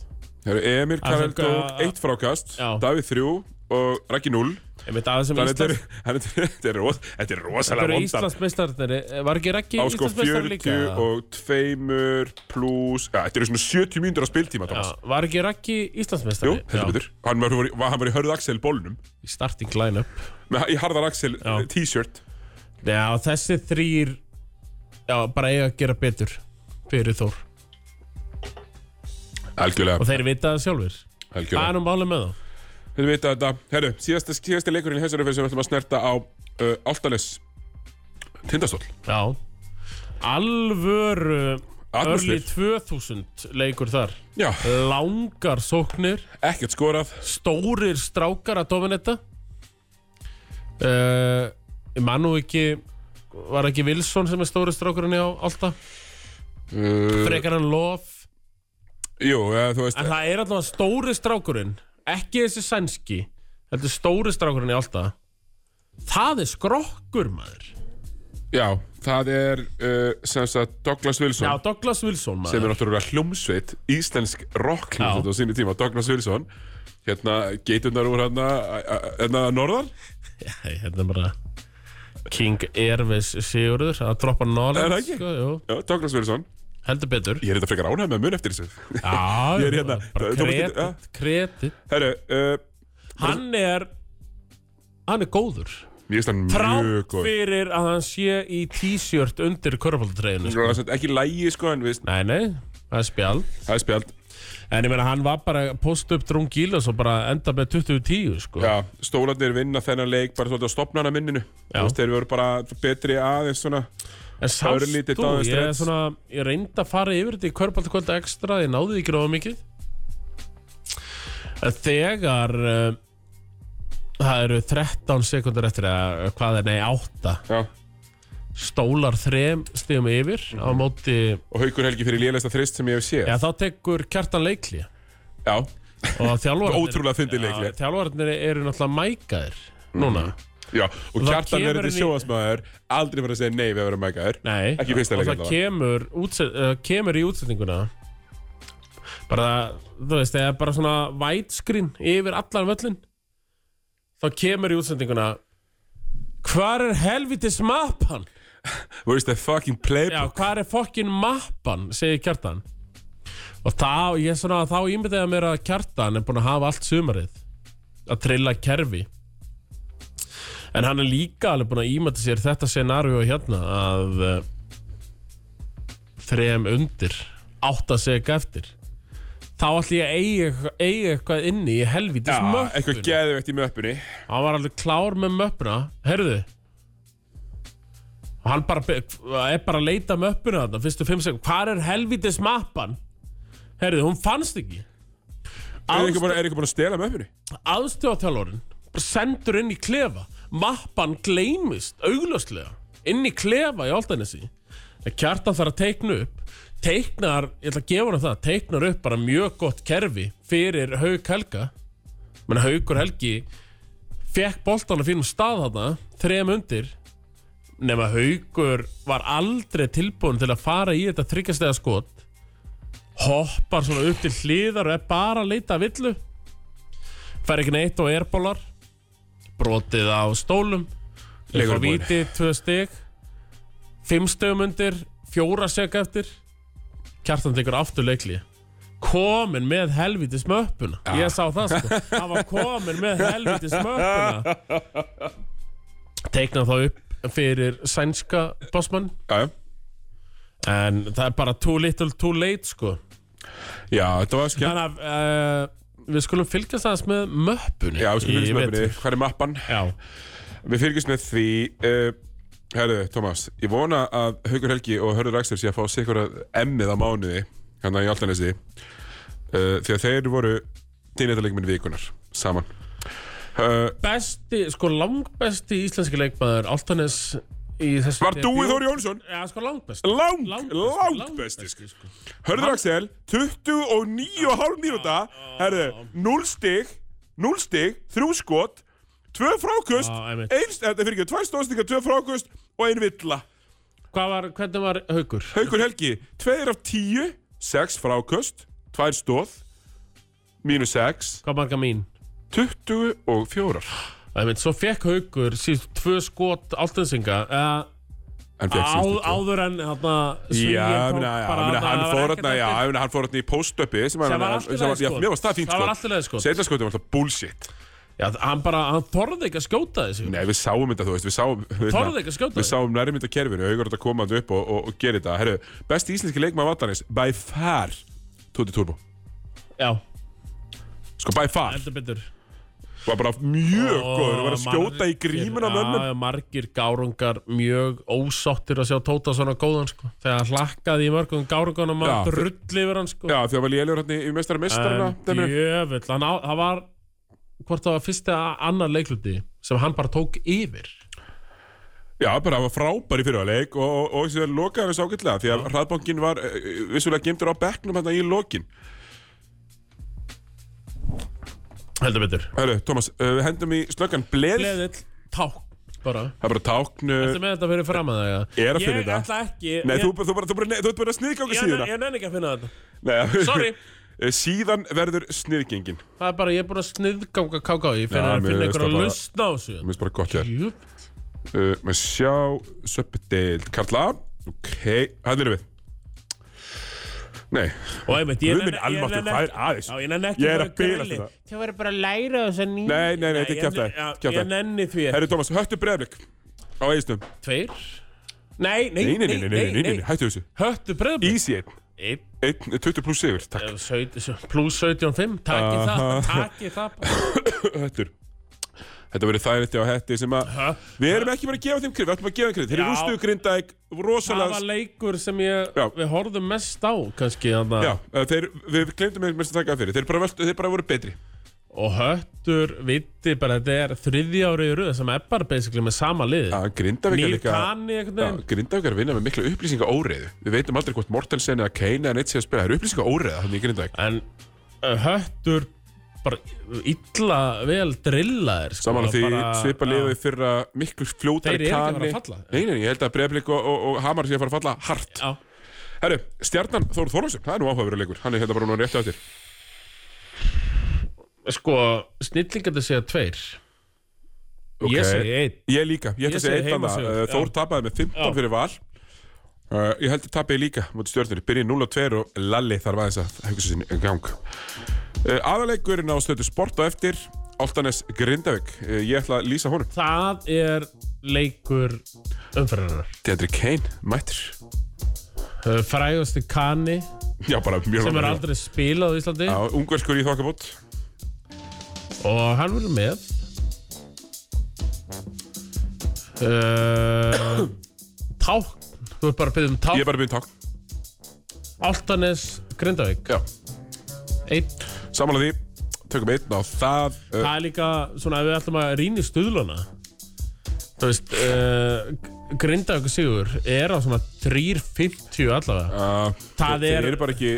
S1: Það eru Hérna, Emil Karel
S2: Afsaka-
S1: Dók, eitt frákast,
S2: Já.
S1: Davíð þrjú og Raggi núll.
S2: Ég veit aðeins sem
S1: Þannig að
S2: Íslands
S1: þetta er- þannig að þetta er ros- þetta er
S2: Hver
S1: rosalega
S2: er
S1: vondan.
S2: Íslandsmeistarnir? Var ekki Raggi
S1: Á sko
S2: Íslandsmeistar
S1: 40
S2: líka?
S1: og 2 pluss, ja, þetta eru svona 70 mínútur á spiltíma,
S2: Já,
S1: Thomas.
S2: var ekki Raggi
S1: Jú,
S2: Íslandsmeistari?
S1: heldur betur. Hann var, var, hann var í hörðu Axel bólnum,
S2: Í starting line-up
S1: með, í harðar Axel
S2: Já.
S1: t-shirt.
S2: Já, þessi þrýr Já, bara eiga að gera betur Fyrir Þór
S1: Algjörlega,
S2: Og þeir vita það sjálfur Það
S1: algjörlega.
S2: er nú málið með þá
S1: Við vita þetta, herru, síðasta, síðasta leikurinn í hæsaröfum sem við ætlum að snerta á uh, Áltanes Tindastól
S2: Já Alvöru Örli
S1: Atmosfér,
S2: 2000 leikur þar
S1: já,
S2: Langar sóknir
S1: ekkert skorað
S2: Stórir strákar að dominetta uh, Ég man nú ekki Var ekki Wilson sem er stóri strákurinn í á alltaf
S1: uh,
S2: Frekar en Lof
S1: Jú, ja, þú veist,
S2: En það er alltaf stóri strákurinn Ekki þessi sænski Þetta er stóri strákurinn í alltaf Það er skrokkur maður
S1: já, það er uh, sem sagt Douglas
S2: Já,
S1: Wilson
S2: Douglas Wilson maður
S1: sem er náttúrulega hljómsveit íslensk rockhljómsveit
S2: Já.
S1: á sínu tíma, Douglas Wilson hérna, geiturnar úr hérna a- a- hérna norðan,
S2: Nei, Þetta er bara King Airways Sigurður að droppa
S1: Er það
S2: knowledge
S1: ekki?
S2: sko, jú.
S1: já, Douglas Wilson
S2: Heldur betur
S1: ég er þetta frekar ánægð með mun eftir þessu
S2: Já,
S1: Ég er hérna,
S2: bara
S1: þú- þú mátt ekki-
S2: kredit,
S1: ja.
S2: kredit
S1: herru, uh,
S2: Hann er Hann er góður
S1: ég veist hann mjög
S2: Trátt
S1: góð
S2: fyrir að hann sé í t-shirt undir körfaldreinu
S1: Það er samt ekki lægi sko en við
S2: Nei, nei, það er spjald
S1: það er spjald
S2: En ég meina hann var bara að posta upp drungíl og svo bara enda með 2010 sko.
S1: Já, stólarnir vinna þennan leik bara svolítið á stopnana minninu
S2: Já.
S1: Þú veist, þeir voru bara betri aðeins svona
S2: en sást
S1: örlítið
S2: þú,
S1: Davíð
S2: ég, er
S1: Stretch.
S2: svona, ég reyndi að fara yfir þetta í Körbalt kvölda ekstra, ég náði því ekki ráða mikið En Þegar uh, það eru 13 sekundar eftir eða hvað er, nei 8
S1: Já,
S2: stólar þrem stíðum yfir á móti,
S1: og Haukur Helgi fyrir lélæsta þrist sem ég hef séð
S2: já þá tekur kjartan leikli
S1: Já,
S2: og þjálfarnir
S1: ótrúlega fyndið leikli
S2: Já, þjálfarnir eru náttúrulega mækaðir
S1: Mhm.
S2: núna
S1: Já, og
S2: það
S1: kjartan
S2: kemur
S1: verður
S2: inn
S1: til
S2: í-
S1: sjóðasmaður Aldrei verður að segja nei við að vera mækaður
S2: Nei,
S1: Ekki í fyrsta leik
S2: og það
S1: allavega.
S2: kemur, útset, uh, kemur í útsetninguna bara, þú veist, það er bara svona vætskrinn yfir allan völlin þá kemur í útsetninguna hvar er helvitis mappan?
S1: Where's the fucking
S2: Já,
S1: playbook?
S2: hvar er fokkin mappan, segir kjartan og þá, ég svona, þá ímyndaði að mér að kjartan er búin að hafa allt sumarið að trilla kerfi en hann er líka alveg búin að ímynda sér þetta scenaríu hérna að uh, þrem undir átt að segja eftir þá ætli ég að eiga, eigi eitthvað inni í helvítis
S1: eitthvað
S2: möppuna
S1: geðvegt í möppunni
S2: hann var alveg klár með möppuna heyrðu og hann bara be- er bara að leita möppuna þarna fyrstu fimm sekund hvar er helvítis mappan heyrðu hún fannst ekki
S1: Er eitthvað búin- er eitthvað búin að stela möppunni?
S2: aðstjóðatjálórin sendur inn í klefa mappan gleymist augljóslega inn í klefa í áldanessi kjartan þarf að teikna upp teiknar, ég ætla að gefa hann það teiknar upp bara mjög gott kerfi fyrir Haug Helga menn Haugur Helgi fekk boltan að fínum stað þarna þrem undir nema Haugur var aldrei tilbúin til að fara í þetta þryggjastega skot hoppar svona upp til hliðar og er bara að leita að villu fær ekki neitt og erbólar brotið á stólum
S1: Leikur
S2: leikur
S1: er búinn.
S2: víti, tvö stig fimm stegum undir fjóra seg eftir kjartan tekur aftur leikli komin með helvitis möppuna ég sá það sko, hann var komin með helvitis möppuna teikna þá upp fyrir sænska bossmann
S1: Já, já
S2: en það er bara too little too late sko
S1: Já, þetta var skemmt
S2: Þannig að uh, við skulum fylgjast aðeins með möppunni
S1: Já, við skulum fylgjast
S2: í
S1: með
S2: vetur.
S1: möppunni Hvar er mappan?
S2: Já,
S1: Við fylgjumst með því uh, Herðu, Tómas, ég vona að Haukur Helgi og Hörður Axel sé að fá sig ykkur að emmið á mánuði hérna í Altanesi uh, því að þeir voru dýnættarleikminn vikunar saman uh,
S2: besti, sko langbesti íslenski leikmaður Altanes í þessu
S1: Var Dúi Þór Jónsson
S2: Já, sko langbesti
S1: lang, langbesti sko.
S2: sko.
S1: Hörður Axel, 29,5 mínúta Herðu, 0 stig 0 stig, 3 skot 2 frákust eh,
S2: Já, einmitt.
S1: einst, þetta fyrir ekki, 2 stóðstingar, 2 frákust og 1 villa
S2: Hvað var, hvernig var Haugur?
S1: Haukur Helgi, tveir af tíu, sex fráköst, tvær stóð, mínus 6,
S2: Hvað marga mín?
S1: 24
S2: Það mynd, svo fekk haugur síðust tvö skot áltensinga uh,
S1: En fekk
S2: á,
S1: síðust ekki.
S2: áður en hérna
S1: Já,
S2: Svíinn
S1: ég
S2: kom
S1: meina, já,
S2: bara
S1: ég meina, hann
S2: þarna, það var
S1: fór
S2: ekkert
S1: hérna, já,
S2: eftir.
S1: ég meina, hann fór hérna í póstöppi sem hann,
S2: Sem var allt í
S1: sem
S2: lagi
S1: var, já,
S2: skot.
S1: mér varst það fínt
S2: Það var allt í
S1: sko.
S2: lagi skot.
S1: Seinna skotið var alltaf bullshit.
S2: Já, hann bara, hann þorði ekki að skjóta þessu
S1: Nei, við sáum þetta, þú veist, við sáum,
S2: Þorði ekki að skjóta
S1: við sáum nærmynda kerfinu, auðvitað að koma hann upp og, og, og gera þetta. Herru, besti íslenski leikmaður vallarins, by far, Tuti Turbo.
S2: Já,
S1: Sko, by far,
S2: heldur betur
S1: var bara mjög
S2: Og
S1: góður, var Sko, að skjóta í
S2: margir-
S1: grímuna mönnum.
S2: Já, já, margir gárungar mjög ósáttir að sjá Tóta svona góðan sko Þegar hann hlakkaði í mörgum gárungunum
S1: Já,
S2: að
S1: þe-
S2: drulli yfir hann sko
S1: Já, því að var lélegur hérna í- í meistara mistarna,
S2: En djöfull, hann á- það var hvort það var fyrst eða annar leikluti sem hann bara tók yfir
S1: Já, bara hann var frábær í fyrirleik og, og, og síðan lokaði hann þessu ágætlega því að hraðbankin var eh, vissulega gemdur á bekknum hérna í lokin.
S2: heldur betur
S1: Herru, Tómas, uh, við hendum í slöggan bleð.
S2: Gleðill, ták bara
S1: Það er bara táknu,
S2: Þetta með þetta fyrir fram að það ja.
S1: Eh, er að finna
S2: Ég
S1: þetta.
S2: ætla ekki
S1: Nei,
S2: ég,
S1: þú, þú, bara, þú, bara, þú ert bara að sniðganga
S2: ég,
S1: síðuna.
S2: ég nenni ekki að finna þetta
S1: Nei,
S2: Sorry.
S1: Eh, Síðan verður sniðgengin.
S2: Það er bara, ég er búin að sniðganga káká Ég
S1: Já,
S2: finna
S1: mér
S2: að
S1: finnst
S2: finna einhverja
S1: það bara-
S2: lausn á þessu
S1: Mér finnst bara gott þér.
S2: Jú,
S1: Uh, með sjá, söpdeild, Karla. Ok, hann erum við. Nei,
S2: Og einmitt, ég
S1: Guðminn almáttur, það er aðeins.
S2: Já, ég nenni ekki
S1: Ég er
S2: fara
S1: að bilast
S2: grilli.
S1: þetta.
S2: Þau verður bara að læra þess að nýja
S1: Nei, nei, nei, þetta er kjaftaði,
S2: Ég
S1: kjaftaði.
S2: nenni því ekki
S1: Herru Tómas, höttu breyflik á eigistum.
S2: Tveir Nei, nei,
S1: Nei, nei, nei, nei, nei, nei, nei, hættu þessu.
S2: Höttu bröðblik
S1: Easy 1,
S2: Einn,
S1: 20 pluss sigur, takk.
S2: eh, saut- saut- Plús 17.5 Takki það,
S1: Aha.
S2: takki það bara.
S1: Höttur. Þetta verður þægilegt á hætti sem að...
S2: Hö?
S1: Við erum ekki bara að gefa þeim krið, við ætlum að gefa þeim krið. Þeir
S2: Já.
S1: eru rústuðu grindæk,
S2: Það
S1: rosalega...
S2: var leikur sem ég,
S1: Já.
S2: við horfðum mest á kannski þarna.
S1: Já, eh, þeir, við glemdum einhvern veginn að taka það fyrir. Þeir bara, völdu, þeir bara voru betri.
S2: og höttur viti bara þetta er þriðja árið í röð sem er bara basically með sama lið
S1: Já, grindavíkar
S2: Nýr
S1: líka...
S2: kanni einhvern
S1: Já,
S2: veginn
S1: Grindavíkar vinna með mikla upplýsinga óreiðu. Við veitum aldrei hvort Mortensen eða Kane eða neitt sé að spila. Það eru upplýsinga óreiða hann í Grindavík.
S2: en uh, höttur bara illa vel drillaðir sko,
S1: Saman að því
S2: bara-
S1: svipa liðið fyrra miklu
S2: Þeir eru
S1: fljótari
S2: ekki að
S1: kani.
S2: fara að falla.
S1: Nei, nei, ég held að Breiðablik og, og, og Hamar sé að fara að falla hart.
S2: Já,
S1: Herru, stjarnan Þór Þorlásson, það er nú áhugaveruleikur. Hann er hérna bara núna rétt á þér.
S2: sko snillingandi segja tveir
S1: Ok.
S2: ég segi einn
S1: Ég líka, ég ætla
S2: Ég
S1: að segja
S2: segi
S1: eitt annað.
S2: heimasigur,
S1: Uh, Þór tapaði með 15
S2: Já.
S1: fyrir val. Uh, ég held að tapja líka mútið stjórnir. Byrjið 0-2 og Lalli þarf aðeins að hugsa sinni um gang. Uh, aðalegurinn á stötu sport á eftir, Altanes Grindavík. Uh, ég ætla að lýsa honum.
S2: það er leikur umferðarinnar
S1: Deandre Kane, mættir.
S2: uh, frægusti kanni
S1: Já, bara mjög
S2: sem er
S1: langar.
S2: aldrei spilað á Íslandi
S1: Já, ungverskur í þokkabót.
S2: og hann verður með uh, Tákn þú ert bara að byrja um
S1: Ég er
S2: Tákn
S1: bara byrjum takk.
S2: Altanes Grindavík
S1: Já.
S2: einn
S1: Samanlega því, tökum einn á það. Uh,
S2: það er líka svona ef við ætlum að rýna í stuðlana þú veist uh, Grindavík og Sigur er á svona 3.50 allavega
S1: uh, þeir-
S2: Það er-
S1: Þeir eru bara ekki...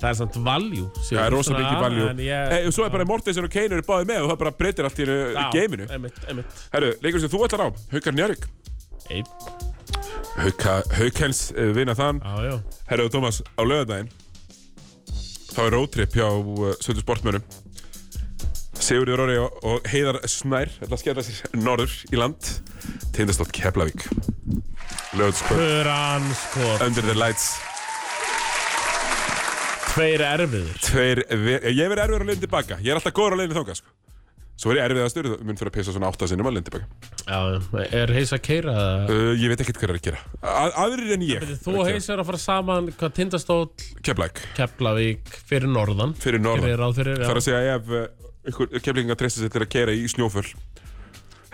S2: það er samt value Sigur.
S1: Það er rosa
S2: Svona,
S1: mikið valjú
S2: en
S1: hey,
S2: ég,
S1: Svo er bara Mortensen og Kane eru báði með og það bara breytir allt í uh,
S2: Já,
S1: geiminu
S2: einmitt, einmitt.
S1: Herru, leikur sem þú ætlar á, Haukar Njörg
S2: einn
S1: Hauka, Haukens uh, vinna þann
S2: já, já
S1: Herru og Tómas, á lögadaginn þá er roadtrip hjá uh, Söndu sportmönum Sigurður Róri og, og Heiðar Snær ætla að skella sér norður í land tindastótt Keflavík Lögadagskvöld,
S2: Puranskot
S1: Under the Lights
S2: tveir erfiður
S1: Tveir, ver- ég verið erfiður á leiðin tilbaka Ég er alltaf góður á leiðin þóka sko. Svo er ég erfið að styrja, mun fyrir að pissa svona áttasinnum á leiðin tilbaka
S2: Já, er heis að keira það?
S1: Uh, ég veit ekkert hvað er að gera A Aðrir en ég
S2: Þú og heis er að fara saman hvað tindastóll,
S1: Keflæk
S2: Keflavík, fyrir norðan
S1: fyrir norðan
S2: Fyrir ráð fyrir, já.
S1: Þar að segja ef uh, ykkur keflingar treysta sér til að keira í snjóföll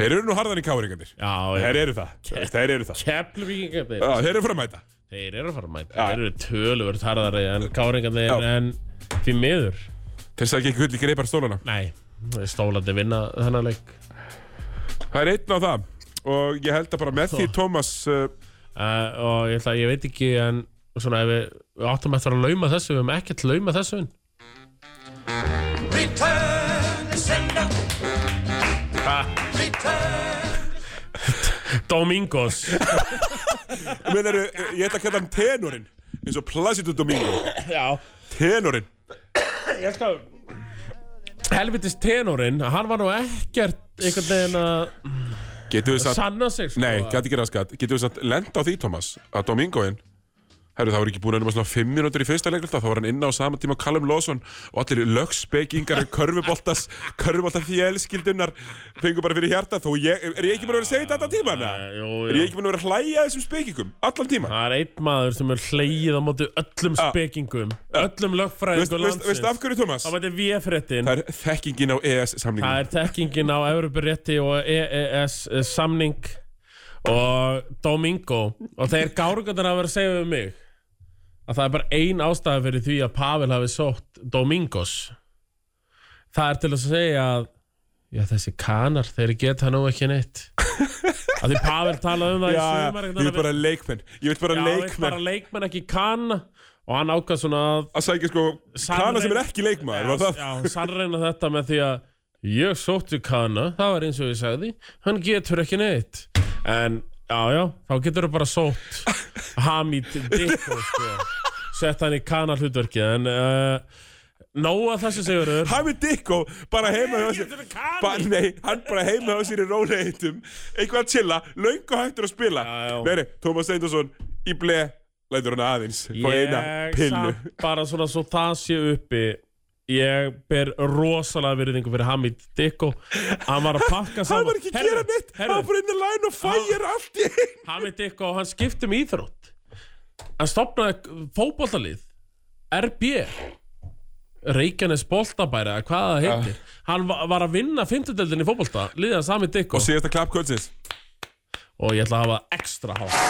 S1: Þeir eru nú harðan í káringarnir
S2: Já,
S1: Þeir
S2: já.
S1: eru það Ke Þeir eru það
S2: Keflavíkingarnir,
S1: Já, Þeir eru frá að mæta
S2: þeir eru að fara að mæta.
S1: Já.
S2: Þeir eru töluvert harðari en káringarnir,
S1: Já.
S2: en því miður.
S1: Þeir sagði ekki gull í greipar stólana
S2: Nei, stólandi vinna þennan leik.
S1: Það er einn á það Og ég held að bara með því Tómas uh,
S2: Uh, og ég, ætla, ég veit ekki, en svona ef við, við áttum eftir að lauma þessu, við höfum ekkert lauma þessu. inn.
S3: Return the sender. Return.
S2: Domingos.
S1: menar, uh, Ég ætla að kalla hann tenorinn eins og Placido Domingo
S2: já,
S1: Tenorinn
S2: ég skal... helvitis tenorinn, hann var nú ekkert einhvern veginn að
S1: Getur við satt
S2: sanna sig sko.
S1: Nei, gæti ekki raskat Getur við satt lent á því, Thomas Að Domingoinn Herru, það voru ekki búin að nema svona 5 minútur í fyrsta leiklta Þá var hann inn á sama tíma á Callum Lawson Og allir lögspekingar Körfuboltas Körfubolta fjölskyldunar Fengu bara fyrir hjarta Þó ég, er ég ekki búin að vera að segja þetta allan tíman? eða?
S2: Nei, jú, Eh, jú.
S1: Er ég ekki búin að vera að hlæja að þessum spekingum Allan tíman
S2: Það er einn maður sem er hleyið á móti öllum spekingum, öllum
S1: Veist,
S2: lögfræðingum
S1: veist, veist
S2: sko landsins.
S1: af hverju, Thomas?
S2: Það mæti VF-réttin,
S1: Það er þekkingin á E ES
S2: það
S1: samlingin
S2: er tekkingin á Európa-rétti og E EES eh, samning og Domingo og þeir gárugöndar að vera að segja við mig að það er bara ein ástæða fyrir því að Pavel hafi sótt Domingos. Það er til að segja að Já, þessi kanar, þeir geta nú ekki neitt. Að því Pavel talaði um það
S1: Já,
S2: í
S1: já,
S2: sumar.
S1: ég
S2: einhvern veginn
S1: vil
S2: að við-
S1: bara leikmenn Ég vil bara
S2: Já, leikmenn.
S1: leikmenn
S2: bara leikmenn ekki kann og hann ákvað svona að
S1: Að sækja sko Kana sem er ekki leikmaður Var það
S2: já, sannreina þetta með því að ég sótti Kana, það var eins og ég sagði hann getur ekki neitt en já, já, þá getur þú bara sótt Hamid Dikko sko. sett hann í Kana hlutverki en uh, nóa þessu Sigurður
S1: Hamid Dikko bara heima hjá sér
S2: getur við Kana.
S1: ba Nei, hann bara heima hjá sér í róleitum Eitthvað að chilla, löngu hættur að spila
S2: Já, já.
S1: Veri, Tómas Steindorsson í ble Lætur hann aðeins Fá eina pillu
S2: samt bara svona svo það sé uppi Ég ber rosalega virðingu fyrir Hamid Dikko Hann var að pakka
S1: Hann
S2: saman
S1: var ekki að gera neitt Hann var bara inn að line og fire allt í einu
S2: Hamid Dikko, hann skipti um íþrótt Hann stopnaði fótbollalið RB Reykjanes boltabæri eða hvað það heitir Hann va- var að vinna fimmtudeldin í fótbolta Liðan Hamid Dikko
S1: Og síðasta klapp kvöldsins
S2: og ég ætla að hafa ekstra hátt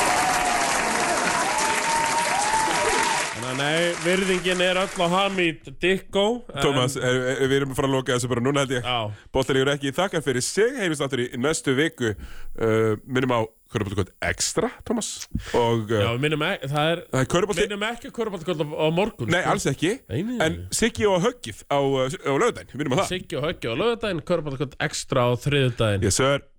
S2: Þannig að nei, virðingin er öll á Hamid Dikko en-
S1: Tómas, er- er- við erum að fara að loka þessu bara núna held ég
S2: Já.
S1: Bóttalíkur ekki þakkar fyrir sig Heyrjumst aftur í næstu viku uh, Minnum á Körbóltakot Extra, Tómas Og
S2: Já,
S1: uh,
S2: við minnum ekki, það er
S1: það er Körbólti
S2: Minnum ekki kvörubaltkvöld á, á morgun
S1: Nei, alls ekki
S2: Nei, nei, nei.
S1: En Siggi og Höggið á, uh, á lögudaginn Minnum á það
S2: Siggi og Höggi á lögadaginn, kvörubaltkvöld ekstra á þriðudaginn
S1: Yes, sir